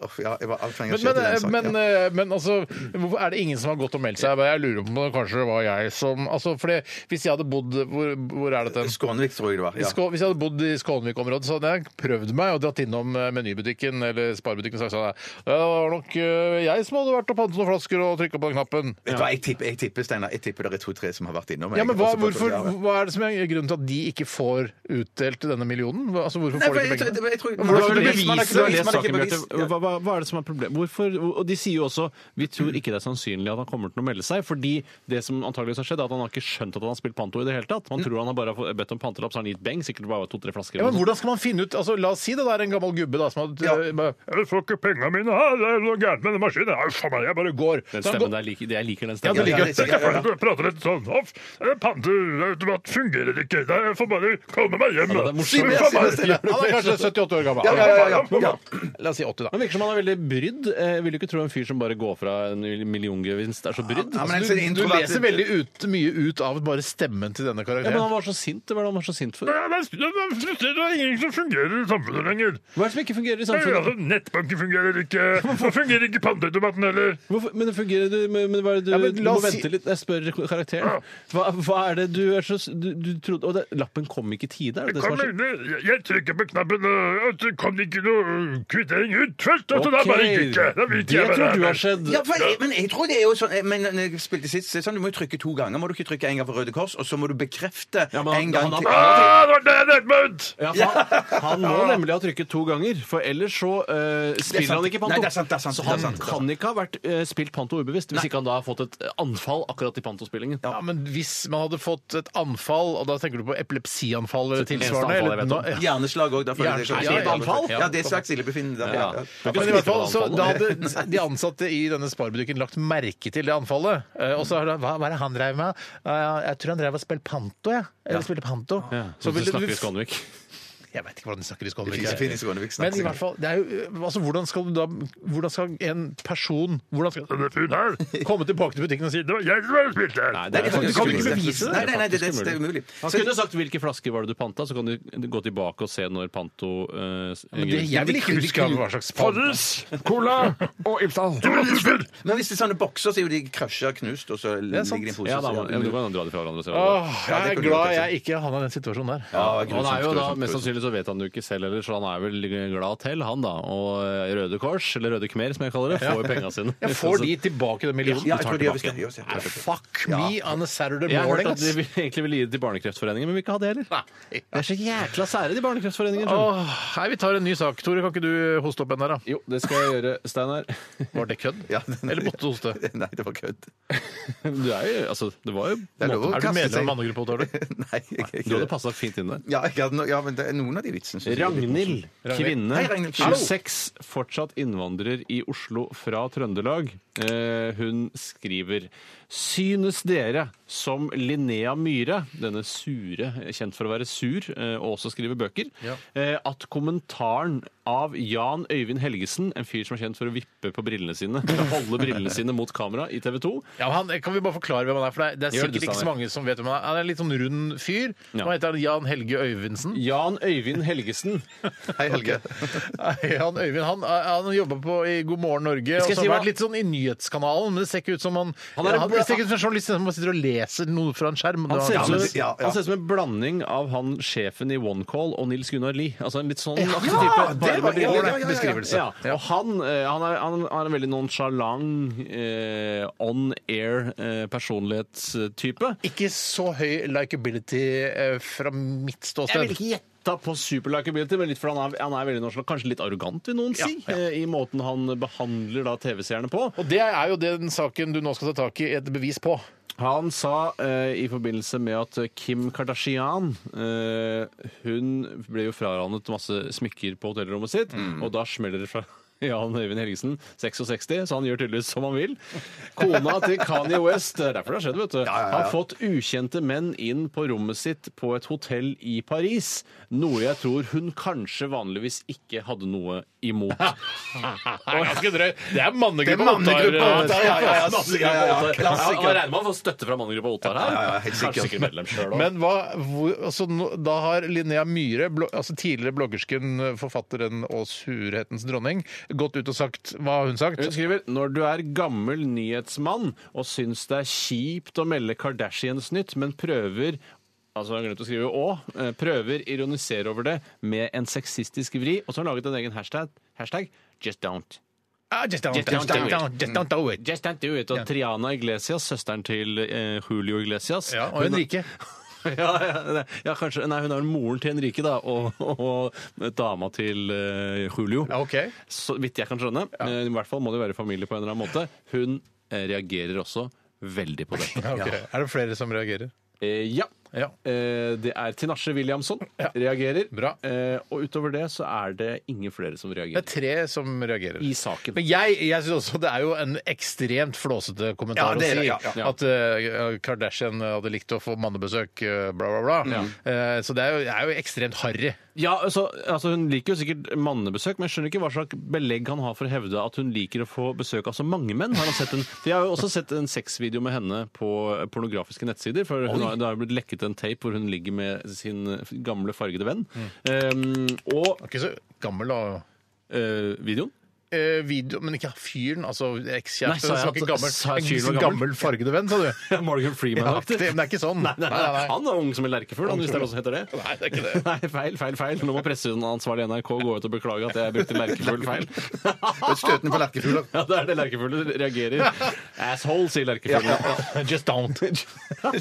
Uff, ja, jeg var altfor
Men,
engasjert
men,
i den saken.
men,
ja.
eh, men altså, hvorfor er det ingen som har gått og meldt seg? Jeg lurer på om det kanskje var jeg som altså, for det, Hvis jeg hadde bodd Hvor, hvor er dette?
Skånevik, tror jeg det var.
eh, I
Ja.
Skå- Hvis jeg hadde bodd i Skånevik-området, så hadde jeg prøvd meg og dratt innom eh, menybutikken eller sparebutikken og sagt sånn "Ja, Det var nok eh, jeg som hadde vært og pantet noen flasker og trykka på den knappen.
Vet du hva, jeg tipper, jeg tipper, Steinar, jeg tipper det er to-tre som har vært innom.
Ja, men hva,
jeg. Og så
hvorfor,
bare- ja, ja.
hva er det som er grunnen til at de ikke får utdelt denne millionen? Hva- Altså, hvorfor
Nei,
får de
for jeg,
ikke
tror-
pengene?
jeg tror-
Hvordan
man
skal
har
du
ikke bevis, man har
bevise
ikke bevis, man
det? Jeg
har ikke
leste saken,
bevis.
Bjarte. Hva, hva, hva er det som er problemet? Hvorfor, og de sier jo også vi tror ikke det er sannsynlig at han kommer til å melde seg, fordi det som antageligvis har skjedd, er at han har ikke skjønt at han har spilt panto i det hele tatt. Man tror han har bare fått- bedt om pantelapp, så har han gitt beng, sikkert bare to-tre flasker.
Ja, men hvordan skal man finne ut altså, La oss si det der er en gammel gubbe da, som hadde
Ja.
eh, bare, 'Jeg får ikke penga mine her, det er noe gærent med den maskinen.' Nei, faen meg, jeg bare går.
den
Så han går-
stemmen der, liker, jeg liker den
Ja,
stemmen.
det liker
Ja, det liker jeg, ja,
jeg. Prater litt sånn off. Panteautomat fungerer ikke. Nei, Jeg får bare komme meg hjem.
Ja, det er morsomt.
Fy
Jeg
faen,
synes det
Mark. Han er kanskje 78 år gammel.
Ja, ja, ja, ja, ja.
La oss si 80, da.
Han virker som han er veldig brydd. Eh, Jeg vil jo ikke tro en fyr som bare går fra en milliongevinst er så brydd. Altså,
Ja, men en
Du,
sånn
du
introvert-
leser veldig ut, mye ut av bare stemmen til denne
Ja, men
karakteren.
han var så sint. Hva er det han var så sint for?
Det er ingenting som fungerer i samfunnet lenger. Altså,
Hva er det som ikke fungerer i samfunnet?
Nettbanken fungerer ikke. <laughs> Hvorfor fungerer ikke panteautomaten heller?
Hvorfor, men det fungerer du, men, men hva er det du,
Ja, men
du
la
må
oss si-
vente litt. Jeg spør karakteren. Hva, hva er det du er så Du, du trodde Og det, lappen kom ikke i tide? Er det det som er så-
Jeg trykker på knappen, og så kom det ikke noe kvittering ut først. Altså,
Ok, det tror du har skjedd.
Ja, for jeg, men jeg tror det er jo sånn Men når jeg spilte sist, så er det sånn, du må jo trykke to ganger. Må du ikke trykke en gang for Røde Kors, og så må du bekrefte
Ja, men han-
en gang
han-
til.
det var Ah, det jeg drev meg ut!
Ja, for han, han må nemlig ha trykket to ganger, for ellers så eh, spiller
sant.
han ikke panto.
Nei, det er sant, det er sant,
så
det er
han
sant, det er sant.
kan ikke ha vært eh, spilt panto ubevisst, hvis ikke han da har fått et eh, anfall akkurat i pantospillingen.
Ja, men hvis man hadde fått et anfall, og da tenker du på epilepsianfall eller
Så det eneste
tilsvarende
anfallet jeg vet om.
eller- Ja.
Hjerneslag òg.
Hjerneslag,
ja, ja. Anfall?
Ja, det er slags illebefinnende. Ja.
Ja.
Ja.
Men i hvert fall, så Da hadde de ansatte i denne sparebutikken lagt merke til det anfallet. Eh, Og så har det hva, hva er det han drev med? Eh, Jeg tror han drev og spilte panto, jeg. Eller spilte panto.
Så
ville
vil
du-
snakker Skånevik.
Jeg vet ikke hvordan de snakker i
Det finnes- finnes i Skånevik,
Skånevik.
snakker
Men i hvert fall, det er jo, altså, hvordan skal du da Hvordan skal en person Hvordan skal denne fyren her komme tilbake til butikken og si 'Det var jeg som var og spilte her'?
det er
Du kan
faktisk
ikke
umulig.
bevise det.
Nei, nei, nei, det, det,
faktisk
det er umulig.
Han kunne sagt hvilke flasker var det du panta, så kan du gå tilbake og se når panto eh,
Det, jeg vil ikke huske hva slags
Cola og Ibsen.
Men hvis det er sånne bokser, så er jo de krasja knust, og så
er sant.
ligger de i en pose.
Ja, da,
så-
men, ja, men du kan dra de fra hverandre. og se hva det var.
Åh, jeg er
Ja, det kunne du
glad
godt
jeg ikke havna i den situasjonen der.
Ja, det er
Og
grusomt,
det er jo da
grusomt,
mest
grusomt.
sannsynlig Selvfølgelig så vet han det jo ikke selv heller, så han er vel glad til, han da. Og eh, Røde Kors, eller Røde Khmer som jeg kaller det, får jo penga sine.
Jeg
<laughs>
får de tilbake, den millionen.
Ja,
De
jeg
tar
tror de gjør visst
tilbake.
det, de gjør visst det.
Ah, Fuck me on a Saturday
Jeg har hørt
morning,
at de
ass.
vil- egentlig vil gi det til Barnekreftforeningen, men vil ikke ha det heller.
Nei.
Det er så jækla sære, de Barnekreftforeningen. skjønner du.
Åh, hei, vi tar en ny sak. Tore, kan ikke du hoste opp en der, da?
Jo, det skal jeg gjøre, Steinar. <laughs>
Var det kødd?
Ja, den-
<laughs> Eller måtte du hoste?
<laughs> Nei, det var kødd.
Du er jo Altså, det var jo
Det lov å
Er du
kaste
medlem av
seg-
mannegruppa, Tore?
<laughs> Nei, jeg er
Du
ikke
hadde
det.
passa fint inn der.
Ja, jeg hadde no ja, men det er noen av de vitsene synes jeg er litt
Ragnhild, kvinne,
Hei, Ragnhild.
26, fortsatt innvandrer i Oslo fra Trøndelag. Eh, hun skriver Synes dere som Linnea Myhre, denne sure, kjent for å være sur, eh, og også skrive bøker,
Ja.
eh, at kommentaren av Jan Øyvind Helgesen, en fyr som er kjent for å vippe på brillene sine, <laughs> holde brillene sine mot kamera i TV 2
Ja, men han, kan vi bare forklare hvem han er? For det er, det er
Gjør det,
sikkert ikke så
Steinar.
mange som vet hvem han er. Han er en litt sånn rund fyr.
Ja.
Hva heter han? Jan Helge Øyvindsen?
Jan Øyvind Helgesen.
morsomme. Hei, Helge.
<laughs> Nei, han Øyvind han, eh, han jobba på i God morgen Norge. Og
Skal jeg
så har
si
han
hva-
vært litt sånn i Nyhetskanalen, men det ser ikke ut som han
Han er
ja,
en
han,
bra-
Det ser ikke ut som en journalist som bare sitter og leser noe fra en skjerm.
Han ser,
ja,
ut
men
som,
det- ja, ja.
han ser ut som en blanding av han sjefen i OneCall og Nils Gunnar Lie. Altså en litt sånn aktig
Ja,
type.
det
bare
var-
med
ja,
briller.
ja, ja, ja.
Beskrivelse.
Ja, og han, eh, han, er, han er en veldig nonsjalant eh, on air eh, personlighetstype.
Ikke så høy likability eh, fra mitt
Jeg
ståsted.
vil ikke gjette på superlikability, men litt for han er, han er veldig nonchalant. Kanskje litt arrogant, vil noen
Ja,
si,
ja.
eh, i måten han behandler da TV-seerne på.
Og det er jo den saken du nå skal ta tak i et bevis på.
Han sa eh, i forbindelse med at Kim Kardashian eh, Hun ble jo fraranet masse smykker på hotellrommet sitt, og da smeller det fra <laughs> Jan Øyvind Helgesen, 66, så han gjør tydeligvis som han vil. Kona til Kanye West det er derfor det har skjedd, vet du. Har fått ukjente menn inn på rommet sitt på et hotell i Paris. Noe jeg tror hun kanskje vanligvis ikke hadde noe imot.
Det er mannegruppa.
mannegruppa
Ottar.
Ottar, ja, ja, ja. Ja, ja, ja,
Klassiker. Ja, regner med å få støtte fra mannegruppa Ottar her.
ja, ja, helt sikkert.
Kanskje ikke medlem sjøl
Men hva, hvor, altså, nå- da har Linnea Myhre, blo, altså tidligere bloggersken, forfatteren og surhetens dronning, gått ut og sagt Hva har hun sagt?
Hun skriver når du er gammel nyhetsmann og syns det er kjipt å melde Kardashians nytt, men prøver Altså, jeg har glemt å skrive å, eh, prøver ironisere over det med en sexistisk vri. Og så har hun laget en egen hashtag. hashtag Just don't.
Ah, just don't,
Just don't do it.
just don't do it.
Just don't do it. Og Triana Iglesias, søsteren til eh, Julio Iglesias
Ja, og Henrike.
<laughs> ja, ja, nei, ja, kanskje, nei, hun er moren til Henrike, da, og, og dama til eh, Julio.
Ja, ok.
Så vidt jeg kan skjønne. Eh, I hvert fall må de være familie på en eller annen måte. Hun eh, reagerer også veldig
<laughs>
på det.
<laughs> Ja, ok. Er det flere som reagerer?
Eh, ja.
Ja.
Eh, det er Tinashe Williamson reagerer.
Bra.
Eh, og utover det så er det ingen flere som
Det er
reagerer.
tre som reagerer.
I saken.
Men jeg, jeg synes også det er jo en ekstremt flåsete kommentar
Ja, det
å
er
si.
det, ja, ja.
At eh, Kardashian hadde likt å få mannebesøk, eh, bla, bla, bla. Eh, så det er jo, det er jo ekstremt harry.
Ja, altså, altså Hun liker jo sikkert mannebesøk, men jeg skjønner ikke hva slags belegg han har for å hevde at hun liker å få besøk av så mange menn. Har han sett en, for Jeg har jo også sett en sexvideo med henne på pornografiske nettsider. for hun har, Det har jo blitt lekket en tape hvor hun ligger med sin gamle fargede venn. Um, og
Ikke så gammel og
eh, videoen
eh, video, men ikke fyren, altså
Nei, sa
ekskjæresten.
jeg
Sa ikke
at-
gammel.
sa jeg
En
fyren var
gammel.
gammel?
<laughs> fargede venn, sa du.
<laughs> Morgan
Ja,
Freeman-aktig.
det, men det er ikke sånn.
Nei, nei, nei, Han er ung som en lerkefugl, han, hvis det er noe som heter det.
Nei, det er ikke det.
<laughs> Nei, feil, feil, feil. Nå må presseansvarlig i NRK gå ut og beklage at jeg brukte lerkefugl feil.
Og Støtende på lerkefugler.
Ja, det er det lerkefugler reagerer. <laughs> Asshole, sier
<laughs>
lerkefuglen.
Just don't.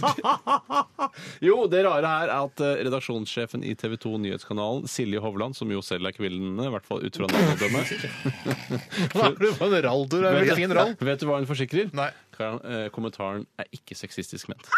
<laughs> Jo, det rare her er at eh, redaksjonssjefen i TV 2 Nyhetskanalen, Silje Hovland, som jo selv er kvinnene, i hvert fall ut fra
<laughs>
navnedømmet
Hva er det for en ralltur? Det er en veldig fin rall.
<laughs> Vet du hva hun forsikrer?
Nei.
Kan- eh, Kommentaren er ikke sexistisk ment.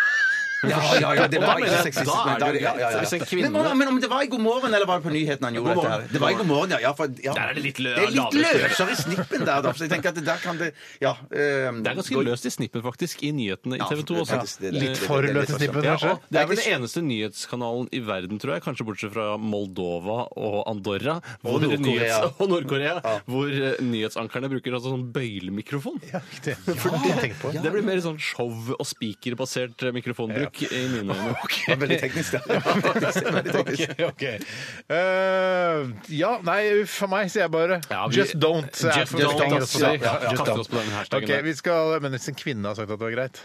Ja, ja, ja, det
Da
var
mener
ikke
jeg-
sexistisk.
da er
men
det jo
ja, ja, ja.
greit. Hvis en
Men,
kvinne-
men, men om det var i God morgen, eller var det på nyhetene han gjorde
God
dette?
morgen.
her? Det var i God morgen, ja. ja, for, ja.
Der er det litt lø-
Det er litt
lavere.
løsere i snippen der, da. Så jeg tenker at det der kan det Ja. ehm,
Det er ganske
gå-
løst i snippen, faktisk, i nyhetene i
Ja,
TV 2
faktisk,
også.
det- det-
Eh,
Litt for
det- sånn. det- det-
løs i snippen,
Ja,
kanskje.
og det er vel
Det er
den eneste nyhetskanalen i verden, tror jeg, kanskje bortsett fra Moldova og Andorra hvor
Nord-Korea.
nyhets- Og Nord-Korea, hvor eh, nyhetsankerne bruker altså sånn bøylemikrofon.
Ja, det har jeg ikke tenkt på.
Det blir mer sånn show- og spikerbasert eh, mikrofonbruk i mine øyne. <laughs>
Det var veldig teknisk, det. Veldig teknisk.
Ok, ok. Eh, ja, nei, uff a meg, sier jeg bare.
Ja, vi-
just don't. er
Just
for-
don't,
kaster oss på det.
ja, ja, ja.
Just
Kaster
don't.
oss på den hashtagen
Ok,
der.
vi skal, men hvis en kvinne har sagt at det var greit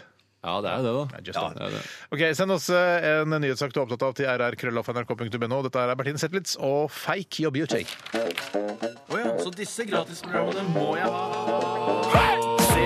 Ja, det er jo det, da.
Just
Det er det.
Ok, Send oss eh, en nyhetssak du er opptatt av til rrkrøllalfa.nrk.no. Dette er Bertine Zetlitz og Fake Your Beauty.
Så disse gratisprogrammene må jeg ha. Se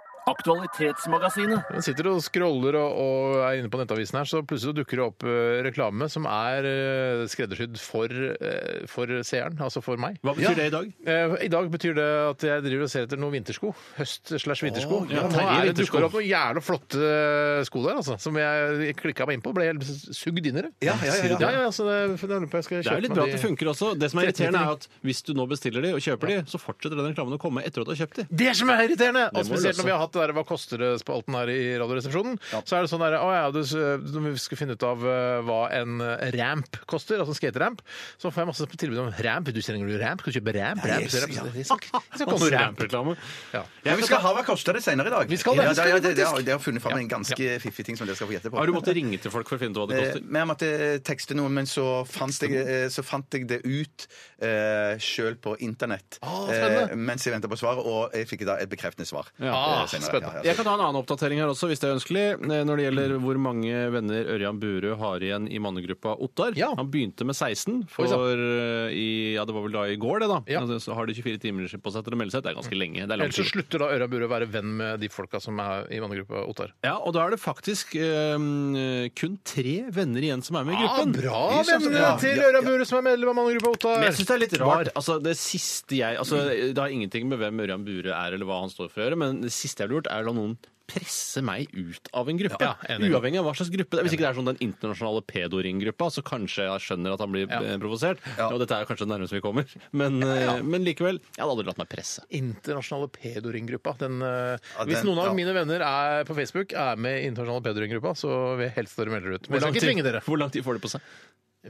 Aktualitetsmagasinet.
Hun sitter og scroller og, og er inne på nettavisen her, så plutselig dukker det opp eh, reklame som er eh, skreddersydd for, eh, for seeren, altså for meg.
Hva betyr det i dag?
Eh, I dag betyr det at jeg driver og ser etter noen vintersko. Høst slash vintersko.
ja,
Nå
Terje
er det
vintersko.
dukker opp noen jævla flotte sko der, altså. Som jeg klikka meg inn på. Ble helt sugd inn i det.
Ja, ja, ja, ja.
ja, så det, for jeg lurer på om jeg skal
Det
kjøpe
er jo litt bra at det funker også. Det som er irriterende, er at hvis du nå bestiller de og kjøper de, så fortsetter den reklamen å komme etter at du har kjøpt de.
Det som er irriterende! Og
Det må du
spesielt når
løse.
vi har hatt det der Hva koster det-spalten her i Radioresepsjonen. Så er det sånn der, å ja, du, s- Når vi skal finne ut av eh, hva en eh, ramp koster, altså en skateramp, så får jeg masse tilbud om ramp. Du trenger du ramp? Skal du kjøpe ramp? ramp,
jeg-
ramp. Jeg skal ikke ha noe ramp.
Rampereklame.
<laughs> Ja.
Men vi skal ha Hva kosta det senere i dag?
Vi skal det,
Ja,
vi skal
ja,
det,
det, det, har-
faktisk.
det har funnet fram en ganske fiffig ting som dere skal få gjette på.
Har du måttet ringe til folk for å finne ut hva det
Eh,
koster?
Men jeg måtte tekste noe, men så fant jeg, eh, så fant jeg det ut eh, sjøl på internett
Ah, spennende.
eh, mens jeg venta på svaret, og jeg fikk da et bekreftende svar.
Ah,
eh, senere.
spennende.
Ja, ja,
Jeg kan ta en annen oppdatering her også, hvis det er ønskelig. eh, Når det gjelder hvor mange venner Ørjan Burøe har igjen i mannegruppa Ottar.
Ja.
Han begynte med 16,
Oi,
for eh, i, ja, det var vel da i går, det, da.
Ja.
Altså, så har de 24 timer på seg til å melde seg. Det er ganske lenge. Det er lang
Ellers så
tid.
slutter da Ørjan Burøe å være venn med de folka som er i mannegruppa Ottar.
Ja, og da er det faktisk eh, kun tre venner igjen som er med i gruppen.
Ah, bra
Vi synes-
venn
ja,
til
ja,
Ørjan Burøe som er medlem av mannegruppa Ottar!
Men jeg syns det er litt rart. Altså, det siste jeg altså, Det har ingenting med hvem Ørjan Bure er, eller hva han står for å gjøre, men det siste jeg ville gjort, er å la noen presse meg ut av en gruppe.
Ja, enig.
Uavhengig av hva slags gruppe. det er. Hvis ikke det er sånn den internasjonale pedoringgruppa, så kanskje jeg skjønner at han blir eh, provosert. Og dette er kanskje det nærmeste vi kommer. Men, eh, men likevel, jeg hadde aldri latt meg presse.
Internasjonale pedoringgruppa. Den, eh,
Ja,
hvis
den-
noen av
ja.
mine venner er på Facebook er med i Internasjonale pedoringgruppa, så vil jeg helst dere melder ut. Men jeg skal ikke tvinge dere.
hvor lang tid får de på seg?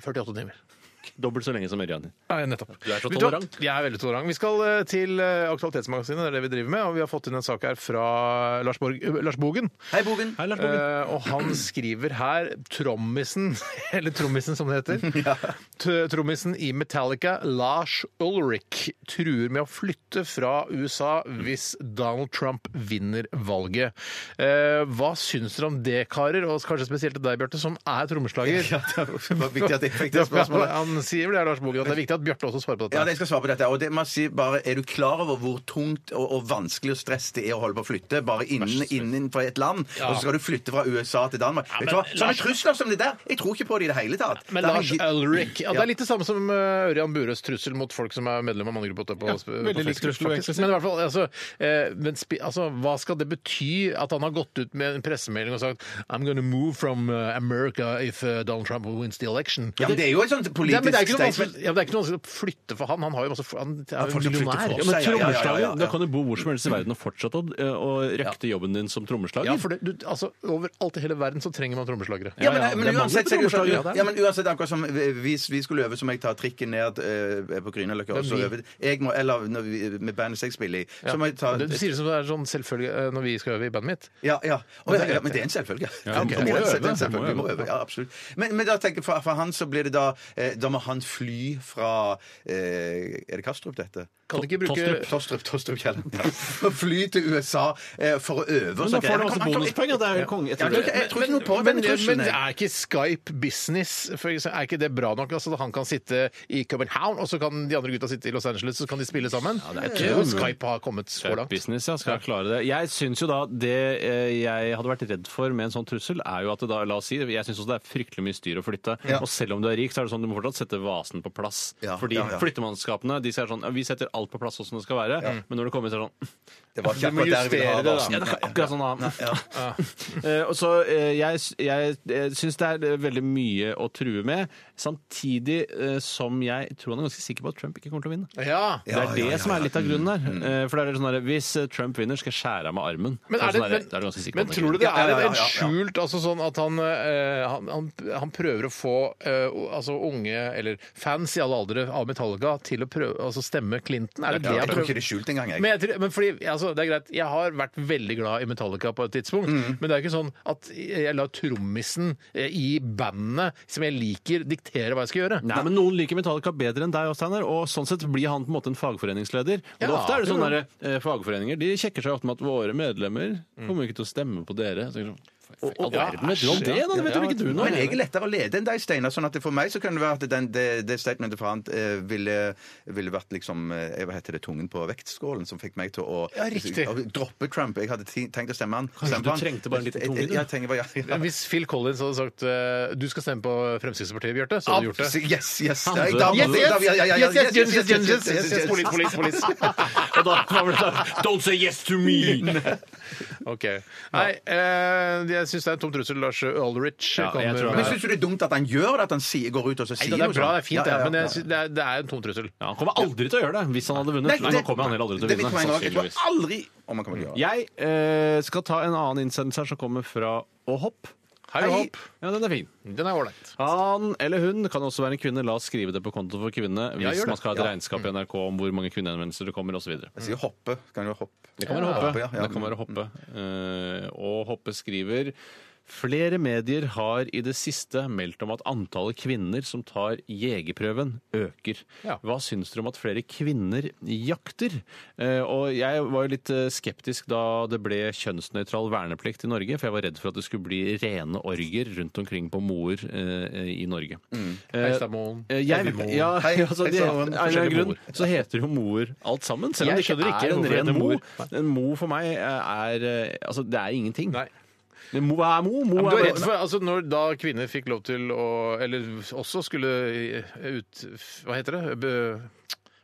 48 timer.
Dobbelt så lenge som Ørjan.
Nei, nettopp.
Du er så
Vet hva?
tolerant.
Jeg er veldig tolerant. Vi skal eh, til eh, Aktualitetsmagasinet, det er det vi driver med. Og vi har fått inn en sak her fra Lars, Borg, eh, Lars Bogen.
Hei, Bogen.
Hei, Lars Bogen.
Eh, og han skriver her Trommisen, <laughs> eller Trommisen som det
<laughs>
heter. T- Trommisen i Metallica, Lars Ulrik, truer med å flytte fra USA hvis Donald Trump vinner valget. Eh, hva syns dere om det, karer? Og kanskje spesielt til deg, Bjarte, som er trommeslager.
<laughs> Ja, det var viktig at jeg fikk
<laughs>
det spørsmålet.
Han sier vel det, Lars Bogen, at det er viktig at Bjarte også svarer på
Ja,
dette.
jeg skal svare på dette. Og det, man sier bare, Er du klar over hvor tungt og, og vanskelig og stress det er å holde på å flytte bare innen, innenfor et land? Og så skal du flytte fra USA til Danmark? Vet du hva? Sånne trusler som det der, jeg tror ikke på det i det hele tatt.
Men
Det er
Lars eh,
en-
Ulrik ja, Det
Ja.
er litt det samme som eh, Ørjan Burøes trussel mot folk som er medlem av mannegruppa. på- på
veldig lik
Facebook,
trussel, vil jeg
faktisk.
egentlig si.
Men i hvert fall, altså, eh, men spi, altså, hva skal det bety at han har gått ut med en pressemelding og sagt I'm gonna move from eh, America if eh, Donald Trump wins the election?
Ja, men Det er jo et sånt
Ja, men det
politisk
er ikke noe
statement.
vanskelig ja, men det er ikke noe vanskelig å flytte for han. Han har jo masse Han er
folk
jo
som flytter
millionær.
for oss.
Ja,
Ja,
men
men,
Ja, ja, ja, ja, ja.
trommeslager, da kan du bo hvor som helst i verden og fortsette å, eh, å røkte jobben din som trommeslager.
ja, for det, du, altså, Overalt i hele verden så trenger man trommeslagere.
Ja, men,
Ja, ja, det
men
er mange
uansett, så er det jo sånn-
trommeslagere der.
ja, men uansett akkurat som vi, vi skulle øve, så må jeg ta trikken ned eh, på Grünerløkka og så
vi?
øve. Jeg må, eller når vi, med bandet jeg spiller i, så må jeg ta
Ja. Du, du sier det som det er sånn selvfølgelig eh, når vi skal øve i bandet mitt.
Ja, ja. Og, ja, ja, men det er en selvfølge. Ja,
ok.
det
Du må
er en
øve,
selvfølge,
du må
vi må øve, ja, absolutt. Men, men da tenker jeg, for, for han så blir det da eh, Da må han fly fra eh, Er det Kastrup, dette?
Kan ikke bruke
Tostrup.
Tostrup, Tostrup Kjelleren. Ja. Fly til USA eh, for å øve. og
Men
så
da får
greier.
du masse
Han kan-
bonuspoeng. ja, Det er jo konge.
Ja, jeg tror ikke- jeg tror ikke noe på
Men,
den
men
trusselen.
er ikke Skype business for eksempel, Er ikke det bra nok? Altså, at han kan sitte i København, og så kan de andre gutta sitte i Los Angeles, så kan de spille sammen? jeg tror Skype har kommet så langt.
Business, ja, skal jeg klare det. Jeg syns jo da det eh, jeg hadde vært redd for med en sånn trussel, er jo at det da, la oss si, jeg syns også det er fryktelig mye styr å flytte.
Ja.
Og selv om du er rik, så er det sånn du må fortsatt sette vasen på plass.
Ja,
Fordi
ja, ja.
flyttemannskapene de sier sånn ja, vi setter alt på plass sånn som det skal være, men når det kommer, så er det sånn
Det var ikke
Du må
akkurat der jeg ville ha
justere det, da.
varselet.
ja, det er akkurat sånn da.
Ja.
<laughs> Eh, og så eh, jeg, s- jeg, jeg syns det er eh, veldig mye å true med, samtidig eh, som jeg tror han er ganske sikker på at Trump ikke kommer til å vinne.
Ja.
Det er
Ja,
det
ja, ja,
som er
ja. Mm.
litt av grunnen der. Eh, For det er litt sånn der, Hvis eh, Trump vinner, skal jeg skjære av meg armen.
Men,
Så
er det,
sånn der,
men,
da er du ganske sikker på
men
at han
tror du
vinner.
det
Ja, ja,
er
ja,
en
ja, ja.
skjult altså sånn at han, eh, han, han, han prøver å få eh, altså unge, eller fans i alle aldre av Metallica, til å prøve, altså stemme Clinton? Er det det
Jeg
han
tror ikke
prøver?
det er skjult engang, jeg.
Men, jeg, tror- men fordi, altså, altså, det er greit, jeg har vært veldig glad i Metallica på et tidspunkt, men det er ikke sånn at jeg lar trommisen eh, i bandet som jeg liker, diktere hva jeg skal gjøre.
Nei, men Noen liker Metallica bedre enn deg, også, Steinar, og sånn sett blir han på en måte en fagforeningsleder. Og
Ja,
det ofte er det sånn
jo.
der, eh, Fagforeninger de kjekker seg ofte med at våre medlemmer
Mm.
kommer ikke til å stemme på dere. Så tenker jeg sånn, «Fuck, all verden, vet du om det, da? Det vet jo ikke du nå.
Men jeg er lettere å lede enn deg, Steinar. Sånn at det for meg så kan det være at den, det, det statementet fra han eh, ville, ville vært liksom eh, Hva heter det? Tungen på vektskålen som fikk meg til å
Ja, riktig.
å droppe Trump. Jeg hadde ti- tenkt å stemme han. Stemme
du
på han.
trengte bare en liten tunge, du?
Ja, jeg trenger bare- ja, ja.
Hvis Phil Collins hadde sagt eh, du skal stemme på Fremskrittspartiet, Bjarte, så hadde du gjort det.
Yes, yes.
Han
Nei,
dør.
da-
Yes, yes,
da- ja, ja, ja,
yes, yes, yes, yes,
yes,
yes, yes,
yes, yes, yes.
Polis, polis, polis.
Og da kommer det der, Don't say yes
<laughs>
to me!
<laughs> Ok. Nei, eh, jeg syns det er en tom trussel Lars Ulrich
Ja, jeg
kommer
tror
Men
han
med.
er-
syns du det er dumt at han gjør det? At han sier, går ut og så
Nei,
sier
det er
noe
bra,
sånt?
det er fint,
Ja, ja, ja,
det, men jeg,
ja.
synes- det, er, det er en tom trussel.
Ja, han kommer aldri til å gjøre det hvis han hadde
Nei,
vunnet. Nei, nå kommer han heller aldri til å
det mitt
vinne.
poeng også. Jeg
sannsynligvis.
kommer aldri Å, man kommer til å gjøre det.
Jeg eh, skal ta en annen innsendelse her som kommer fra Åhopp.
Hei, Hopp.
Ja, den er fin.
Den er ålreit.
Han eller hun kan også være en kvinne. La oss skrive det på konto for
Ja,
kvinne hvis
gjør det.
man skal ha et regnskap i NRK om hvor mange kvinnehenvendelser det kommer osv.
Jeg sier hoppe. Kan jo hoppe.
Det kan være hoppe.
ja, ja.
Det kan være hoppe. Eh, og Hoppe skriver Flere medier har i det siste meldt om at antallet kvinner som tar jegerprøven, øker.
Ja.
Hva syns dere om at flere kvinner jakter? Eh, og jeg var jo litt eh, skeptisk da det ble kjønnsnøytral verneplikt i Norge, for jeg var redd for at det skulle bli rene orger rundt omkring på moer eh, i Norge. Eh,
Heistadmoen,
eh, jeg,
Evjemoen.
<laughs> ja,
Hei,
altså, de, av
Heistadmoen,
en eller annen
forskjellige
grunn så heter jo moer alt sammen. Selv om
Jeg
det ikke
skjønner ikke
er en
hvorfor det
ren
heter
mo.
moer.
En mo for meg er eh, Altså, det er ingenting.
Nei.
Men Mo er mo. mo
Men Du
er
er
mo.
redd for, altså Når da kvinner fikk lov til å Eller også skulle eh, ut... Hva heter det? Be,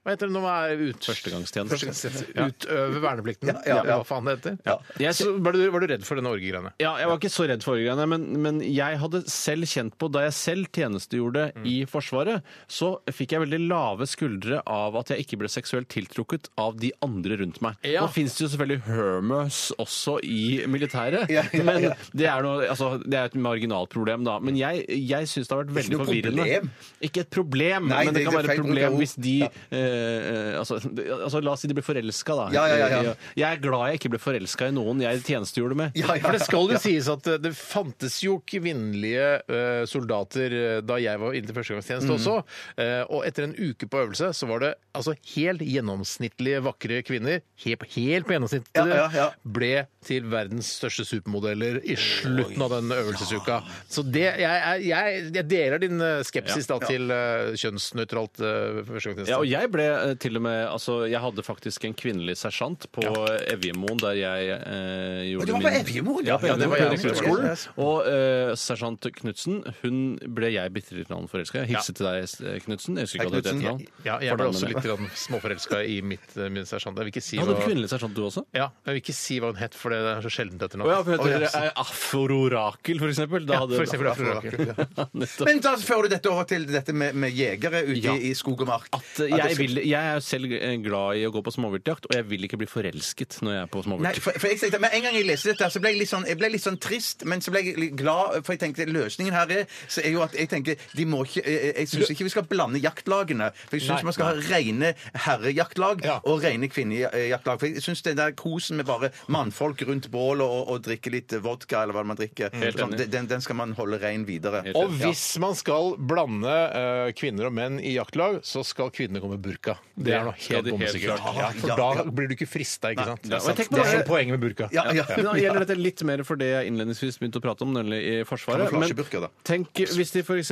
hva heter det når man er ut...
Førstegangstjeneste.
Førstegangstjeneste. Utøve verneplikten.
Ja, ja, ja.
Hva faen det heter.
Ja. Jeg-
Så var, du, var du redd for denne orgegreiene?
Ja, jeg var ikke så redd for orgreiene, men, men jeg hadde selv kjent på, da jeg selv tjenestegjorde
Mm.
i Forsvaret, så fikk jeg veldig lave skuldre av at jeg ikke ble seksuelt tiltrukket av de andre rundt meg.
Ja.
Nå fins det jo selvfølgelig hermers også i militæret,
Ja, ja, ja.
men det er, noe, altså, det er et marginalt problem, da. Men jeg, jeg syns det har vært veldig
noe
forvirrende.
problem.
Ikke et problem,
Nei,
men det,
det- det er
kan være et
feil bruk av
problem
ord.
hvis de
Ja.
eh, eh, altså, det- altså, la oss si de blir forelska, da.
Ja, ja, ja, ja.
Jeg er glad jeg ikke ble forelska i noen jeg tjenestegjorde med.
Ja, ja,
For det skal jo sies at eh, det fantes jo kvinnelige eh, soldater eh, da jeg var inne til førstegangstjeneste også. Eh, og etter en uke på øvelse så var det altså helt gjennomsnittlige vakre kvinner, helt, helt på gjennomsnittet,
Ja, ja, ja.
ble til verdens største supermodeller i slutten av den øvelsesuka. Så det, jeg, er- jeg, jeg deler din eh, skepsis da til eh, kjønnsnøytralt eh, førstegangstjeneste.
Ja, og jeg ble eh, til og med altså, Jeg hadde faktisk en kvinnelig sersjant på Evjemoen, der jeg eh,
du
gjorde
var på Evjemoen?
Ja, ja, det var jeg
på
på
Rekruttskolen.
rekruttskolen. Og eh, sersjant Knutsen, hun ble jeg bitte litt forelska i. Hilse til deg, eh, Knutsen. Jeg husker ikke hva det het
Knudsen.
etternavn.
Ja, jeg ble
Fordømme
også
det.
litt grann småforelska i mitt, eh, min sersjant. Jeg vil ikke si
Hadde du
hva
kvinnelig sersjant, du også?
ja, jeg vil ikke si hva hun het, for det er så sjeldent etter
Å ja, for
Å,
heter
ja,
det eh, Afrorakel, for eksempel. Da
Ja,
hadde-
for eksempel Afrorakel.
Nettopp.
Men da fører du dette over til dette med, med jegere ute
Ja.
i, i skog og mark.
At eh, jeg, vil, jeg er selv eh, glad i å gå på småviltjakt, og jeg vil ikke bli forelsket når jeg er på
Nei,
småvilt.
for, for jeg tenkte, men En gang jeg leste dette, så ble jeg litt sånn, jeg ble litt sånn trist, men så ble jeg litt glad. For jeg tenkte løsningen her er så er jo at jeg tenker, de må ikke, jeg, jeg syns ikke vi skal blande jaktlagene. For jeg syns man skal ha rene herrejaktlag
Ja.
og rene kvinnejaktlag. For jeg syns den der kosen med bare mannfolk rundt bålet og, og drikke litt vodka, eller hva man drikker, sånn,
Mm. enig.
den, den skal man holde rein videre.
Helt
Og hvis man skal blande eh, kvinner og menn i jaktlag, så skal kvinnene komme med burka. Det er noe
skal
helt
de helt
bombesikkert.
klart.
Ja,
Ja,
for da
ja.
blir du ikke frista, ikke sant?
er sant.
Det er hele poenget med burka.
Ja, <laughs> ja.
<laughs> Men da gjelder dette litt mer for det jeg innledningsvis begynte å prate om, nemlig i Forsvaret. Men
Kamuflasjeburka, da.
tenk hvis de f.eks.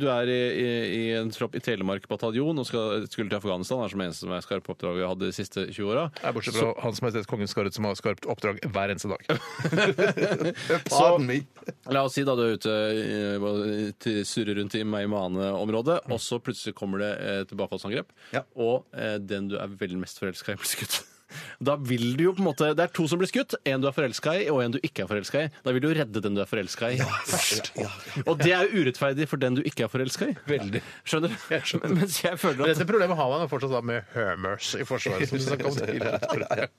du er i, i, i en tropp i Telemark bataljon og skal, skulle til Afghanistan, er som eneste som er skarp på oppdrag jeg hadde de siste 20 åra.
Nei, Bortsett fra Hans Majestet Kongen Skarret, som har skarpt oppdrag hver eneste dag.
Pardon me.
La oss si da du er ute eh, til- surrer rundt i Meimane-området, og så plutselig kommer det et tilbakeholdsangrep,
Ja.
og eh, den du er vel mest forelska i, <laughs> blir skutt. Da vil du jo på en måte, Det er to som blir skutt. En du er forelska i, og en du ikke er forelska i. Da vil du redde den du er forelska i først. Og det er jo urettferdig for den du ikke er forelska i.
Veldig.
Skjønner du? Mens jeg føler at
Dette problemet har man jo fortsatt da med Hermers i Forsvaret. som du snakket
<laughs>
om tidligere.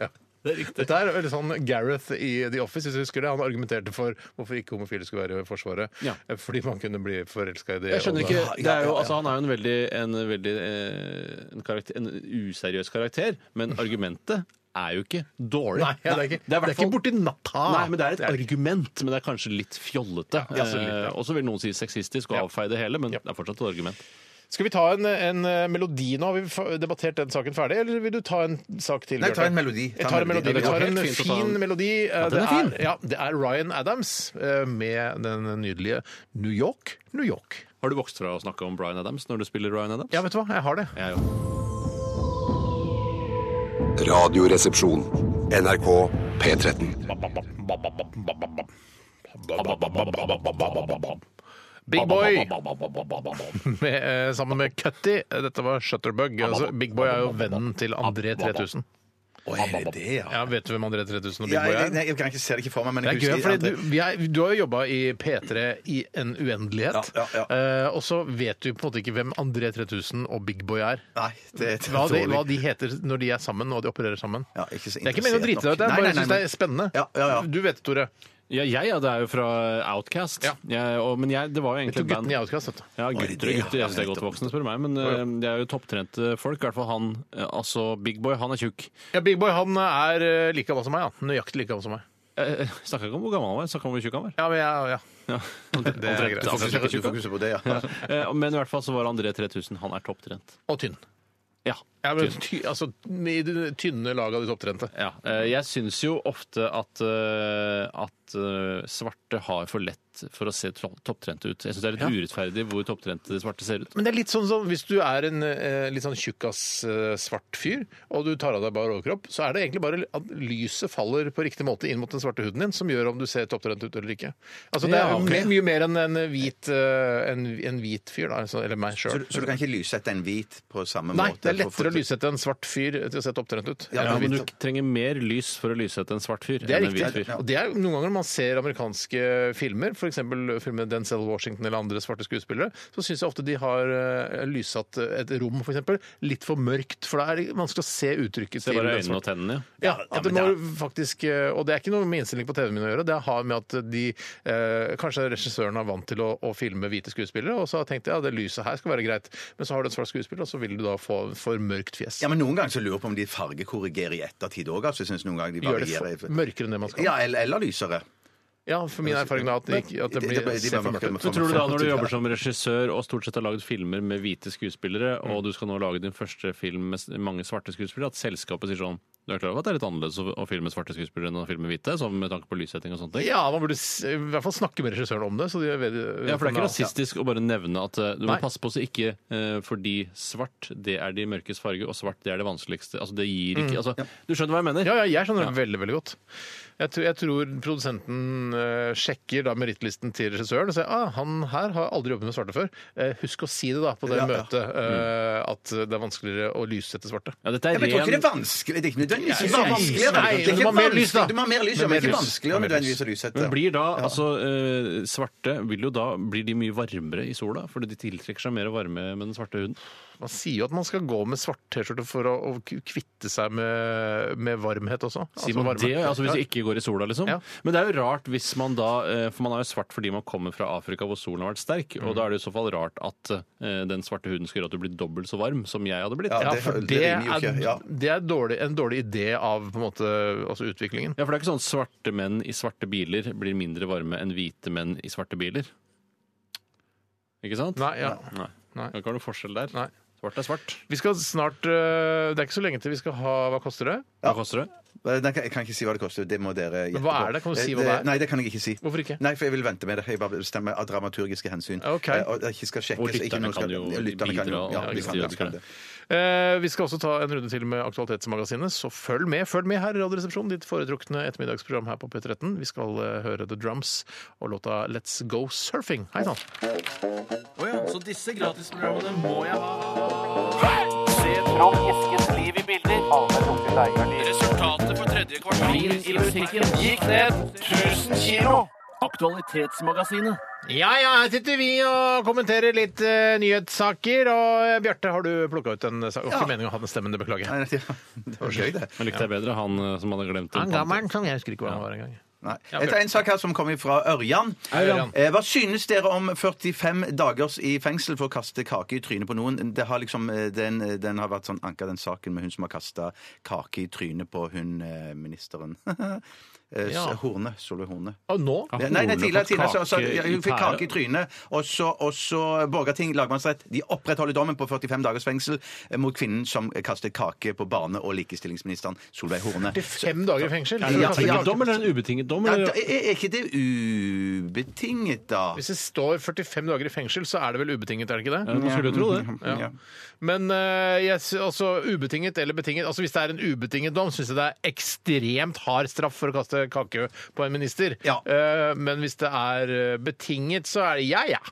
Ja. Dette er veldig sånn Gareth i The Office, hvis du husker det. Han argumenterte for hvorfor ikke homofile skulle være i Forsvaret. Eh,
Ja.
Fordi man kunne bli forelska i det.
Jeg skjønner
og
ikke,
da-
det er jo, altså, Han er jo en veldig, en veldig eh, en karakter, en useriøs karakter, men argumentet er jo ikke dårlig.
Nei, det er ikke, det er
hvert
ikke
fall-
borti Ah, natta.
Nei, men det er et argument, men det er kanskje litt fjollete.
Ja, altså litt, ja.
Eh, Og så vil noen si sexistisk og
Ja.
avfeie det hele, men
Ja.
det er fortsatt et argument.
Skal vi ta en, en eh, melodi nå? Har vi fa- debattert den saken ferdig, eller vil du ta en sak til?
Nei, ta
Bjarte?
en melodi. Ta
Jeg tar en
en melodi.
melodi. Vi
Ja, det
tar
går
en
helt fint å ta
fin
en-
melodi. Eh,
Ja, den er fin.
Det er, ja, det er Ryan Adams eh, med den nydelige New York, New York.
Har du vokst fra å snakke om Bryan Adams når du spiller Bryan Adams?
Ja, vet du hva? Jeg har det.
Jeg jo.
Radioresepsjon. NRK P13.
Big Boy <laughs> med, eh, sammen med Cutty. Dette var Shutterbug. Altså, Big Boy er jo vennen til André 3000.
Oi, er det det, ja?
Ja, Vet du hvem André 3000 og Big
Ja,
Boy
jeg,
er?
nei, jeg kan ikke se det ikke for meg, men
Det
jeg
er gøy,
husker
for du, vi er, du har jo jobba i P3 i en uendelighet.
Ja, ja,
Eh, og så vet du på en måte ikke hvem André 3000 og Big Boy er.
Nei, det er
Hva de,
dårlig.
hva de heter når de er sammen og de opererer sammen.
Ja, ikke så
det er ikke meningen å drite deg ut,
interessert
jeg
nok.
bare
Nei, nei,
synes
nei,
det er spennende.
Ja, ja, ja.
Du vet det, Tore.
Ja, jeg ja, det er jo fra Outcast.
Ja.
Jeg, og, men jeg, det var jo
Vet du
egentlig et
gutten
band
i Outcast? vet du?
Ja, gutter og
det det, ja?
gutter. Jeg synes det er godt voksne, spør du meg. Men eh, det er jo topptrente folk. I hvert fall han, eh, altså Big Boy, han er tjukk.
Ja, Big Boy han er eh, like gammel som meg. Ja. Nøyaktig like gammel som meg.
Eh, eh, Snakka ikke om hvor gammel han var, snakka om hvor tjukk han var.
Ja, men jeg, ja.
Ja.
Det er greit.
Du fokuserer- Du fokuserer på det, ja.
Eh, Men i hvert fall så var André 3000. Han er topptrent.
Og tynn.
Ja.
Ja, men, ty, altså, I det tynne laget av de topptrente.
Ja, eh, jeg syns jo ofte at, eh, at eh, svarte har for lett for å se tro- topptrente ut. Jeg syns det er litt urettferdig hvor topptrente svarte ser ut.
Men det er litt sånn som hvis du er en eh, litt sånn tjukkas eh, svart fyr, og du tar av deg bare overkropp, så er det egentlig bare at lyset faller på riktig måte inn mot den svarte huden din, som gjør om du ser topptrent ut eller ikke. Altså, det er
Ja, ok.
me- mye mer enn en hvit, eh, en, en hvit fyr, da, altså, eller meg
<laughs> Så,
sjøl.
du- så du kan ikke lyssette en hvit på samme
Nei,
måte?
det er
for-
lettere
for-
å lyssette en svart fyr til å se topptrent ut.
Ja,
Ja,
enn en
men
hvit.
du trenger mer lys for å lyse etter en svart fyr
Det er
enn en hvit
riktig.
fyr.
Og det er jo noen ganger når man ser amerikanske filmer, f.eks. filmen Denzel Washington eller andre svarte skuespillere, så syns jeg ofte de har eh, lyssatt et rom, f.eks., litt for mørkt. For da er det vanskelig å se uttrykket
Det er bare
den
øynene og
svarte-
tennene, ja.
ja, at det må faktisk, eh, og det er ikke noe med innstilling på TV-en min å gjøre. Det har med at de eh, Kanskje regissøren er vant til å, å filme hvite skuespillere, og så har jeg tenkt ja, det lyset her skal være greit. Men så har du en svart skuespiller, og så vil du da få for mørkt fjes.
Ja, men Noen ganger så lurer jeg på om de fargekorrigerer i ettertid òg. Altså, jeg synes noen ganger de
Gjør det for,
varierer.
mørkere enn det man skal.
Ja, eller, eller lysere.
Ja, for min erfaring er at det, ikke- at det
Det-
blir
det blir- de
ser for
blir
mørkt ut.
Så tror du da når du jobber som regissør og stort sett har laget filmer med hvite skuespillere,
Mm.
og du skal nå lage din første film med s- mange svarte skuespillere, at selskapet sier sånn Du er klar over at det er litt annerledes å å filme svarte skuespillere enn å filme hvite, sånn med tanke på lyssetting og sånne ting?
Ja, man burde s- i hvert fall snakke med regissøren om det. Så de vet,
Ja, for det er ikke rasistisk å bare nevne at eh, du må
Nei.
passe på så ikke eh, fordi svart det er de mørkes farge, og svart det er det vanskeligste. Altså det gir ikke altså, Du skjønner hva jeg mener?
Mm, Ja, ja, jeg skjønner det veldig veldig godt. Jeg tror, jeg tror produsenten eh, sjekker da merittlisten til regissøren og sier ah, han her har aldri jobbet med svarte før. Eh, husk å si det da på det
Ja, ja.
møtet eh,
Mm.
at det er vanskeligere å lyssette svarte.
Ja, dette
Ja,
er
men jeg tror ikke det
ren
er vanskelig. Det er ikke
Ja,
nødvendigvis
det er
vanskeligere.
vanskelig.
Det er
Nei, du må
ikke
ha mer lys, da.
vanskelig. Du må ha mer lys,
Mer
ja, men ikke
lys. Mer
vanskeligere
lys.
nødvendigvis å lyssette.
men blir da, altså, eh, Svarte vil jo da blir de mye varmere i sola, fordi de tiltrekker seg mer varme med den svarte huden.
Man sier jo at man skal gå med svart T-skjorte for å, å kvitte seg med, med varmhet også. Altså
Sier man
varme.
det, altså Hvis det ikke går i sola, liksom.
Ja.
Men det er jo rart hvis man da eh, For man er jo svart fordi man kommer fra Afrika hvor solen har vært sterk. Og da er det i så fall rart at eh, den svarte huden skal gjøre at du blir dobbelt så varm som jeg hadde blitt.
Ja,
Ja,
det-
for
det
det
rimer jo
er,
ikke, ja.
det er dårlig, en dårlig idé av på en måte, altså utviklingen.
Ja, for det er ikke sånn at svarte menn i svarte biler blir mindre varme enn hvite menn i svarte biler. Ikke sant?
Nei, ja.
Nei.
Nei.
Det er ikke noe forskjell der.
Nei.
Svart er svart.
Vi skal snart øh, Det er ikke så lenge til vi skal ha Hva koster det?
Hva koster det?
Nei, Jeg kan- jeg kan ikke si hva det koster. Det må dere gjette
Hva
på.
er det? Kan du si
Eh,
hva det er?
Nei, det kan jeg ikke si.
Hvorfor ikke?
Nei, for jeg vil vente med det. Jeg bare bestemmer av dramaturgiske hensyn.
Ok.
Eh, Og det ikke skal sjekkes.
Og lytterne
ikke noe skal-
kan jo
lytterne kan jo-
bidra,
Ja, de
hvis
kan
de
det, de
ønsker
kan
det.
det.
Eh, vi skal også ta en runde til med Aktualitetsmagasinet, så følg med følg med her i Radioresepsjonen, ditt foretrukne ettermiddagsprogram her på P13. Vi skal eh, høre The Drums og låta Let's Go Surfing. Hei sann!
Å ja, så disse gratisprogrammene må jeg ha. Se Trond Eskens liv i bilder. Resultatet for tredje kvartal i musikken gikk ned 1000 kilo. Aktualitetsmagasinet.
Ja ja, her sitter vi og kommenterer litt eh, nyhetssaker. Og eh, Bjarte, har du plukka ut en sak? Det var ikke meningen å ha den stemmen, det beklager jeg.
Nei, nei, ja. <laughs> Det var gøy, det.
Men likte jeg bedre han eh, som hadde glemt
Han
det?
gammelen som jeg husker ikke hva han var engang.
Nei. Jeg tar en sak her som kommer fra Ørjan.
Ørjan.
Eh, Hva synes dere om 45 dagers i fengsel for å kaste kake i trynet på noen? Det har liksom, eh, den, den har vært sånn anka, den saken med hun som har kasta kake i trynet på hun eh, ministeren. <laughs> Eh,
Ja.
Horne. Solveig Horne.
Og nå?
Ja, Nei, nei,
Horne
tidligere,
fått
tidligere så, så,
kake
ja,
i
Hun fikk
pæra?
kake i trynet. Og så, og så Borgarting lagmannsrett De opprettholder dommen på 45 dagers fengsel eh, mot kvinnen som kastet kake på barne- og likestillingsministeren Solveig Horne.
Fem dager i fengsel?
Ja, ja,
Betinget dom eller en ubetinget dom?
Ja, da,
Eller?
er er ikke det ubetinget, da?
Hvis det står 45 dager i fengsel, så er det vel ubetinget, er det ikke det?
Ja, Man skulle jo tro det.
Ja. Men eh, jeg, sy- altså, ubetinget eller betinget altså Hvis det er en ubetinget dom, syns jeg det er ekstremt hard straff for å kaste kake på en minister.
Ja.
Eh, men hvis det er eh, betinget, så er det ja, ja.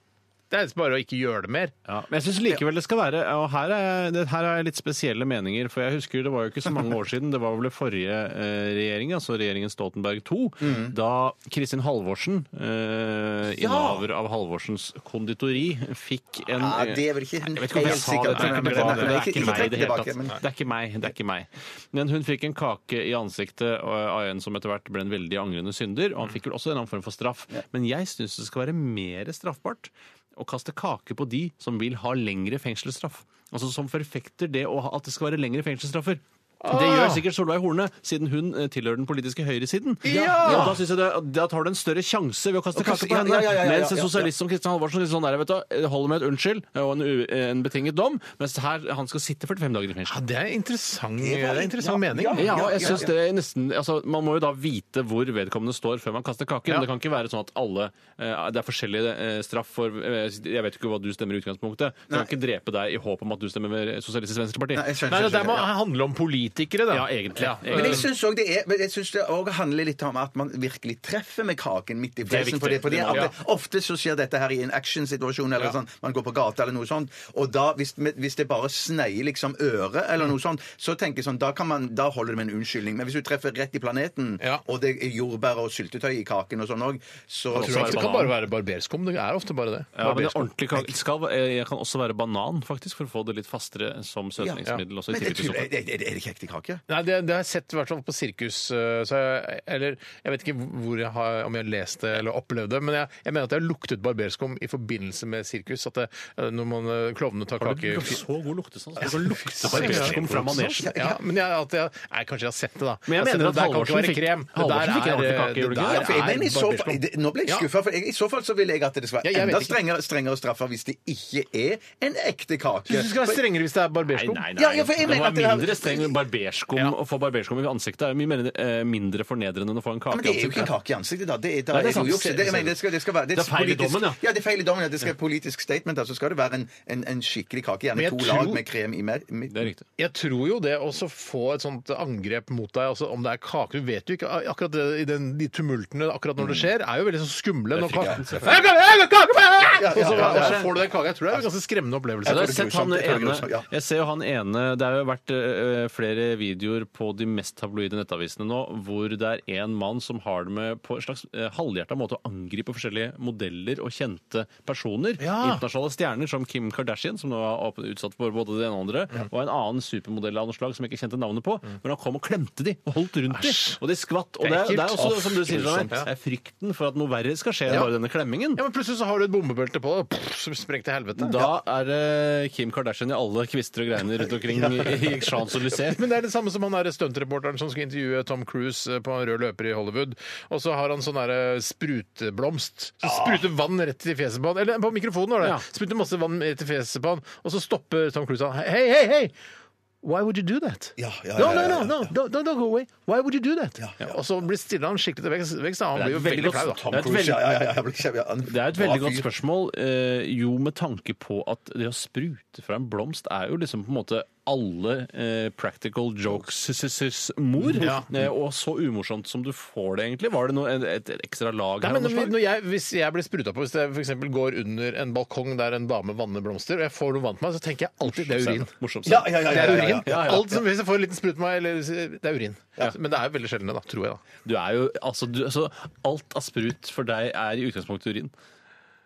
Det er bare å ikke gjøre det mer.
Ja, men jeg syns likevel det skal være Og her er, jeg- det, her har jeg litt spesielle meninger, for jeg husker det var jo ikke så mange år siden. Det var vel det forrige eh, regjering, altså regjeringen Stoltenberg II,
Mhm.
da Kristin Halvorsen, eh, innehaver av Halvorsens konditori, fikk en
Ja, det er vel ikke
Jeg vet ikke om jeg
helt
sa
sikkert.
det. Jeg tror ikke det var det. Det er ikke
Ikke
meg i det hele
tilbake,
tatt.
men-
Det er ikke meg. det er ikke meg. Men hun fikk en kake i ansiktet og- av en som etter hvert ble en veldig angrende synder, og han fikk vel også en annen form for straff. Men jeg syns det skal være mer straffbart å kaste kake på de som vil ha lengre fengselsstraff. Altså Som forfekter det å ha, at det skal være lengre fengselsstraffer.
Ah!
Det gjør sikkert Solveig Horne, siden hun eh, tilhører den politiske høyresiden. Ja, da, synes jeg det, da tar du en større sjanse ved å
Å
kaste
kaste-
kake på henne.
ja, ja, ja, ja,
Mens en
ja, ja.
sosialist som Kristian Halvorsen litt sånn der, vet du, det holder med et unnskyld eh, og en, u en betinget dom, mens her han skal sitte 45 dager i
Ja,
fengsel.
det er en interessant, det
var-
er en interessant
ja,
mening.
ja.
Ja, jeg synes det er nesten, altså, Man må jo da vite hvor vedkommende står før man kaster kaken.
Ja.
Det kan ikke være sånn at alle eh, Det er forskjellig eh, straff for eh, Jeg vet ikke hva du stemmer i utgangspunktet. Jeg kan ikke drepe deg i håp om at du stemmer med Sosialistisk Venstreparti.
Nei, jeg skjønner,
Nei, det
skjønner,
der må
skjønner, ja.
handle om politikere, da.
Ja, egentlig.
Men
Eh,
jeg syns også det, er, men jeg synes det også handler litt om at man virkelig treffer med kaken midt i
viktig.
fleisen. Fordi, fordi
Det må-
at
ja.
det, ofte så skjer dette her i en actionsituasjon eller sånn. Man går på gata eller noe sånt, og da, hvis, hvis det bare sneier liksom øret eller noe sånt, så tenker jeg sånn Da, kan man, da holder det med en unnskyldning. Men hvis du treffer rett i planeten,
Ja.
og det er jordbær og syltetøy i kaken og sånn òg, så
Jeg tror
så er
ikke
det
det kan bare være barberskum. Det er ofte bare det.
Ja, men det
Barberskum.
ordentlig kake det skal, eh, jeg kan også være banan, faktisk, for å få det litt fastere som søtningsmiddel. også i
Men jeg
tillegg til
tror,
sukker.
er, er, er det ikke ekte kake?
Nei, det, det har jeg sett i hvert fall på sirkus. øh, Så jeg, eller jeg vet ikke hvor jeg har, om jeg har lest det eller opplevd det, men jeg, jeg mener at jeg har luktet barberskum i forbindelse med sirkus. At det, øh, når man øh, klovnene tar
Har du
kake
ikke så god luktesans? Du kan lukte barberskum fra manesjen.
Ja, men jeg, at jeg, nei, kanskje jeg har sett det, da.
Men jeg
har sett
mener
det,
at
det der kan ikke
Halvorsen
være
fikk-
krem. Det
Halvorsen
der
fikk en
er,
ordentlig
øh,
kake, gjorde
det
han
der
Ja,
ikke det?
for
er
jeg mener, i så,
barberskum.
det- nå ble jeg
Ja.
skuffa, for jeg, i så fall så ville jeg at det skulle
Ja,
være
jeg vet
enda
ikke.
strengere, strengere straffer hvis det ikke er en ekte
Jeg
kake.
synes det skal være strengere hvis det er
Nei,
barberskum.
nei, nei.
Ja, ja, for jeg
det
mener
var
at det er-
mindre streng med barberskum. Å få barberskum i ansiktet er jo mye mer, eh, mindre fornedrende enn å få en
Ja,
kake
men det er jo ikke en
ansiktet.
kake i ansiktet, da. Det er, da
Nei,
er
det er
det jo
sant.
juks. Det, jeg mener, det, skal, det skal være
Det er feil i
politisk-
dommen, ja.
Ja, det er feil i dommen. Ja. Det skal være politisk statement. Da. Så skal det være en, en, en skikkelig kake.
Men
Gjerne
jeg
to
tror-
lag med krem i mer-
Det er
midten.
riktig.
Jeg tror jo det å så få et sånt angrep mot deg, altså om det er kake Du vet jo ikke akkurat det, i den, de tumultene akkurat
Mm.
når det skjer, er jo veldig så skumle. Når kake,
fryktelig.
Jeg kan- jeg kan kake på meg!
Ja, ja,
og, så,
ja, ja.
og så får du den kaka. Jeg tror det er en ganske skremmende opplevelse.
Jeg,
tror
har
det er
sett han
grusomt, jeg tror det er grusomt,
ene,
ja.
jeg ser jo han ene Det har jo vært eh, flere videoer på de mest tabloide nettavisene nå hvor det er en mann som har det med på en slags uh, halvhjerta måte å angripe forskjellige modeller og kjente personer.
Ja.
Internasjonale stjerner som Kim Kardashian, som nå er åp- utsatt for både det ene og andre, og en annen supermodell av noe slag som jeg ikke kjente navnet på, men han kom og klemte de og holdt rundt de, og de skvatt. Og det, er- det er også, som du sier, Steinar, det er frykten for at noe verre skal skje enn bare denne klemmingen.
Ja, men Plutselig så har du et bombebelte på deg, pff, som sprengte helvete.
Da er det Kim Kardashian i alle kvister og greiner rundt
<laughs>
omkring i Champs-Élysées.
Men det er det samme som han der stuntreporteren som skal intervjue Tom Cruise eh, på en rød løper i Hollywood. Og så har han sånn der, eh, spruteblomst. Så spruter vann rett i fjeset på han. Eller på mikrofonen var det.
Ja.
Spruter masse vann rett i fjeset på han, og så stopper Tom Cruise han. Hei, hei, hei! Why would you do that?
Ja, ja,
no,
ja,
no,
ja,
no,
ja.
no, Don't, don't don't go away. Why would you do that? Og så blir stiller han skikkelig til veggs. veggs, da. Han
Det er
blir jo
et veldig
veldig
godt
flau, da.
Det er et veldig,
Ja, ja, ja, ja, jeg blir kjempe- ja,
det er et veldig
bra
godt
fyr.
spørsmål. eh, Jo, med tanke på at det å sprute fra en blomst er jo liksom på en måte alle eh, practical jokes' mor.
Ja.
Eh, og så umorsomt som du får det, egentlig. Var det noe, et, et ekstra lag
Nei,
her? av
men
noe slag?
når jeg, hvis jeg blir spruta på, hvis jeg for eksempel går under en balkong der en dame vanner blomster, og jeg får noe vann på meg, så tenker jeg alltid det er urin.
Morsomt.
Ja, ja,
Det
ja, ja,
er
ja, ja,
urin.
ja.
Alt som Hvis jeg får en liten sprut på meg, eller Det er urin. Men det er jo veldig sjelden, da, tror jeg. da.
Du er jo, altså, du, altså, alt av sprut for deg er i utgangspunktet urin.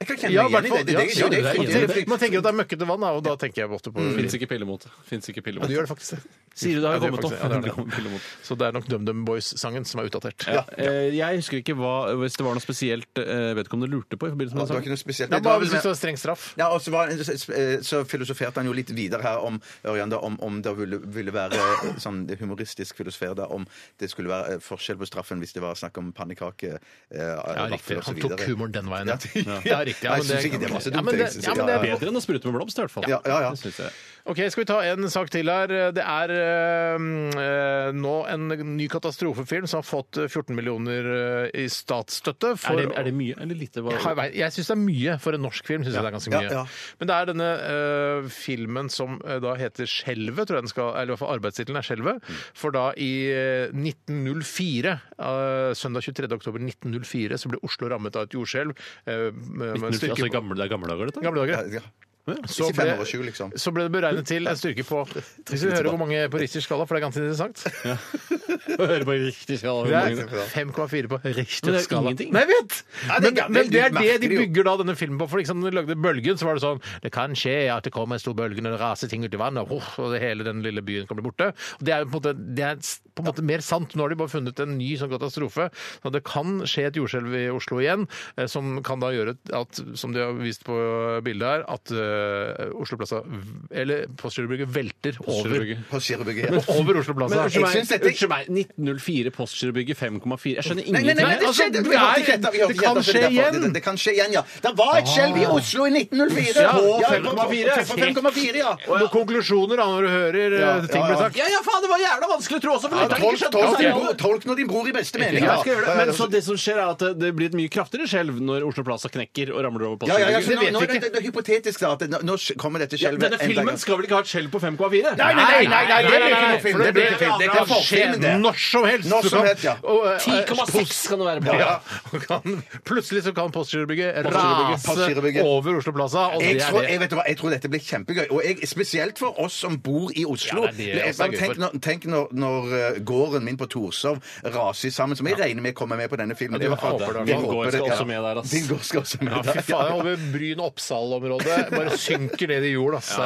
Jeg kan kjenne
Ja,
meg igjen i det. Det, det, det, det, det, det, det,
Man tenker at det er møkkete vann, da, og da tenker jeg ofte på
Mm.
Fins ikke pillemot. Fins ikke
Ja,
pillemot.
du gjør det faktisk. det.
Sier du det har
Ja, det
kommet
gjør
opp?
faktisk det. Ja, det har det.
Det <laughs> kommer pillemot.
Så det er nok DumDum Boys-sangen som er utdatert.
Ja. Eh, Jeg husker ikke hva, hvis det var noe spesielt eh, vedkommende lurte på i forbindelse med
det var
den
ikke
saken.
noe spesielt.
Ja,
Det var
bare
vel
hvis det
mer-
var streng straff.
Ja, og så, var, eh, så filosoferte han jo litt videre her om Ørjan da, om, om det ville, ville være eh, sånn humoristisk filosofere da, om det skulle være eh, forskjell på straffen hvis det var snakk om pannekake, eh,
Ja, riktig.
vaffel og så
Han tok
videre.
humoren den veien.
Ja.
<laughs> Ja, riktig. Ja,
Nei,
men
jeg syns ikke det var så
Ja,
dumt.
men det-
jeg synes
ja,
ikke-
men det
ja,
er
ja.
Bedre enn å sprute med blomst, i hvert fall.
Ja, ja, ja.
Det synes jeg.
Ok, skal vi ta en sak til her. Det er eh, eh, nå en ny katastrofefilm som har fått 14 millioner eh, i statsstøtte. For,
Er det, er det mye eller lite? Hva-
Jeg vet- Jeg syns det er mye for en norsk film. Synes jeg det er ganske mye.
Ja, ja.
Men det er denne eh, filmen som eh, da heter 'Skjelvet', tror jeg den skal, eller i hvert fall arbeidstittelen er 'Skjelvet'.
Mm.
For da i eh, 1904, eh, søndag 23. oktober 1904, så ble Oslo rammet av et jordskjelv. eh, med- med en
1904,
styrke
altså, i
på-
gamle, det er gamle dager, dette? <laughs>
Gamle
Ja,
dager.
ja.
Så
Ikke fem år og sju, liksom.
så ble det beregnet til en styrke
<laughs>
på Hvis vi hører hvor mange på Richters skala, for det er ganske interessant.
Hører på riktig
Det er 5,4 på
Men
Richters
det er
skala.
ingenting.
Nei, jeg vet!
det er
Men,
gammelt,
men det er
du
det
merker
de
det jo.
bygger da denne filmen på. For liksom, når de lagde Bølgen, så var det sånn Det kan skje at det kommer en stor bølge når det raser ting ut i vannet, og, oh, og det hele den lille byen kan bli borte. Og det er jo på en måte, det er s- på en måte mer sant. Nå har de bare funnet en ny sånn katastrofe. Så det kan skje et jordskjelv i Oslo igjen, eh, som kan da gjøre at, som de har vist på bildet her, at eh, Oslo Plaza v- Eller Postgirobygget velter over.
Postgirobygget.
På Skjervbygget.
Og Over Oslo Plaza.
unnskyld meg, unnskyld
1904, Postgirobygget 5,4 Jeg skjønner
Nei, nei, nei, det
altså,
skjedde!
det
Vi
er-
hørte ikke etter. vi
det
hørte ikke
kan
etter, så
skje
er derfor-
igjen.
Det, det kan skje igjen, ja. Det var et skjelv i Oslo i 1904!
Ja, og
Ja,
5,4.
5,4, ja.
Noen konklusjoner da når du hører eh,
Ja,
ting
ja,
bli
ja.
sagt.
Ja, ja, faen, det var jævla vanskelig å tro også! for
Ja,
lytteren
Tolk,
skjønte
tolk,
det.
din bror- tolk nå din bror i beste mening.
Ja,
da.
jeg skal gjøre
Ja,
det.
ja,
Men
ja.
så det som skjer, er at det- det blir et mye kraftigere skjelv når Oslo Plaza knekker og ramler over
Ja, ja, ja,
Postgirobygget.
så nå, nå, er det, det er hypotetisk, da. At det, nå- nå kommer dette
Ja,
skjelvet.
Denne
en
filmen
gang.
skal vel ikke ha et skjelv på 5,4?
Nei, nei, nei, nei, nei, det blir ikke noe
nei,
film.
for
Det blir ikke film. Det kan
avla-
skje, men det.
Når som helst!
Når
Du
som
kan-
helst, ja.
og, eh,
10,6 kan det være på.
Ja, og kan, plutselig så kan Postgirobygget
Postgirobygget,
rase
Postgirobygget.
over Oslo Plaza. Og
Jeg
det Altså, er
tror,
det.
jeg, vet du hva, jeg tror dette blir kjempegøy. Og jeg, spesielt for oss som bor i Oslo.
Ja, det er det jeg også er gøy
tenk
for.
når, tenk når, når eh, gården min på Torshov raser sammen, som jeg regner med kommer med på denne filmen.
Ja, du
I hvert fall.
håper det.
Jeg
Din
håper
gård
det,
skal
ja.
også med der, ass.
Din gård skal også med
Ja, fy
der.
faen, jeg håper Bryn-Oppsal-området bare synker ned i jord, altså.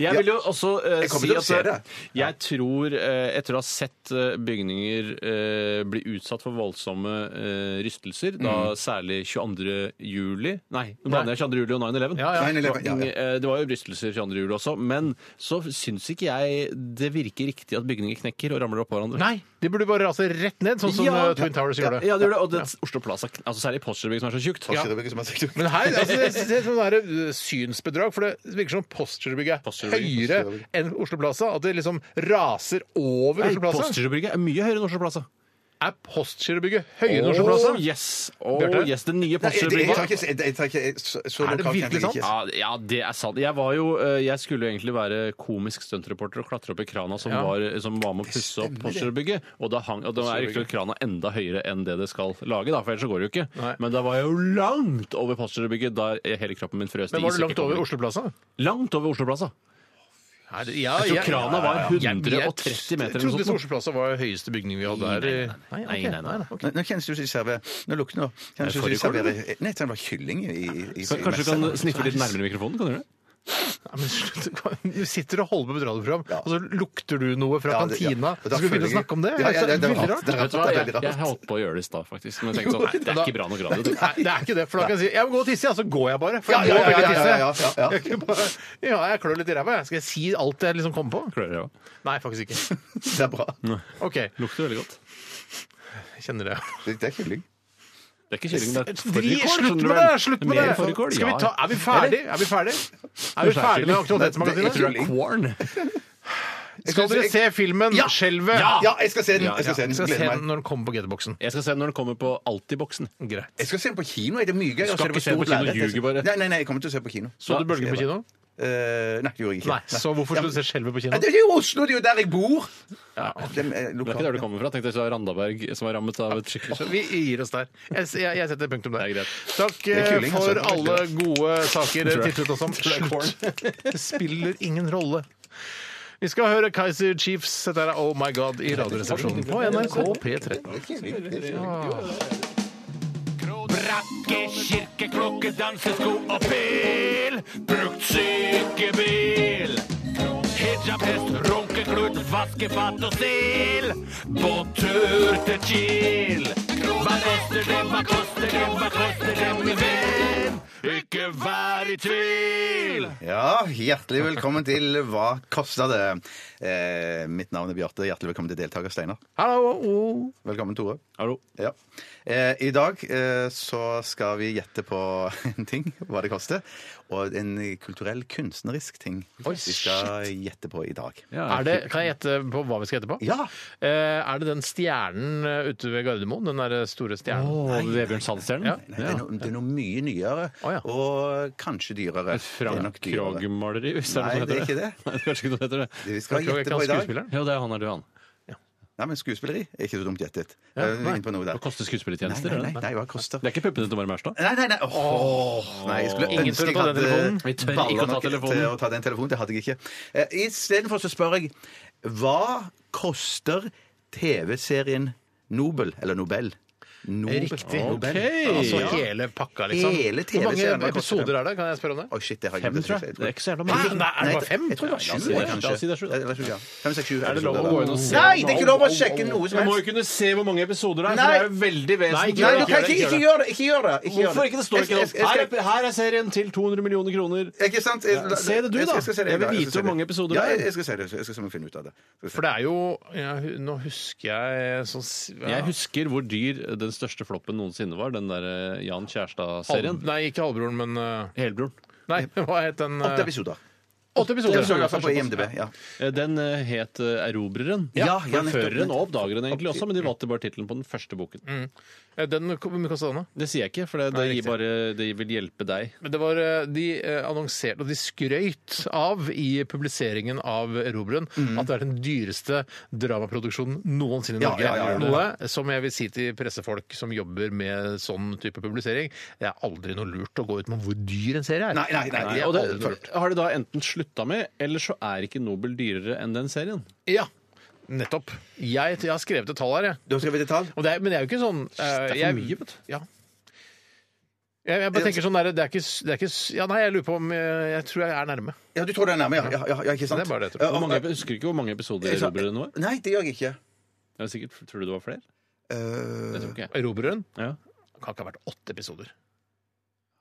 Jeg vil jo også eh,
Jeg kommer
si
til å se
at
det.
jeg tror, eh, etter å ha sett eh, bygninger eh, bli utsatt for voldsomme eh, rystelser, da
Mm.
særlig 22. juli Nei, nå blander jeg 22. juli og 9-11.
Ja, ja.
9/11, ja, ja.
Eh, Det var jo rystelser 22. juli også, men så syns ikke jeg det virker riktig at bygninger knekker og ramler oppå hverandre.
Nei, de burde bare rase rett ned, sånn som eh, Twin Towers gjorde.
Ja, det gjør det. Og det, Oslo Plaza, altså særlig Postgirobygget som er så tjukt.
Postgirobygget som har sagt
Men <laughs> her, altså, det det er sånn der, uh, synsbedrag, for det virker som Postgirobygget er høyere
Postgirobygget.
enn Oslo Plaza. At det liksom raser over
Nei,
Oslo Plaza.
Postgirobygget er mye høyere enn Oslo Plaza.
Er Postgirobygget høyere enn Oslo Plaza?
Oh, yes. Oh,
Bjarte?
yes, det nye
Nei, jeg, jeg, tar
Postgirobygget.
ikke, jeg, jeg tar ikke jeg, så,
Er
så
det
lokalt
virkelig
kjenner jeg
Ja, ja, det er sant. Jeg var jo, eh, jeg skulle jo egentlig være komisk stuntreporter og klatre opp i krana som,
Ja.
var, eh, som var med å pusse opp Postgirobygget. Og da hang, og da er riktignok krana enda høyere enn det det skal lage, da, for ellers så går det jo ikke.
Nei.
Men da var jeg jo langt over Postgirobygget da hele kroppen min frøs
Men var det
is
langt
ikke
over
kom-
Oslo Plaza?
Langt over Oslo Plaza.
Nei, det- ja,
Jeg tror krana var
Jeg,
130 meter
jeg
eller noe
trodde
sånt.
Oslo Plaza var høyeste bygning vi hadde her. i-
Nei, nei,
ok.
nei, nei, nei.
ikke. Nå, nå kjennes det ut som de serverer Nå lukter det. Kjennes det ut som de
Får du
serverer Nei, det var kylling i, i, i
Så Kanskje du kan sniffe litt nærmere mikrofonen? kan du gjøre det?
Nei, men slutt. Du sitter og holder på med et radioprogram, og så lukter du noe fra
Ja, det- ja.
kantina.
Og
Så
da
skal vi
føler
begynne å
jeg-
snakke om det?
Ja, ja,
veldig rart.
det- det er rart. Det er
Vet du
rart, det
hva,
er
Jeg,
veldig rart.
jeg holdt på å gjøre det i stad, faktisk. Men jeg tenkte sånn, nei, det er ikke bra nok radio. det.
Nei, det er ikke det. For da kan jeg si jeg må gå og tisse, ja, så går jeg bare. For
Ja,
jeg
ja,
må
ja,
ikke
ja, ja, ja,
tisse.
ja, ja.
Jeg kan bare- Ja, jeg klør litt i ræva. jeg. Skal jeg si alt jeg liksom kommer på?
Klør jeg også.
Nei, faktisk ikke.
Det er bra.
OK, jeg
Lukter veldig godt.
kjenner det.
Det, det er kylling.
Det er ikke kylling, det er
Dri,
fårikål,
slutt
skjønner
med
du vel?
det! Slutt med
Mer
det!
fårikål,
Skal vi
ja.
ta, er vi ferdig? Er vi ferdig? Er vi ferdig med Aktualitetsmagasinet?
Jeg tror det er
Kvarn.
Skal dere se filmen
Ja.
'Skjelvet'?
Ja, jeg skal se den. Jeg skal se
Ah. Jeg
den.
skal se
Gleder
den
meg.
når den kommer på GT-boksen.
Jeg skal se den når den kommer på Alltid-boksen.
Greit.
Jeg skal se den på kino. jeg. Det er mye gøy.
Du skal ikke se den på kino, ljuger bare.
Nei, nei, nei, jeg kommer til å se på kino.
Så du Bølgen på kino?
Eh, nei, det gjorde jeg ikke.
Nei, så hvorfor skulle du se Skjelvet på kino?
Ja, Det er jo Oslo, det er jo der jeg bor! Det er, eh,
Det er
lokalt.
ikke der du kommer fra. Tenkte jeg så er Randaberg som er rammet av et skikkelig
Så Vi gir oss der. Jeg, jeg, jeg setter punktum der.
Det er greit.
Takk
er
eh,
kuling,
for
altså.
alle gode saker
Tror jeg.
titlet oss om.
Tror jeg
Slutt. Det spiller ingen rolle. Vi skal høre Kaiser Chiefs. Dette er Oh My God i Radioresepsjonen på NRK P13.
Det er kylling.
Brakk
Ikke kirke, klokke, dansesko og pil. Brukt sykebil. Hijab, hest, runkeklut, vaskefat og stil. På tur til Kiel. Hva koster det, hva koster det, hva koster det, min venn? Ikke vær i tvil!
Ja, hjertelig velkommen til Hva kosta det? Eh, mitt navn er Bjarte. Hjertelig velkommen til deltaker Steinar.
Hallo! oh.
Velkommen, Tore.
Hallo.
Ja. Eh, I dag eh, så skal vi gjette på <laughs> en ting, hva det koster. Og en kulturell, kunstnerisk ting
Oi,
vi skal gjette på i dag.
Ja,
Er det, kan jeg gjette på hva vi skal gjette på?
Ja!
Eh, er det den stjernen eh, ute ved Gardermoen? Den der store stjernen?
Å, Vebjørn Sandstjernen?
Ja.
Nei, det, er noe, det er noe mye nyere,
Å, ja.
og kanskje dyrere. Det er
Frank
nok dyrere.
Krogh-maleri, hvis det er
Nei,
noe som
det er
heter
ikke
<laughs> det.
det.
Nei, det er kanskje ikke noe som heter det.
Det vi skal
Frank Krogh er ikke
gjette på
han
i dag
skuespilleren?
Ja, det er han er du, han.
Nei, men Skuespilleri er ikke så dumt gjettet.
Ja,
Jeg er
nei.
inne på noe der.
Hva koster
Nei,
skuespillertjenester?
nei,
er
nei, Eh,
det?
nei, hva koster
Det er ikke puppene til Mari Mærstad?
Nei, nei, nei. Åh, nei jeg skulle
Ingen
ønske
tør
jeg
på den
hadde
telefonen.
Vi tør ikke
baller
å ta
nok til
telefonen.
å ta den telefonen. Det hadde jeg ikke. Eh, Istedenfor så spør jeg hva koster TV-serien Nobel, eller Nobel? Nobel.
Riktig.
Nobel.
Altså
ja.
hele pakka, liksom?
Hele
Hvor
TV-serien,
mange
hva koster
episoder er det? Kan jeg spørre om det?
Oi, shit, det har jeg
Fem,
glemt.
tror jeg. Det er ikke så jævla mange.
Nei, er det bare fem?
Jeg tror det var sju.
det er-
kanskje.
la oss si det er sju, da.
Eller sju, ja. Fem, seks, sju.
Er det lov å gå inn og se?
Nei, det er ikke lov å sjekke noe som
Du må jo
helst.
kunne se hvor mange episoder det er, for
Nei.
det er jo veldig
Nei,
vesentlig.
Nei, du
gjør
kan
det, gjør
ikke, ikke
det.
gjøre det. Ikke gjør det. Ikke gjør
Hvorfor ikke? Det står ikke
Jeg-
noe.
jeg-
Her
jeg
er, her er serien til 200 millioner kroner.
skal- Ikke sant? Jeg-
se det du,
jeg skal-
da.
skal se det i
Jeg vil
dag.
vite
skal se
hvor mange episoder
ja,
det er.
Jeg skal se det. Jeg skal se om jeg finner ut av det. Skal se.
For det er jo ja, hu- Nå husker jeg sånn s- ja.
Jeg husker hvor dyr den største floppen noensinne var, den der eh, Jan Kjærstad-serien.
Halv- Nei, ikke halvbroren, men eh,
Helbroren.
Nei, <laughs> hva het den? eh,
Åtte episoder.
Åtte
Det
episoder.
er i hvert fall på IMDb. Ja.
Eh, Den eh, het eh, Erobreren.
Ja, ja,
Men
nettopp,
Føreren og
nettopp.
Oppdageren egentlig også, men de valgte bare tittelen på den første boken.
Eh, Den hvor mye kostet den, da?
Det sier jeg ikke, for det, det,
Nei,
gir bare, det vil hjelpe deg.
Men det var, eh, De eh, annonserte og de skrøyt av i publiseringen av Erobreren at det er den dyreste dramaproduksjonen noensinne i
Mhm. Ja,
Norge.
ja, ja, ja.
Noe som jeg vil si til pressefolk som jobber med sånn type publisering, det er aldri noe lurt å gå ut med hvor dyr en serie er.
Nei, nei, nei.
Det er
Og det,
aldri noe lurt.
har de da enten slutta med, eller så er ikke Nobel dyrere enn den serien.
Ja, nettopp. Jeg, jeg har skrevet et tall her, jeg.
Da skal vi til tall.
Og det er, men det er jo ikke sånn Det
Det er for mye, vet du.
Ja. Jeg, jeg bare tenker sånn der, det er ikke, s- det er ikke s- Ja, nei, jeg lurer på om eh, Jeg tror jeg er nærme.
Ja, du tror det er nærme, ja. ja, ja, ja ikke sant?
Det er bare det jeg tror.
Ja,
Hvor
og-
mange, jeg husker ikke hvor mange episoder
Jeg sa-
Erobreren var.
Nei, det gjør jeg ikke.
Jeg er sikkert, tror du det var flere?
Eh,
Jeg tror ikke jeg.
Erobreren
Ja.
kan ikke ha vært åtte episoder.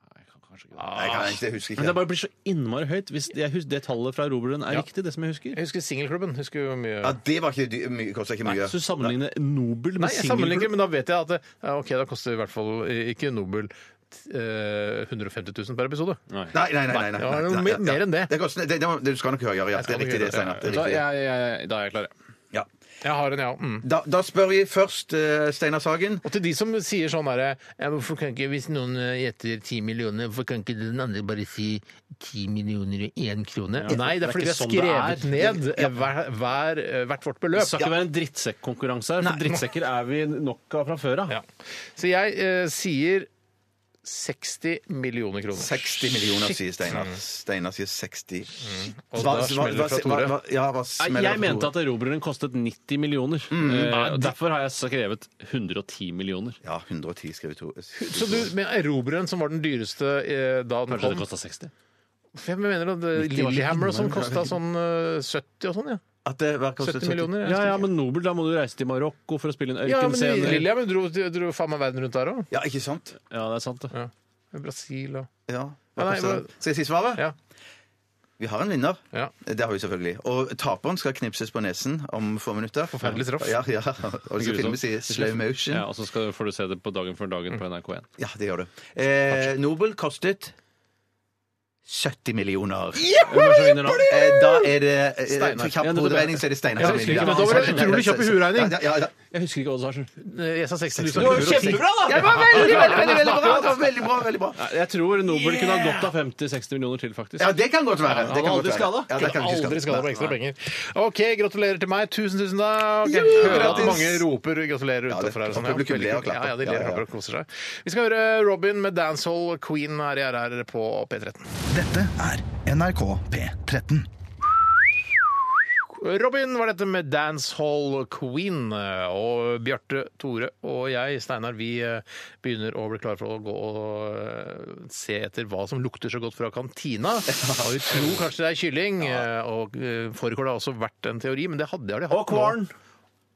Nei, kan- kanskje ikke.
nei, jeg kan ikke, det husker jeg
Ah. Men det
ikke.
bare blir så innmari høyt. Hvis jeg hus- det tallet fra Erobreren er riktig, det som jeg husker.
Jeg husker Singelklubben. Husker jo mye
Ja, det var ikke dy- mye, kosta ikke mye.
Så du sammenligner Nobel med
Nei, jeg sammenligner ikke,
singelklubb?
men da vet jeg at det, ja, OK, da koster i hvert fall ikke Nobel eh, 150 000 per episode.
Nei, nei, nei. nei, nei,
det var
nei,
noe
nei,
mer-
ja, ja.
mer enn det.
Det, koster, det, det, må- det skal nok høyere, ja. Det
skal
er
nok
riktig
høyere,
det,
ja,
Steinar. Det er
Da,
riktig.
jeg, jeg, da er jeg klar, ja.
Ja.
Jeg har en, ja. Mm.
Da, da spør vi først eh, Steinar Sagen.
Og til de som sier sånn herre ja, hvorfor kan ikke- Hvis noen eh, gjetter ti millioner, hvorfor kan ikke den andre bare si ti millioner og én krone? Nei, det
det er
er fordi vi
ikke
har
sånn det
skrevet
er.
ned eh, hver, hver, eh, hvert vårt
Det
beløp.
skal ikke være en drittsekkonkurranse her, for drittsekker er vi nok av fra før av.
Ja. Så jeg eh, sier 60 millioner kroner.
60 millioner, sier Steinar. Steinar sier 60.
Og da smeller det fra Tore.
hva- ja, hva
Nei,
smeller fra Tore?
Jeg mente at erobreren kostet 90 millioner. Eh, og derfor har jeg skrevet 110 millioner.
Ja, 110 skrev to.
Så du, med Erobreren, som var den dyreste eh, da den
Kanskje det
kom
kosta 60?
Jeg mener at eh,
var så
Lillehammer og sånn
innmari
kosta sånn eh, 70 og sånn, ja.
At det hver kostet
70 millioner.
Ja, ja, men Nobel, da må du reise til Marokko for å spille en
Ja, men
ørkenscene.
Lillehammer dro, dro faen meg verden rundt der òg.
Ja, ikke sant?
Ja, det er sant, det.
Brasil og
Ja.
Ja, nei,
Hva koster det?
hva-
Skal jeg si svaret?
Ja.
Vi har en vinner.
ja.
Det har vi selvfølgelig. Og taperen skal knipses på nesen om få minutter.
Forferdelig straff.
Ja, ja. Og det skal filmes i slow motion.
Ja, Mm. og så skal, får du se det på Dagen før dagen på NRK1.
Ja, det gjør du. Eh, Nobel kostet 70 millioner.
Hvem er det som vinner da?
Eh, da er det eh,
Steinar.
For
Ja,
kjapp
nettopp,
hoderegning så er det Steinar
Ja,
som
jeg husker
vinner.
ikke, men da var det utrolig kjapp i hoderegning.
Ja, ja, ja.
Jeg husker ikke oddsarsen.
Eh,
Jeg sa 60
Det var
millioner.
jo kjempebra, Ja, det var veldig, veldig, veldig, veldig
altså.
bra! Det var veldig bra, veldig bra.
Jeg tror Nobel kunne ha godt av 50-60 millioner til, faktisk.
Ja, det kan godt være. Det
han
kan
var
godt
aldri
være.
skadet.
Ja, det kan ikke
Aldri skal
skade.
det på ekstra penger. OK, gratulerer til meg. Tusen, tusen takk.
Jo,
Jeg hører at
gratis.
mange roper gratulerer
Ja, det-
utenfor her. og sånn.
publikum
veldig
ler og
kult.
klapper.
Ja, ja, de
Ja,
ler
ja,
og
ja.
klapper og koser seg. Vi skal høre Robin med Dancehall Queen her i RR på P13.
Dette er NRK P13.
Robin var dette med Dancehall Queen. Og Bjarte, Tore og jeg, Steinar, vi eh, begynner å bli klare for å gå og eh, se etter hva som lukter så godt fra kantina.
<laughs>
Og vi tror kanskje det er kylling, eh, og eh, fårikål har også vært en teori, men det hadde jeg aldri hatt.
Og kvarn.
nå.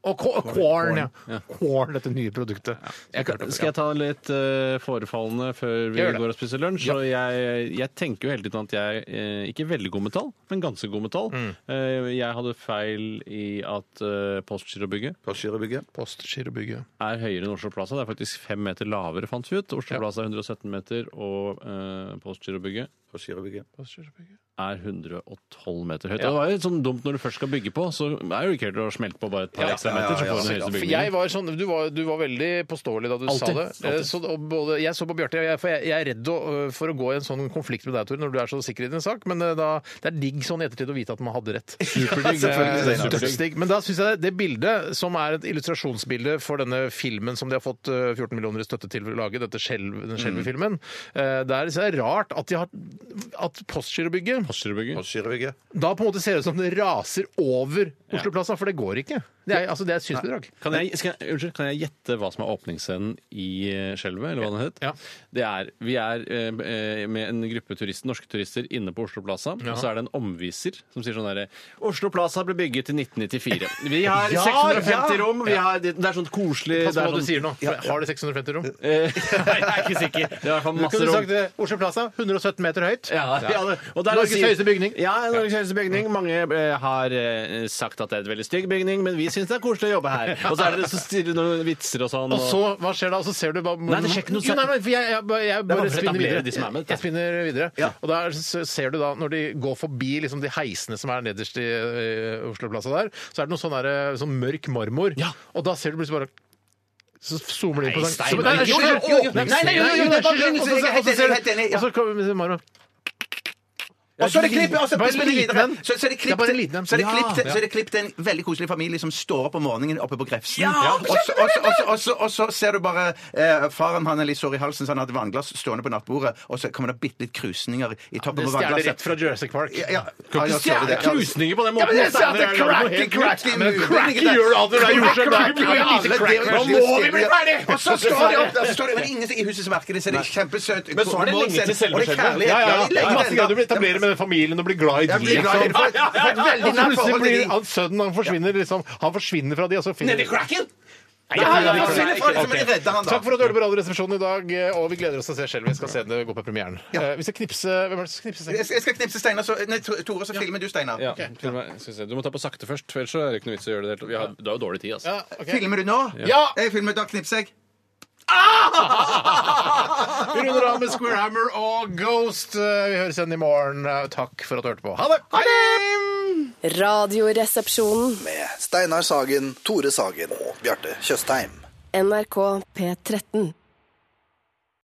Og ko- kvarn, ja. Kvarn, dette nye produktet.
Jeg kan, skal jeg ta litt eh, forefallende før vi
Gjør det.
går og spiser lunsj?
Ja.
Så jeg, jeg tenker jo hele tiden at jeg eh, ikke veldig god med tall, men ganske god med tall.
Mm.
Eh, jeg hadde feil i at eh, Postgirobygget
Postgirobygget.
Postgirobygget.
er høyere enn Oslo Plaza. Det er faktisk fem meter lavere, fant vi ut. Oslo
Ja.
Plaza er 117 meter, og eh, Postgirobygget
Postgirobygget.
Postgirobygget.
er 112 meter høyt.
Ja.
Og Det var jo litt sånn dumt når du først skal bygge på, så er det jo ikke helt å smelte på bare et par
Ja,
ekstra
ja, ja,
meter, så
ja,
får du den
ja.
høyeste
For <laughs>
bygningen.
jeg var sånn, du, var, du var veldig påståelig da du sa
Alltid,
det. Eh,
alltid.
Så, og både, jeg så på Bjarte, og jeg- for jeg, jeg er redd å, eh, for å gå i en sånn konflikt med deg, Tore, når du er så sikker i din sak, men eh, da, det er digg sånn i ettertid å vite at man hadde
<laughs>
rett.
Superdigg,
Det er
Steinar.
dødsdigg. Men da syns jeg det bildet, som er et illustrasjonsbilde for denne filmen som de har fått eh, 14 millioner i støtte til å lage, dette skjelv, den
Mm.
skjelvefilmen, eh, der synes jeg det er rart at, de har, at Postgirobygget
Postgirobygget.
Postgirobygget.
da på en måte ser ut som det raser over Oslo Plaza, for det går ikke. Det er, altså, det er et synsbedrag.
Kan jeg, skal jeg, unnskyld, kan jeg gjette hva som er åpningsscenen i eh, Skjelvet, eller hva den het?
Ja.
Det er, vi er eh, eh, med en gruppe turister, norske turister inne på Oslo Plaza, og så er det en omviser som sier sånn derre Oslo Plaza ble bygget i 1994.
<laughs>
Vi har
Ja,
650
ja!
rom, vi har, det er sånn koselig
Pass på
det er
hva du
sånn-
sier nå. for Har det 650 rom?
Eh, <laughs> Nei, jeg er ikke sikker. Det er i hvert fall
Du
masse
kunne
rom.
sagt det. Oslo Plaza, 117 meter høyt. <laughs>
Ja, ja. det- og der
Norges
sier-
høyeste bygning.
Ja, Norges høyeste bygning. Mange eh, har eh, sagt at det er et veldig stygg bygning, men vi syns det er koselig å jobbe
<laughs>
her. Og så er det så stille noen vitser og sånn.
Og så, hva skjer da? Og så ser du bare
Nei, det skjer ikke noe
Jo, nei, nei, for jeg, jeg, bare- jeg
er
bare
bare for å
spinner
etablere
videre.
de som er med.
Jeg spinner videre. Og da ser du da, når de går forbi liksom, de heisene som er nederst i eh, Oslo Plaza der, så er det noe sånn, der, eh, sånn mørk marmor.
Ja.
Og da ser du plutselig bare så zoomer de inn på
Nei,
sånn
Steinar,
Nei, nei,
jo,
jo, jo, jo.
nei, nei,
jo, jo,
Nei,
jo,
jo, jo,
jo,
og så- og så ser du-
helt enig, ja.
Og så kommer vi til marmor.
Og så er det klipp, og så
Bare en
plutselig
liten
videre.
en.
Så, så er det
Det er
klipp,
bare en
til-
liten en.
så er det
Ja.
klipp, til- så er det klipp til en veldig koselig familie som står opp om morgenen oppe på Grefsen. Og så- og så- og så- og så- Og så ser du bare eh, faren han er litt sår i halsen, så han hadde vannglass stående på nattbordet, og så kommer det bitte litt krusninger i toppen
Det
på
stjeler rett
vannglasset.
fra Jurassic Park.
Ja, ja, ja, ja,
Ikke
så er det
stjele
det. Ja.
krusninger på den
Ja,
måten.
men jeg sa at det
Steinar, er jo noe
crack,
helt-
crack, crack,
Men crack i gjør alt det der gjorde selv. Det er jo lite crack. Nå må vi bli ferdig!
Og så står de opp der, så står de men ingen i huset som merker det, så det er kjempesøt.
Men så er det lenge til selve
Og det er
skjelvet.
kjærlighet.
Ja, ja,
Ja, det er
ja.
lenge
Masse
til
greier du
enda.
blir etablere med den familien og blir glad i
Jeg
de,
blir glad i det,
liksom.
for jeg får et
Og
veldig
så
nært
plutselig
forhold til
blir
de.
han sønnen han forsvinner liksom. Han forsvinner fra de, og så finner
Nedi cracken!
Ja, ja, ja,
Nei,
ja, ja, ja, ja, men redder han da.
Takk for at du hørte på Radioresepsjonen i dag, og vi gleder oss til å se Skjelv. Vi skal se det gå på premieren. Eh, Vi skal knipse Hvem er det som skal knipse?
Jeg skal- jeg skal knipse Steinar, så Nei, Tore, så filmer du Steinar.
Ja, til og med- skal vi se. Du må ta på sakte først, for ellers så er det ikke noe vits i å gjøre det. helt- Vi har, du har jo dårlig tid, altså.
Ja, ok.
Filmer du nå?
Ja!
Jeg filmer, da knipser jeg.
Vi runder av med Square Hammer og Ghost. Eh, Vi høres igjen i morgen. Eh, Takk for at du hørte på. Ha det! Ha det!
Radioresepsjonen.
Med Steinar Sagen, Tore Sagen og Bjarte Tjøstheim.
NRK P13.